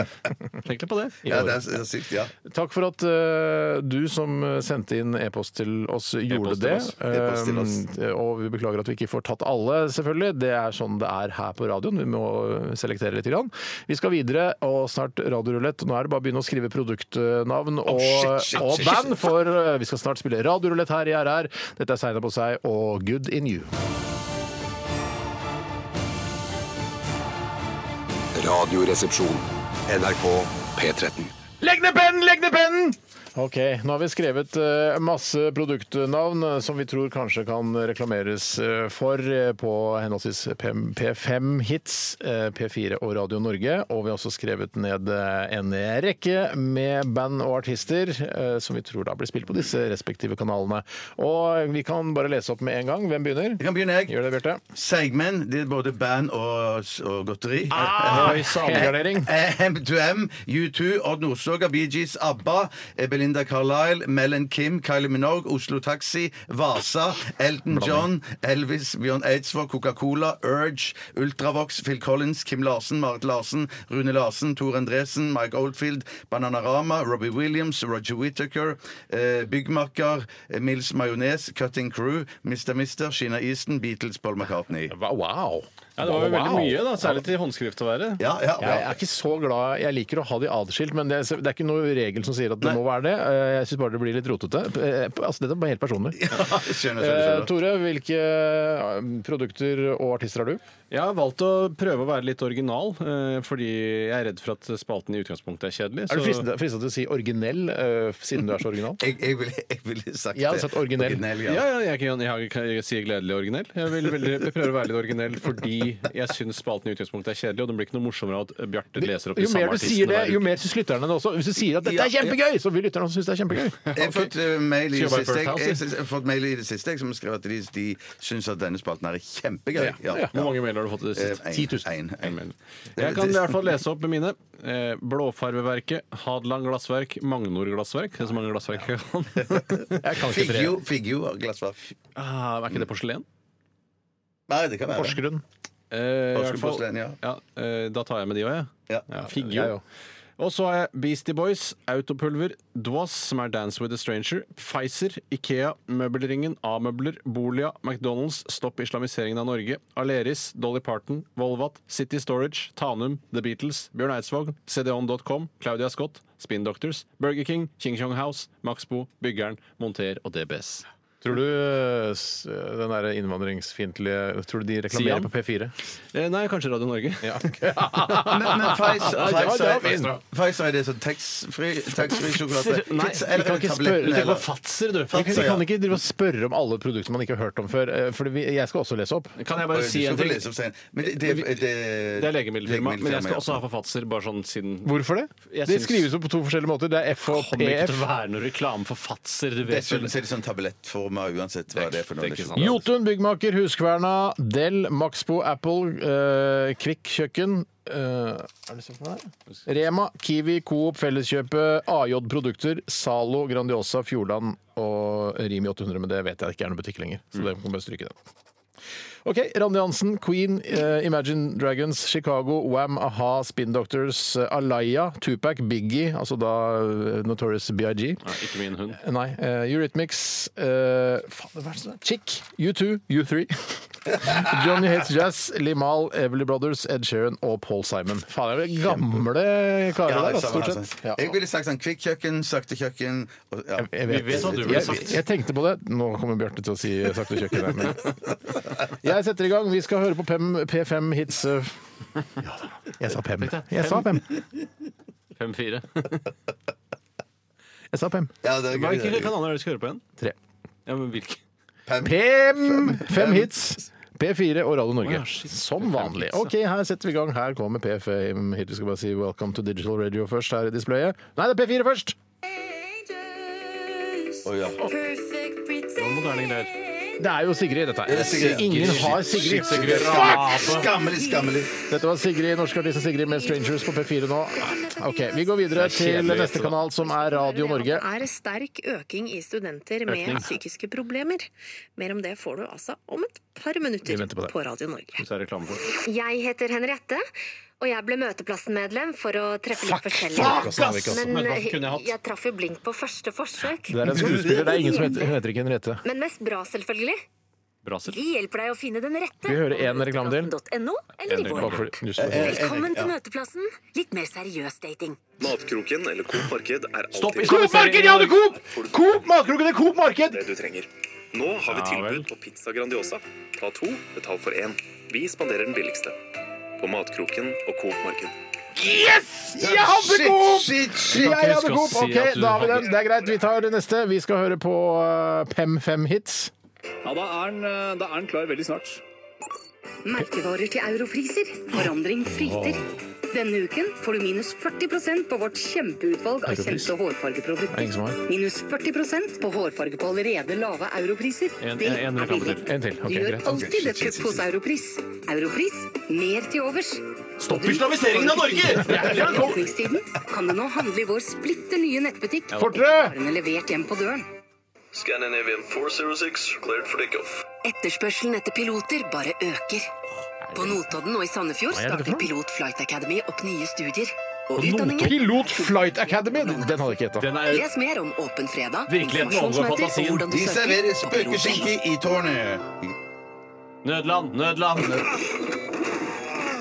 Speaker 3: Tenk litt på det.
Speaker 2: Ja, det er, det er sykt, ja.
Speaker 1: Takk for at eh, du som sendte inn e-post til oss, gjorde
Speaker 3: E-post til
Speaker 1: det.
Speaker 3: oss.
Speaker 2: E-post til oss.
Speaker 1: Eh, og vi beklager at vi ikke får tatt alle, selvfølgelig. Det er sånn det er her på radioen. Vi må selektere litt. Grann. Vi skal videre, og snart radiorulett. Nå er det bare å begynne å skrive produktnavn og,
Speaker 2: shit, shit,
Speaker 1: og
Speaker 2: shit,
Speaker 1: band, for eh, vi skal snart spille radiorulett her i RR. Dette er Seinar på seg og Good in you.
Speaker 4: Radioresepsjon. NRK P13.
Speaker 1: Legg ned pennen! Legg ned pennen! Ok, Nå har vi skrevet eh, masse produktnavn eh, som vi tror kanskje kan reklameres eh, for eh, på henholdsvis P- P5 Hits, eh, P4 og Radio Norge. Og vi har også skrevet ned eh, en rekke med band og artister eh, som vi tror da blir spilt på disse respektive kanalene. Og vi kan bare lese opp med en gang. Hvem begynner?
Speaker 2: Jeg kan begynne, jeg.
Speaker 1: Gjør det, Bjarte.
Speaker 2: Seigmenn. Det er både band og, og godteri. Eh,
Speaker 1: Oi, samegardering.
Speaker 2: M2M, U2, Odd Nordstoga, Bee Gees, ABBA, eh, Belinda Carlisle, Melon Kim, Kylie Minogue, Oslo Taxi, Vasa, Elton John, Elvis, Bjørn Eidsvåg, Coca-Cola, Urge, Ultravox, Phil Collins, Kim Larsen, Marit Larsen, Rune Larsen, Tor Endresen, Mike Oldfield, Bananarama, Robbie Williams, Roger Whittaker, eh, Byggmakker, eh, Mills Majones, Cutting Crew, Mr. Mister, Sheena Easton, Beatles, Paul McCartney.
Speaker 1: Wow.
Speaker 3: Ja, det var jo veldig
Speaker 1: Wow.
Speaker 3: mye, da, særlig til håndskrift å være.
Speaker 2: Ja, ja, ja.
Speaker 1: Jeg er ikke så glad Jeg liker å ha de adskilt, men det, det er ikke noen regel som sier at det må være det. Eh, Jeg syns bare det blir litt rotete. Eh, Altså, Dette er bare helt personlig.
Speaker 2: <laughs> skjønner,
Speaker 1: Eh,
Speaker 2: skjønner, skjønner.
Speaker 1: Tore, hvilke eh, produkter og artister har du?
Speaker 3: Jeg har valgt å prøve å være litt original, eh, fordi jeg er redd for at spalten i utgangspunktet er kjedelig.
Speaker 1: Er du
Speaker 3: så-
Speaker 1: fristet fristet til å si originell, eh, siden du er så original?
Speaker 2: Jeg, jeg, ville, jeg ville sagt
Speaker 1: Jeg hadde
Speaker 2: det.
Speaker 1: sagt originell.
Speaker 2: ja.
Speaker 3: Ja, ja, jeg, kan, jeg, kan, jeg sier gledelig originell. Jeg vil veldig, jeg prøver å være litt originell fordi jeg syns spalten i utgangspunktet er kjedelig, og den blir ikke noe morsommere av at Bjarte leser opp de
Speaker 1: Jo
Speaker 3: samme
Speaker 1: mer du sier
Speaker 3: artistene
Speaker 1: det,
Speaker 3: hver
Speaker 1: jo
Speaker 3: uke.
Speaker 1: mer syns lytterne det også. Hvis du sier at dette er
Speaker 2: Ja,
Speaker 1: kjempegøy, så vil lytterne også synes det er kjempegøy.
Speaker 2: <laughs> Jeg har fått eh, mail i det
Speaker 3: Skal jeg
Speaker 2: siste
Speaker 3: bare
Speaker 2: jeg,
Speaker 3: først ta
Speaker 2: jeg,
Speaker 3: oss,
Speaker 2: jeg har fått mail i det siste jeg, som skrev at de, de syns at denne spalten her er kjempegøy. Ja.
Speaker 1: ja.
Speaker 3: Hvor mange mailer har du fått i det
Speaker 2: Eh,
Speaker 3: siste?
Speaker 2: en,
Speaker 1: 10 000.
Speaker 2: en, en.
Speaker 3: En mail. Jeg kan i hvert fall lese opp med mine. Eh, Blåfarveverket, Hadeland Glassverk, Magnor Glassverk. Det er så mange glassverk jeg kan.
Speaker 1: <laughs> Jeg kan ikke tre.
Speaker 2: Figgjo, figgjo og glassverk.
Speaker 3: Ah, er ikke det porselen?
Speaker 2: Nei, det kan være.
Speaker 1: Porsgrunn.
Speaker 3: Eh, i hvert
Speaker 2: Porsgrunn
Speaker 3: fall-
Speaker 2: porselen, ja.
Speaker 3: eh, da tar jeg med de òg, jeg.
Speaker 2: Ja.
Speaker 3: Ja,
Speaker 1: Jeg
Speaker 3: Figgjo.
Speaker 1: òg.
Speaker 3: Og så har jeg Beastie Boys, Autopulver, Dwas, som er Dance with a Stranger, Pfizer, Ikea, Møbelringen, A-møbler, Bolia, McDonald's, Stopp islamiseringen av Norge, Aleris, Dolly Parton, Volvat, City Storage, Tanum, The Beatles, Bjørn Eidsvåg, cdon.com, Claudia Scott, Spin Doctors, Burger King, Ching Chong House, Maxbo, Byggeren, Monter og DBS.
Speaker 1: Tror du eh, s- den der innvandringsfiendtlige Tror du de reklamerer
Speaker 3: Siam?
Speaker 1: på P4?
Speaker 3: Eh, nei, kanskje Radio Norge.
Speaker 2: <laughs>
Speaker 3: <laughs>
Speaker 2: Men, men Pfizer,
Speaker 1: Ja, det var- det var fint.
Speaker 2: Pfizer, Pfizer er det sånn taxfree
Speaker 3: <laughs>
Speaker 2: taxfree sjokolade?
Speaker 3: Nei,
Speaker 2: Tax-
Speaker 1: vi kan
Speaker 2: eller
Speaker 1: ikke
Speaker 2: tabletten,
Speaker 1: spørre-
Speaker 2: eller-
Speaker 3: Fatser, du.
Speaker 1: Vi
Speaker 2: Fatser, ja.
Speaker 1: kan ikke drive og spørre om alle produkter man ikke har hørt om før. eh, Fordi vi- jeg skal også lese opp.
Speaker 3: Kan jeg
Speaker 2: Oi,
Speaker 3: bare
Speaker 2: du
Speaker 3: si
Speaker 2: skal
Speaker 3: en
Speaker 2: få
Speaker 3: ting?
Speaker 2: lese opp senere. Men det, det, det,
Speaker 3: Det er legemiddelfirma, men jeg skal også ha forfatser, bare sånn siden
Speaker 1: Hvorfor det? det
Speaker 3: Jeg syns-
Speaker 1: skrives jo på to forskjellige måter. Det er F og
Speaker 3: Kommer ikke til å
Speaker 1: PF.
Speaker 3: være noe reklame for Fatser. Du vet
Speaker 2: Dessuten
Speaker 3: vel.
Speaker 2: så er det sånn tablettforma uansett hva det er for noe. liksom.
Speaker 3: Det er ikke sant.
Speaker 2: sjokolade.
Speaker 1: Jotun, Byggmaker, Huskverna, Del, Maxbo, Apple, eh, Kvikk Kjøkken eh, Er det sånn for meg? Rema, Kiwi, Coop, Felleskjøpet, AJ Produkter, Zalo, Grandiosa, Fjordland og Rimi 800. Men det vet jeg ikke er noen butikk lenger, så det kan bare stryke den. Ok, Randi Hansen, Queen, eh, Imagine Dragons, Chicago, Wham, A-ha, Spin Doctors, eh, Alaya, Tupac, Biggie, altså da eh, Notorious BIG.
Speaker 3: Nei, ikke min hund.
Speaker 1: Nei. eh, Eurythmics eh, faen, hva er det som er? Chick, U2, U3. <laughs> Johnny Hates Jazz, Limal, Everly Brothers, Ed Sheeran og Paul Simon. Faen, det er vel gamle karer
Speaker 2: Ja,
Speaker 1: der, altså, stort
Speaker 2: samme her,
Speaker 1: sett.
Speaker 2: altså.
Speaker 1: Ja.
Speaker 2: Jeg ville sagt sånn kvikk kjøkken, sakte kjøkken og, ja.
Speaker 1: Jeg
Speaker 3: Vi vet hva du ville
Speaker 1: jeg,
Speaker 3: sagt.
Speaker 1: jeg tenkte på det. Nå kommer Bjarte til å si sakte kjøkkenet. Men... Jeg setter i gang. Vi skal høre på Pem, P5 Hits. eh. Jeg sa Pem. Jeg sa Pem.
Speaker 3: 5-4.
Speaker 1: Jeg sa Pem.
Speaker 2: Ja, det er gøy,
Speaker 3: Hvilke
Speaker 2: det er gøy.
Speaker 3: kanaler er det du skal høre på igjen?
Speaker 1: Tre.
Speaker 3: Ja, men hvilke?
Speaker 1: Pem! Fem hits. P4 og Radio Norge.
Speaker 3: Å ja, shit.
Speaker 1: Som vanlig. Ok, her setter vi i gang. Her kommer P5 hit. Vi skal bare si 'Welcome to Digital Radio' først her i displayet. Nei, det er P4 først!
Speaker 3: moderne greier.
Speaker 1: Det er jo Sigrid, dette her.
Speaker 2: Sigrid.
Speaker 1: Ingen har Sigrid.
Speaker 2: Skammelig, skammelig.
Speaker 1: Dette var Sigrid, norsk artist Sigrid med 'Strangers' på P4 nå. Ok, Vi går videre til
Speaker 3: kjedelig,
Speaker 1: neste
Speaker 3: dette, da.
Speaker 1: kanal, som er Radio Norge.
Speaker 9: Det er sterk øking i studenter med psykiske problemer. Mer om det får du altså om et par
Speaker 1: Vi
Speaker 9: minutter
Speaker 1: venter på
Speaker 9: på,
Speaker 1: det.
Speaker 9: Radio Norge.
Speaker 3: Hvis det er reklame for det.
Speaker 9: Jeg heter Henriette, og jeg ble Møteplassen-medlem for å treffe litt forskjellig. Men eh,
Speaker 3: Møteplassen kunne jeg hatt.
Speaker 9: jeg traff jo blink på første forsøk.
Speaker 1: Det er en skuespiller. Det er ingen som heter, hun heter ikke Henriette.
Speaker 9: Men mest bra, selvfølgelig.
Speaker 3: Bra selv.
Speaker 9: Vi hjelper deg å finne den rette.
Speaker 1: Vi hører en reklame til.
Speaker 9: .no, eller i vår
Speaker 1: Bare
Speaker 9: app.
Speaker 1: fordi- just for-
Speaker 9: Velkommen til Møteplassen. Litt mer seriøs dating.
Speaker 8: Matkroken eller Coop Marked er
Speaker 3: Stopp
Speaker 8: alltid
Speaker 1: Coop Marked! Ja, det er Coop! Coop Matkroken det er Coop Marked!
Speaker 8: det du trenger. Nå har vi
Speaker 3: Ja vel.
Speaker 8: tilbud på pizza Grandiosa. Ta to, betal for én. Vi spanderer den billigste. På Matkroken og Coop Marked.
Speaker 1: Jeg hadde Coop! Jeg
Speaker 3: ikke
Speaker 1: hadde
Speaker 3: huske å
Speaker 1: Coop!
Speaker 3: si
Speaker 1: Ok,
Speaker 3: at du
Speaker 1: da har vi
Speaker 3: hadde-
Speaker 1: den. Det er greit, vi tar det neste. Vi skal høre på eh, Pem Fem Hits.
Speaker 7: Ja, da er den, eh, da er den klar veldig snart.
Speaker 9: Merkevarer til europriser. Forandring fryter. Denne uken får du minus 40 på vårt kjempeutvalg av
Speaker 1: Europris.
Speaker 9: kjente
Speaker 1: Det er ingen som
Speaker 9: hårfargeprodukter.
Speaker 1: har.
Speaker 9: Minus 40 på hårfarge på allerede lave europriser.
Speaker 3: En-
Speaker 9: Det
Speaker 3: en- en
Speaker 9: er
Speaker 3: reklame
Speaker 9: billig.
Speaker 3: til.
Speaker 1: En til.
Speaker 9: Du
Speaker 1: Ok,
Speaker 9: gjør
Speaker 1: greit.
Speaker 9: alltid dette hos Europris. Europris mer til overs.
Speaker 2: Stopp islamiseringen av Norge!
Speaker 9: I åpningstiden kan du nå handle i vår splitter nye nettbutikk.
Speaker 1: Fortere!
Speaker 9: Varene levert hjem på døren.
Speaker 8: Scandinavian 406, cleared for takeoff.
Speaker 9: Etterspørselen etter piloter bare øker. På Notodden og i Sandefjord
Speaker 1: er dette
Speaker 9: starter
Speaker 1: for noe?
Speaker 9: Pilot Flight Academy opp nye studier. Og utdanningen
Speaker 1: Pilot Flight Academy! Den hadde jeg ikke gjetta.
Speaker 3: Den er
Speaker 9: Les mer om Åpen fredag,
Speaker 3: Virkeligheten
Speaker 1: altså.
Speaker 3: overgår
Speaker 9: informasjonsmøter
Speaker 3: fantasien.
Speaker 9: og hvordan du
Speaker 2: De
Speaker 9: søker
Speaker 2: serverer
Speaker 9: på piloter.
Speaker 2: spøkelseskinke i tårnet.
Speaker 3: Nødland! Nødland!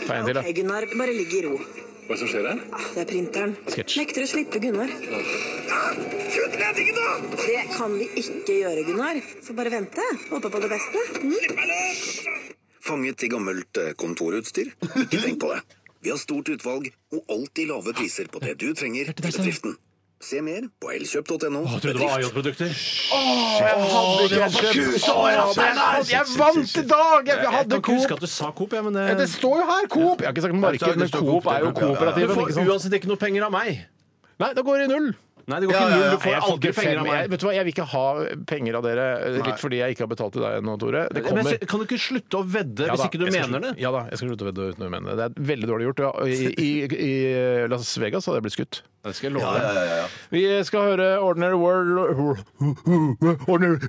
Speaker 1: Ta en til, da.
Speaker 9: Gunnar, bare ligg i ro. Ah,
Speaker 8: Hva som skjer her?
Speaker 9: Det er printeren.
Speaker 1: Sketsj.
Speaker 9: Nekter å slippe Gunnar.
Speaker 8: Kutt ledningen, da!
Speaker 9: Det kan vi ikke gjøre, Gunnar. Så bare vente. Håpe på det beste.
Speaker 4: Fanget i gammelt eh, kontorutstyr? Ikke tenk på det. Vi har stort utvalg og alltid lave priser på det du trenger til bedriften. Se mer på elkjøp.no.
Speaker 3: Jeg trodde det var AJ-produkter.
Speaker 1: Jeg vant i dag! Jeg
Speaker 3: Jeg
Speaker 1: hadde
Speaker 3: kan ikke huske
Speaker 1: Coop!
Speaker 3: at du sa Coop, jeg, men eh,
Speaker 1: Ja, Det
Speaker 3: det
Speaker 1: står jo her, Coop! Jeg har ikke sagt marked, men Coop er jo
Speaker 3: Du
Speaker 1: kooperativen.
Speaker 3: får
Speaker 1: Ikke sant?
Speaker 3: uansett ikke noe penger av meg.
Speaker 1: Nei, da går det i null.
Speaker 3: Nei, det går ikke null. Du
Speaker 1: Nei,
Speaker 3: får
Speaker 1: jeg får
Speaker 3: aldri
Speaker 1: ikke
Speaker 3: penger
Speaker 1: fem.
Speaker 3: av
Speaker 1: Jeg,
Speaker 3: meg.
Speaker 1: vet du hva, jeg vil ikke ha penger av dere, eh, litt fordi jeg ikke har betalt til deg ennå, Tore. Det
Speaker 3: Men
Speaker 1: kommer.
Speaker 3: jeg- kan du ikke slutte å vedde
Speaker 1: Ja
Speaker 3: hvis
Speaker 1: da,
Speaker 3: ikke du
Speaker 1: jeg skal
Speaker 3: mener
Speaker 1: slutte-
Speaker 3: det?
Speaker 1: Ja da, jeg skal slutte å vedde uten å mene det. Det er veldig dårlig gjort. Ja. I, i, I Las Vegas hadde jeg blitt skutt.
Speaker 3: Det skal jeg love deg.
Speaker 1: Vi skal høre Ordinary World Ordinary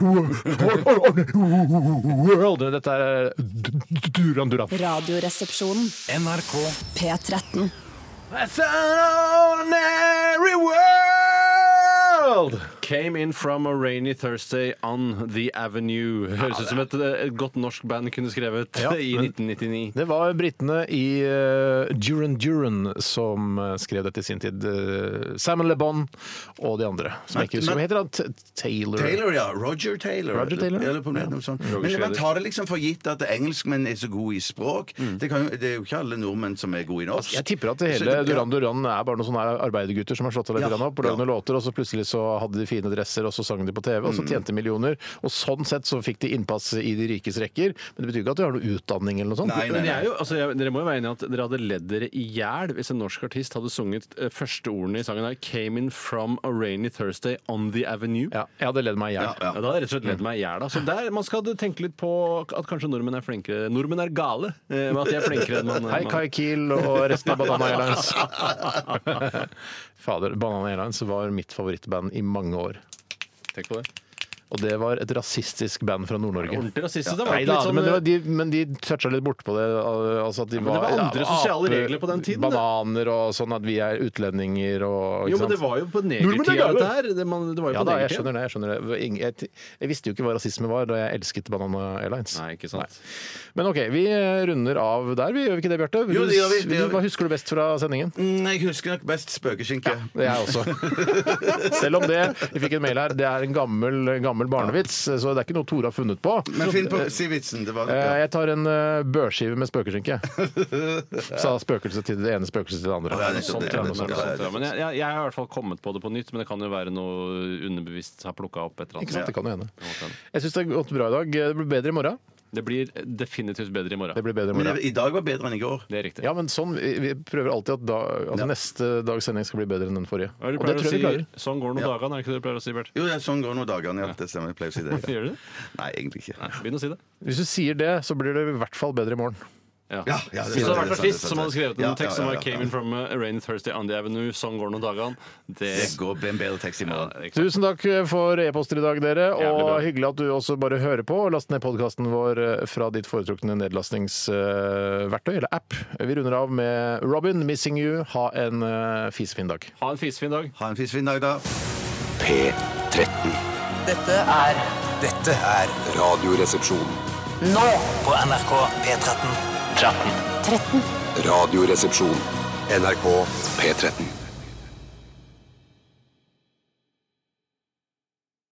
Speaker 1: World. Dette er Duran Duran.
Speaker 5: Radioresepsjonen.
Speaker 6: NRK
Speaker 5: P13.
Speaker 1: It's an ordinary world!
Speaker 3: Came in from a rainy Thursday on the avenue. Høres ut som et, eh, et godt norsk band kunne skrevet
Speaker 1: Ja,
Speaker 3: i
Speaker 1: men-
Speaker 3: 1999.
Speaker 1: Det var britene i eh, Duran Duran som eh, skrev dette i sin tid. Eh, Simon Le Bon og de andre. Som jeg ikke husker. Hva heter han? T- Taylor?
Speaker 2: Taylor, ja. Roger Taylor.
Speaker 1: Roger Taylor?
Speaker 2: Eller- eller på nett, noe sånt. Men man tar det liksom for gitt at engelskmenn er så gode i språk.
Speaker 3: Mm.
Speaker 2: Det, kan, jo- det er jo ikke alle nordmenn som er gode i norsk.
Speaker 1: Altså, Jeg tipper at det
Speaker 2: Så
Speaker 1: hele
Speaker 2: det-
Speaker 1: Duran Duran er bare noen sånne arbeidergutter som har slått seg litt
Speaker 2: Ja,
Speaker 1: grann opp og lagd
Speaker 2: ja. Mm.
Speaker 1: noen låter, og så plutselig så hadde de fine dresser, og så sang de på TV, og så tjente de millioner. Og sånn sett så fikk de innpass i de rikes rekker, men det betyr ikke at du har noe utdanning eller noe sånt.
Speaker 2: Nei, nei,
Speaker 3: Men jeg
Speaker 2: nei.
Speaker 3: er jo, altså, jeg, dere må jo være enige i at dere hadde ledd dere i hjel hvis en norsk artist hadde sunget eh, første ordene i sangen her Came in from a rainy Thursday on the avenue. Ja.
Speaker 1: Ja, jeg hadde ledd meg i hjel.
Speaker 3: da hadde jeg rett og slett ledd meg i hjel. da. Så der, Man skal tenke litt på at kanskje nordmenn er flinkere Nordmenn er gale. eh, Med at de er flinkere enn man
Speaker 1: Hei,
Speaker 3: man-
Speaker 1: Kai Kiel og
Speaker 2: <laughs>
Speaker 1: resten av Banana Airlines. <laughs> Fader, Banana Airlines var mitt favorittband i mange år.
Speaker 3: Tenk på det.
Speaker 1: Og det var et rasistisk band fra Nord-Norge.
Speaker 3: Ordentlig rasistisk. Det var
Speaker 1: Nei
Speaker 3: ikke
Speaker 1: da,
Speaker 3: litt sånn,
Speaker 1: men, det var, de, men de toucha litt bortpå det. al- Altså at de
Speaker 3: men det var andre sosiale regler på den tiden, det.
Speaker 1: Bananer og sånn at vi er utlendinger og
Speaker 3: jo, men det var jo på
Speaker 1: Nordmenn er
Speaker 3: negertida,
Speaker 1: gale.
Speaker 3: dette her. Det, man, det var
Speaker 1: ja
Speaker 3: jo på
Speaker 1: da, jeg
Speaker 3: negertida.
Speaker 1: skjønner det. Jeg, skjønner det. Ingen- Jeg, jeg visste jo ikke hva rasisme var da jeg elsket Banana Airlines.
Speaker 3: Nei, ikke sant.
Speaker 1: Men OK, vi eh, runder av der. Vi gjør vi ikke det, Bjarte?
Speaker 2: Jo, det gjør vi, det gjør vi.
Speaker 1: Hva husker du best fra sendingen?
Speaker 2: Mm, Jeg husker nok best spøkeskinke.
Speaker 3: <laughs>
Speaker 1: Det er jeg også. Selv om det, vi fikk en mail her, det er en gammel, gammel gammel barnevits, så det er ikke noe Tore har funnet på.
Speaker 2: Men finn
Speaker 1: <laughs>
Speaker 2: på Si vitsen. Det var det.
Speaker 1: Eh,
Speaker 2: Ja.
Speaker 1: Jeg tar en eh, børskive med spøkelskinke. <laughs> Sa spøkelset til det ene spøkelset til det andre.
Speaker 2: Å, ja, det er sånn,
Speaker 3: Sånn,
Speaker 2: det
Speaker 3: tror
Speaker 2: er
Speaker 3: jeg,
Speaker 2: sånn, ja,
Speaker 3: sånn,
Speaker 2: det er
Speaker 3: tror jeg. Men jeg, jeg, jeg har i hvert fall kommet på det på nytt, men det kan jo være noe underbevisst har plukka opp et eller
Speaker 1: Ikke sant?
Speaker 3: annet.
Speaker 1: Det kan jo hende.
Speaker 3: hende.
Speaker 1: Jeg syns det har gått bra i dag. Eh, Det blir bedre i morgen.
Speaker 3: Det blir definitivt bedre i
Speaker 1: Det
Speaker 3: morgen.
Speaker 1: blir bedre i
Speaker 2: Men
Speaker 1: morgen.
Speaker 2: det- i dag var bedre enn i går.
Speaker 3: Det er riktig.
Speaker 1: Ja, men sånn, vi vi prøver alltid at, da, at neste dags sending skal bli bedre enn den forrige.
Speaker 3: Hva er det
Speaker 1: Og
Speaker 3: du
Speaker 1: det
Speaker 3: pleier
Speaker 1: tror jeg vi
Speaker 3: å si?
Speaker 1: klarer.
Speaker 3: Sånn går det noen dagene, er det ikke det du pleier å si, Bert?
Speaker 2: Jo, ja, sånn går nå dagene. Ja. Det stemmer. Jeg pleier å si
Speaker 3: <laughs>
Speaker 2: det.
Speaker 3: Gjør du det?
Speaker 2: Nei, egentlig ikke.
Speaker 3: Nei, begynn å si det.
Speaker 1: Hvis du sier det, så blir det i hvert fall bedre i morgen.
Speaker 3: Ja.
Speaker 2: Ja, ja, det
Speaker 3: Hvis det
Speaker 2: sant,
Speaker 3: hadde vært
Speaker 2: det
Speaker 3: en
Speaker 2: sant, det
Speaker 3: artist
Speaker 2: sant,
Speaker 3: som hadde skrevet
Speaker 2: det.
Speaker 3: en
Speaker 2: Ja,
Speaker 3: tekst
Speaker 2: ja,
Speaker 3: som
Speaker 2: ja,
Speaker 3: var
Speaker 2: ja.
Speaker 3: 'Came in from a rainy Thursday on the Avenue', sånn går det noen dagene. Det
Speaker 2: Det går, blir en bedre tekst i
Speaker 3: ja,
Speaker 2: morgen.
Speaker 3: det er ikke sant.
Speaker 1: Tusen takk eh, for e-poster i dag, dere.
Speaker 3: Jævlig bra.
Speaker 1: Og hyggelig at du også bare hører på. Last ned podkasten vår eh, fra ditt foretrukne nedlastningsverktøy eller app. Vi runder av med Robin, 'Missing You'. Ha en eh, fisefin dag.
Speaker 3: Ha en fisefin dag.
Speaker 2: Ha en fisefin dag, da.
Speaker 4: P13.
Speaker 10: Dette er
Speaker 6: Dette er
Speaker 4: Radioresepsjon.
Speaker 10: nå på NRK P13. 13.
Speaker 4: Radioresepsjon. NRK P13.